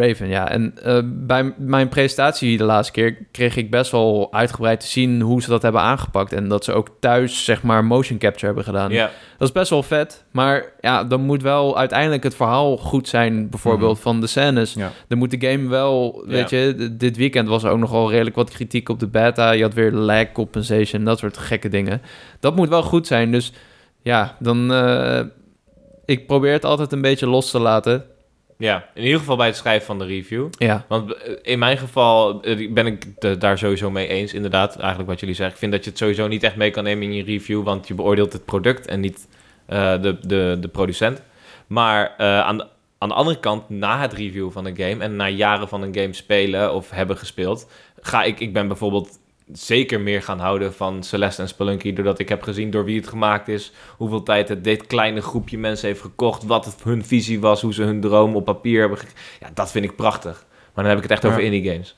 Speaker 1: eh, Raven, ja. En eh, bij m- mijn presentatie de laatste keer kreeg ik best wel uitgebreid te zien hoe ze dat hebben aangepakt. En dat ze ook thuis, zeg maar, motion capture hebben gedaan.
Speaker 3: Ja.
Speaker 1: Dat is best wel vet. Maar ja, dan moet wel uiteindelijk het verhaal goed zijn, bijvoorbeeld
Speaker 2: Mhm.
Speaker 1: van de scènes.
Speaker 2: ja.
Speaker 1: Dan moet de game wel,
Speaker 3: Ja.
Speaker 1: weet je, d- dit weekend was er ook nogal redelijk wat kritiek op de beta. Je had weer lag compensation, dat soort gekke dingen. Dat moet wel goed zijn. Dus ja, dan. eh, ik probeer het altijd een beetje los te laten.
Speaker 3: ja, in ieder geval bij het schrijven van de review.
Speaker 1: Ja.
Speaker 3: Want eh, in mijn geval eh, ben ik het daar sowieso mee eens, inderdaad. Eigenlijk wat jullie zeggen. Ik vind dat je het sowieso niet echt mee kan nemen in je review, want je beoordeelt het product en niet eh, de, de, de producent. Maar eh, aan, de, aan de andere kant, na het review van een game en na jaren van een game spelen of hebben gespeeld, ga ik, ik ben bijvoorbeeld zeker meer gaan houden van Celeste en Spelunky, doordat ik heb gezien door wie het gemaakt is, hoeveel tijd het dit kleine groepje mensen heeft gekocht, wat het, hun visie was, hoe ze hun droom op papier hebben. ge- Ja, dat vind ik prachtig. Maar dan heb ik het echt over
Speaker 2: Ja.
Speaker 3: indie games.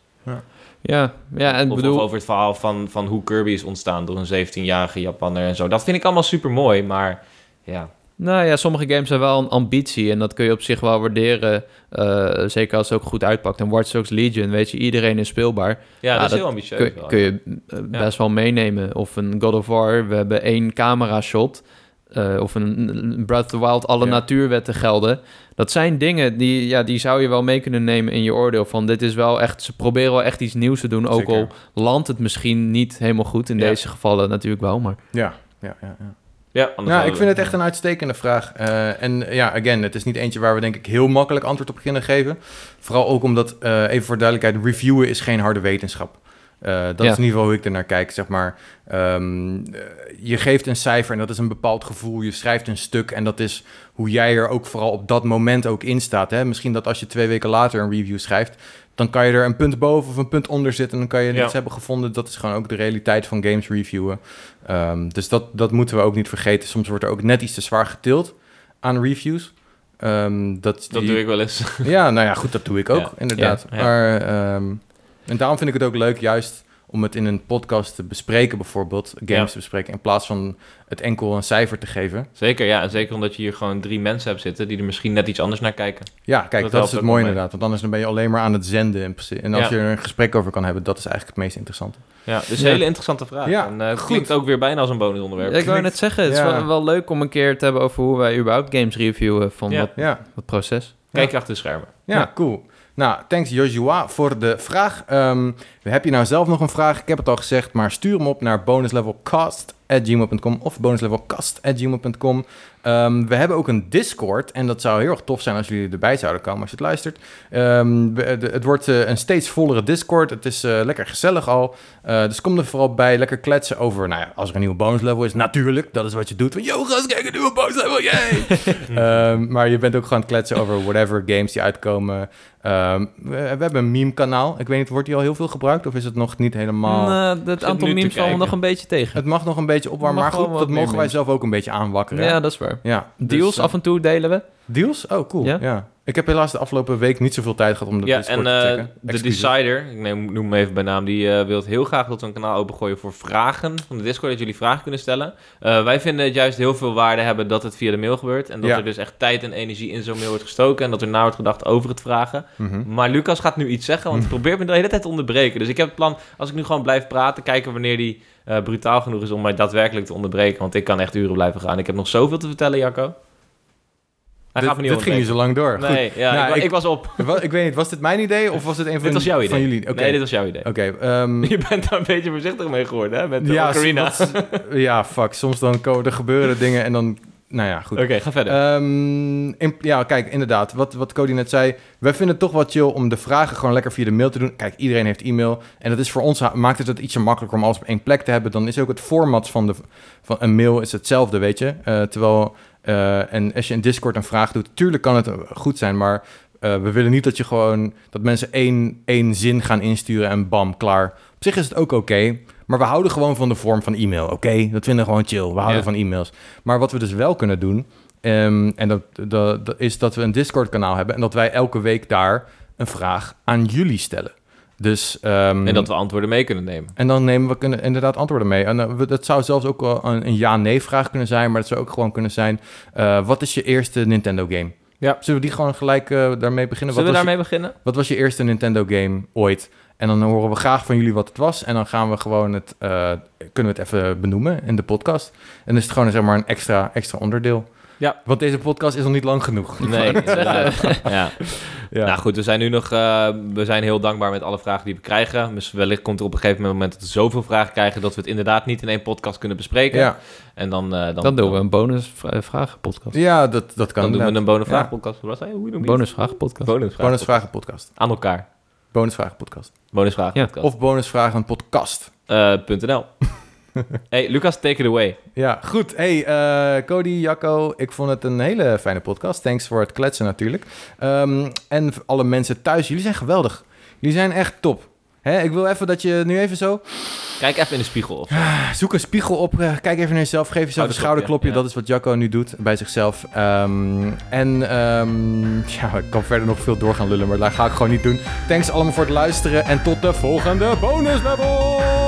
Speaker 1: Ja, ja en ik
Speaker 3: of,
Speaker 1: bedoel...
Speaker 3: of over het verhaal van, van hoe Kirby is ontstaan door een 17-jarige Japanner en zo. Dat vind ik allemaal super mooi, maar ja.
Speaker 1: Nou ja, sommige games hebben wel een ambitie en dat kun je op zich wel waarderen. eh, zeker als het ook goed uitpakt. En Watch Dogs Legion, weet je, iedereen is speelbaar.
Speaker 3: Ja, dat,
Speaker 2: Ah,
Speaker 1: dat
Speaker 3: is heel ambitieus.
Speaker 1: Kun,
Speaker 3: wel,
Speaker 1: kun
Speaker 3: ja.
Speaker 1: je eh, best wel meenemen. Of een God of War, we hebben één camera shot. eh, of een een Breath of the Wild, alle
Speaker 2: Ja.
Speaker 1: natuurwetten gelden. Dat zijn dingen die, ja, die zou je wel mee kunnen nemen in je oordeel. Van dit is wel echt, ze proberen wel echt iets nieuws te doen. Ook
Speaker 2: Zeker.
Speaker 1: al landt het misschien niet helemaal goed. In
Speaker 3: Ja.
Speaker 1: deze gevallen natuurlijk wel, maar...
Speaker 2: ja, ja, ja, ja.
Speaker 3: Ja, anders
Speaker 2: Nou,
Speaker 3: hadden
Speaker 2: ik
Speaker 3: we-
Speaker 2: vind het echt een uitstekende vraag. Eh, en eh, ja, again, het is niet eentje waar we denk ik heel makkelijk antwoord op kunnen geven. Vooral ook omdat, eh, even voor duidelijkheid, reviewen is geen harde wetenschap. Eh, dat
Speaker 1: Ja.
Speaker 2: is in ieder geval hoe ik ernaar kijk, zeg maar. Ehm, eh, je geeft een cijfer en dat is een bepaald gevoel. Je schrijft een stuk en dat is hoe jij er ook vooral op dat moment ook in staat. Hè? Misschien dat als je twee weken later een review schrijft, dan kan je er een punt boven of een punt onder zitten. En dan kan je
Speaker 3: Ja.
Speaker 2: niets hebben gevonden. Dat is gewoon ook de realiteit van games reviewen. Ehm, dus dat, dat moeten we ook niet vergeten. Soms wordt er ook net iets te zwaar getild aan reviews. Ehm, dat,
Speaker 3: Dat
Speaker 2: die-
Speaker 3: doe ik wel eens.
Speaker 2: Ja, nou ja, goed, dat doe ik ook,
Speaker 3: Ja.
Speaker 2: inderdaad.
Speaker 3: Ja, ja.
Speaker 2: Maar, ehm, en daarom vind ik het ook leuk, juist om het in een podcast te bespreken, bijvoorbeeld, games
Speaker 3: Ja.
Speaker 2: te bespreken, in plaats van het enkel een cijfer te geven.
Speaker 3: Zeker, ja. En zeker omdat je hier gewoon drie mensen hebt zitten die er misschien net iets anders naar kijken.
Speaker 2: Ja, kijk, dat,
Speaker 3: helpt
Speaker 2: is het
Speaker 3: ook
Speaker 2: mooie
Speaker 3: wel mee.
Speaker 2: inderdaad, want anders dan ben je alleen maar aan het zenden. In principe. En als
Speaker 3: Ja.
Speaker 2: je er een gesprek over kan hebben, dat is eigenlijk het meest interessante.
Speaker 3: Ja, dus
Speaker 2: Ja.
Speaker 3: een hele interessante vraag.
Speaker 2: Ja,
Speaker 3: en eh, het
Speaker 2: goed.
Speaker 3: klinkt ook weer bijna als een bonusonderwerp.
Speaker 1: ik wou
Speaker 2: klinkt-
Speaker 1: net zeggen, het is
Speaker 2: ja.
Speaker 1: wel, wel leuk om een keer te hebben over hoe wij überhaupt games reviewen van
Speaker 3: Ja.
Speaker 1: dat,
Speaker 2: Ja.
Speaker 1: dat proces.
Speaker 3: Kijk je achter de schermen.
Speaker 2: Ja,
Speaker 1: Ja.
Speaker 2: cool. Nou, thanks Joshua voor de vraag. Ehm, heb je nou zelf nog een vraag? Ik heb het al gezegd, maar stuur hem op naar bonuslevelcast.gmail.com of bonuslevelcast.gmail.com. Ehm we hebben ook een Discord en dat zou heel erg tof zijn als jullie erbij zouden komen als je het luistert. Ehm, we- de- het wordt eh, een steeds vollere Discord. Het is eh, lekker gezellig al. Eh, dus kom er vooral bij. Lekker kletsen over, nou ja, als er een nieuwe bonuslevel is. Natuurlijk, dat is wat je doet. Van, yo, gast, kijk, een nieuwe bonuslevel, yay! Ehm, maar je bent ook gewoon aan het kletsen over whatever games die uitkomen. Ehm, we, we hebben een meme-kanaal. Ik weet niet, wordt die al heel veel gebruikt of is het nog niet helemaal...
Speaker 1: Maar Nou, het
Speaker 3: zit
Speaker 1: aantal
Speaker 3: nu te
Speaker 1: memes vallen
Speaker 3: kijken.
Speaker 1: nog een beetje tegen.
Speaker 2: Het mag nog een beetje opwarmen,
Speaker 1: Mag
Speaker 2: maar goed,
Speaker 1: wel
Speaker 2: dat
Speaker 1: wat meer
Speaker 2: mogen wij
Speaker 1: memes.
Speaker 2: zelf ook een beetje aanwakkeren.
Speaker 1: Ja, dat is waar.
Speaker 2: ja dus,
Speaker 1: Deals
Speaker 2: eh,
Speaker 1: af en toe delen we.
Speaker 2: Deals? Oh, cool. Ja?
Speaker 1: Ja.
Speaker 2: Ik heb helaas de afgelopen week niet zoveel tijd gehad om de
Speaker 3: Ja,
Speaker 2: Discord
Speaker 3: en
Speaker 2: te
Speaker 3: eh,
Speaker 2: checken.
Speaker 3: de
Speaker 2: Excuses.
Speaker 3: Decider, ik neem, noem hem even bij naam, die eh, wil heel graag dat we een kanaal opengooien voor vragen van de Discord, dat jullie vragen kunnen stellen. Eh, wij vinden het juist heel veel waarde hebben dat het via de mail gebeurt en dat
Speaker 2: Ja.
Speaker 3: er dus echt tijd en energie in zo'n mail wordt gestoken en dat er na wordt gedacht over het vragen.
Speaker 2: Mhm.
Speaker 3: Maar Lucas gaat nu iets zeggen,
Speaker 2: Hmm.
Speaker 3: want hij probeert me de hele tijd te onderbreken. Dus ik heb het plan, als ik nu gewoon blijf praten, kijken wanneer die eh, brutaal genoeg is om mij daadwerkelijk te onderbreken, want ik kan echt uren blijven gaan. Ik heb nog zoveel te vertellen, Jacco. Hij
Speaker 2: Dit-
Speaker 3: gaat me niet
Speaker 2: dit ging
Speaker 3: onderbreken.
Speaker 2: niet zo lang door. Goed.
Speaker 3: Nee, ja,
Speaker 2: Nou,
Speaker 3: ik, wa-
Speaker 2: ik-
Speaker 3: ik was op.
Speaker 2: Wa- ik weet niet, was dit mijn idee of was dit een van,
Speaker 3: Dit was jouw idee.
Speaker 2: van jullie? Oké,
Speaker 3: Nee, dit was jouw idee.
Speaker 2: Oké, ehm,
Speaker 3: Je bent daar een beetje voorzichtig mee geworden, hè? Met eh, de
Speaker 2: ja,
Speaker 3: ocarina.
Speaker 2: s- wat- ja, fuck. Soms dan komen er gebeuren dingen en dan... Nou ja, goed.
Speaker 3: Oké, ga verder.
Speaker 2: Ehm, in- ja, kijk, inderdaad. Wat, wat Cody net zei. Wij vinden het toch wel chill om de vragen gewoon lekker via de mail te doen. Kijk, iedereen heeft e-mail. En dat is voor ons, ha- maakt het het ietsje makkelijker om alles op één plek te hebben. Dan is ook het format van, de, van een mail is hetzelfde, weet je. Eh, terwijl, eh, en als je in Discord een vraag doet, tuurlijk kan het eh, goed zijn, maar... eh, we willen niet dat je gewoon dat mensen één, één zin gaan insturen en bam, klaar. Op zich is het ook oké, maar we houden gewoon van de vorm van e-mail, oké? Dat vinden we gewoon chill. We houden
Speaker 3: Ja.
Speaker 2: van e-mails. Maar wat we dus wel kunnen doen, Ehm, en dat, dat, dat is dat we een Discord-kanaal hebben en dat wij elke week daar een vraag aan jullie stellen. Dus, ehm,
Speaker 3: En dat we antwoorden mee kunnen nemen.
Speaker 2: en dan nemen we kunnen, inderdaad antwoorden mee. En, eh, we- dat zou zelfs ook wel een, een ja-nee-vraag kunnen zijn, maar dat zou ook gewoon kunnen zijn: eh, wat is je eerste Nintendo-game?
Speaker 3: Ja.
Speaker 2: Zullen we die gewoon gelijk eh, daarmee beginnen?
Speaker 3: Zullen we
Speaker 2: was je-
Speaker 3: daarmee beginnen?
Speaker 2: wat was je eerste Nintendo-game ooit? En dan horen we graag van jullie wat het was. En dan gaan we gewoon het, eh, kunnen we het even benoemen in de podcast. En dan is het gewoon zeg maar een extra, extra onderdeel.
Speaker 3: Ja.
Speaker 2: Want deze podcast is nog niet lang genoeg.
Speaker 3: Nee, inderdaad. ja.
Speaker 2: Ja.
Speaker 3: Nou goed, we zijn nu nog... eh, we zijn heel dankbaar met alle vragen die we krijgen. Dus wellicht komt er op een gegeven moment dat we zoveel vragen krijgen... dat we het inderdaad niet in één podcast kunnen bespreken.
Speaker 2: ja,
Speaker 3: En dan... eh, dan,
Speaker 1: Dan, doen we een bonus vra- vragenpodcast.
Speaker 2: ja dat, dat kan.
Speaker 3: Dan doen we een
Speaker 2: Ja.
Speaker 3: bonusvraagpodcast. Wat was hij? Hoe noem je het?
Speaker 1: Bonusvragenpodcast.
Speaker 3: Bonusvraag.
Speaker 2: bonusvragen podcast.
Speaker 3: Aan elkaar.
Speaker 2: Bonusvragen podcast.
Speaker 3: Bonusvraagpodcast.
Speaker 2: Of bonusvragen podcast.
Speaker 3: Eh, punt .nl. hey, Lucas, take it away.
Speaker 2: Ja, goed. Hey, eh, Cody, Jacco, ik vond het een hele fijne podcast. Thanks voor het kletsen natuurlijk. Ehm, en voor alle mensen thuis, jullie zijn geweldig. Jullie zijn echt top. Hè, ik wil even dat je nu even zo...
Speaker 3: Kijk even in de spiegel. Of...
Speaker 2: Zoek een spiegel op. eh, Kijk even naar jezelf. Geef jezelf een
Speaker 3: Schouderklopje,
Speaker 2: schouderklopje.
Speaker 3: Oh, ja.
Speaker 2: Dat is wat Jacco nu doet bij zichzelf. Ehm, en ehm, ja, ik kan verder nog veel door gaan lullen, maar dat ga ik gewoon niet doen. Thanks allemaal voor het luisteren en tot de volgende bonus level!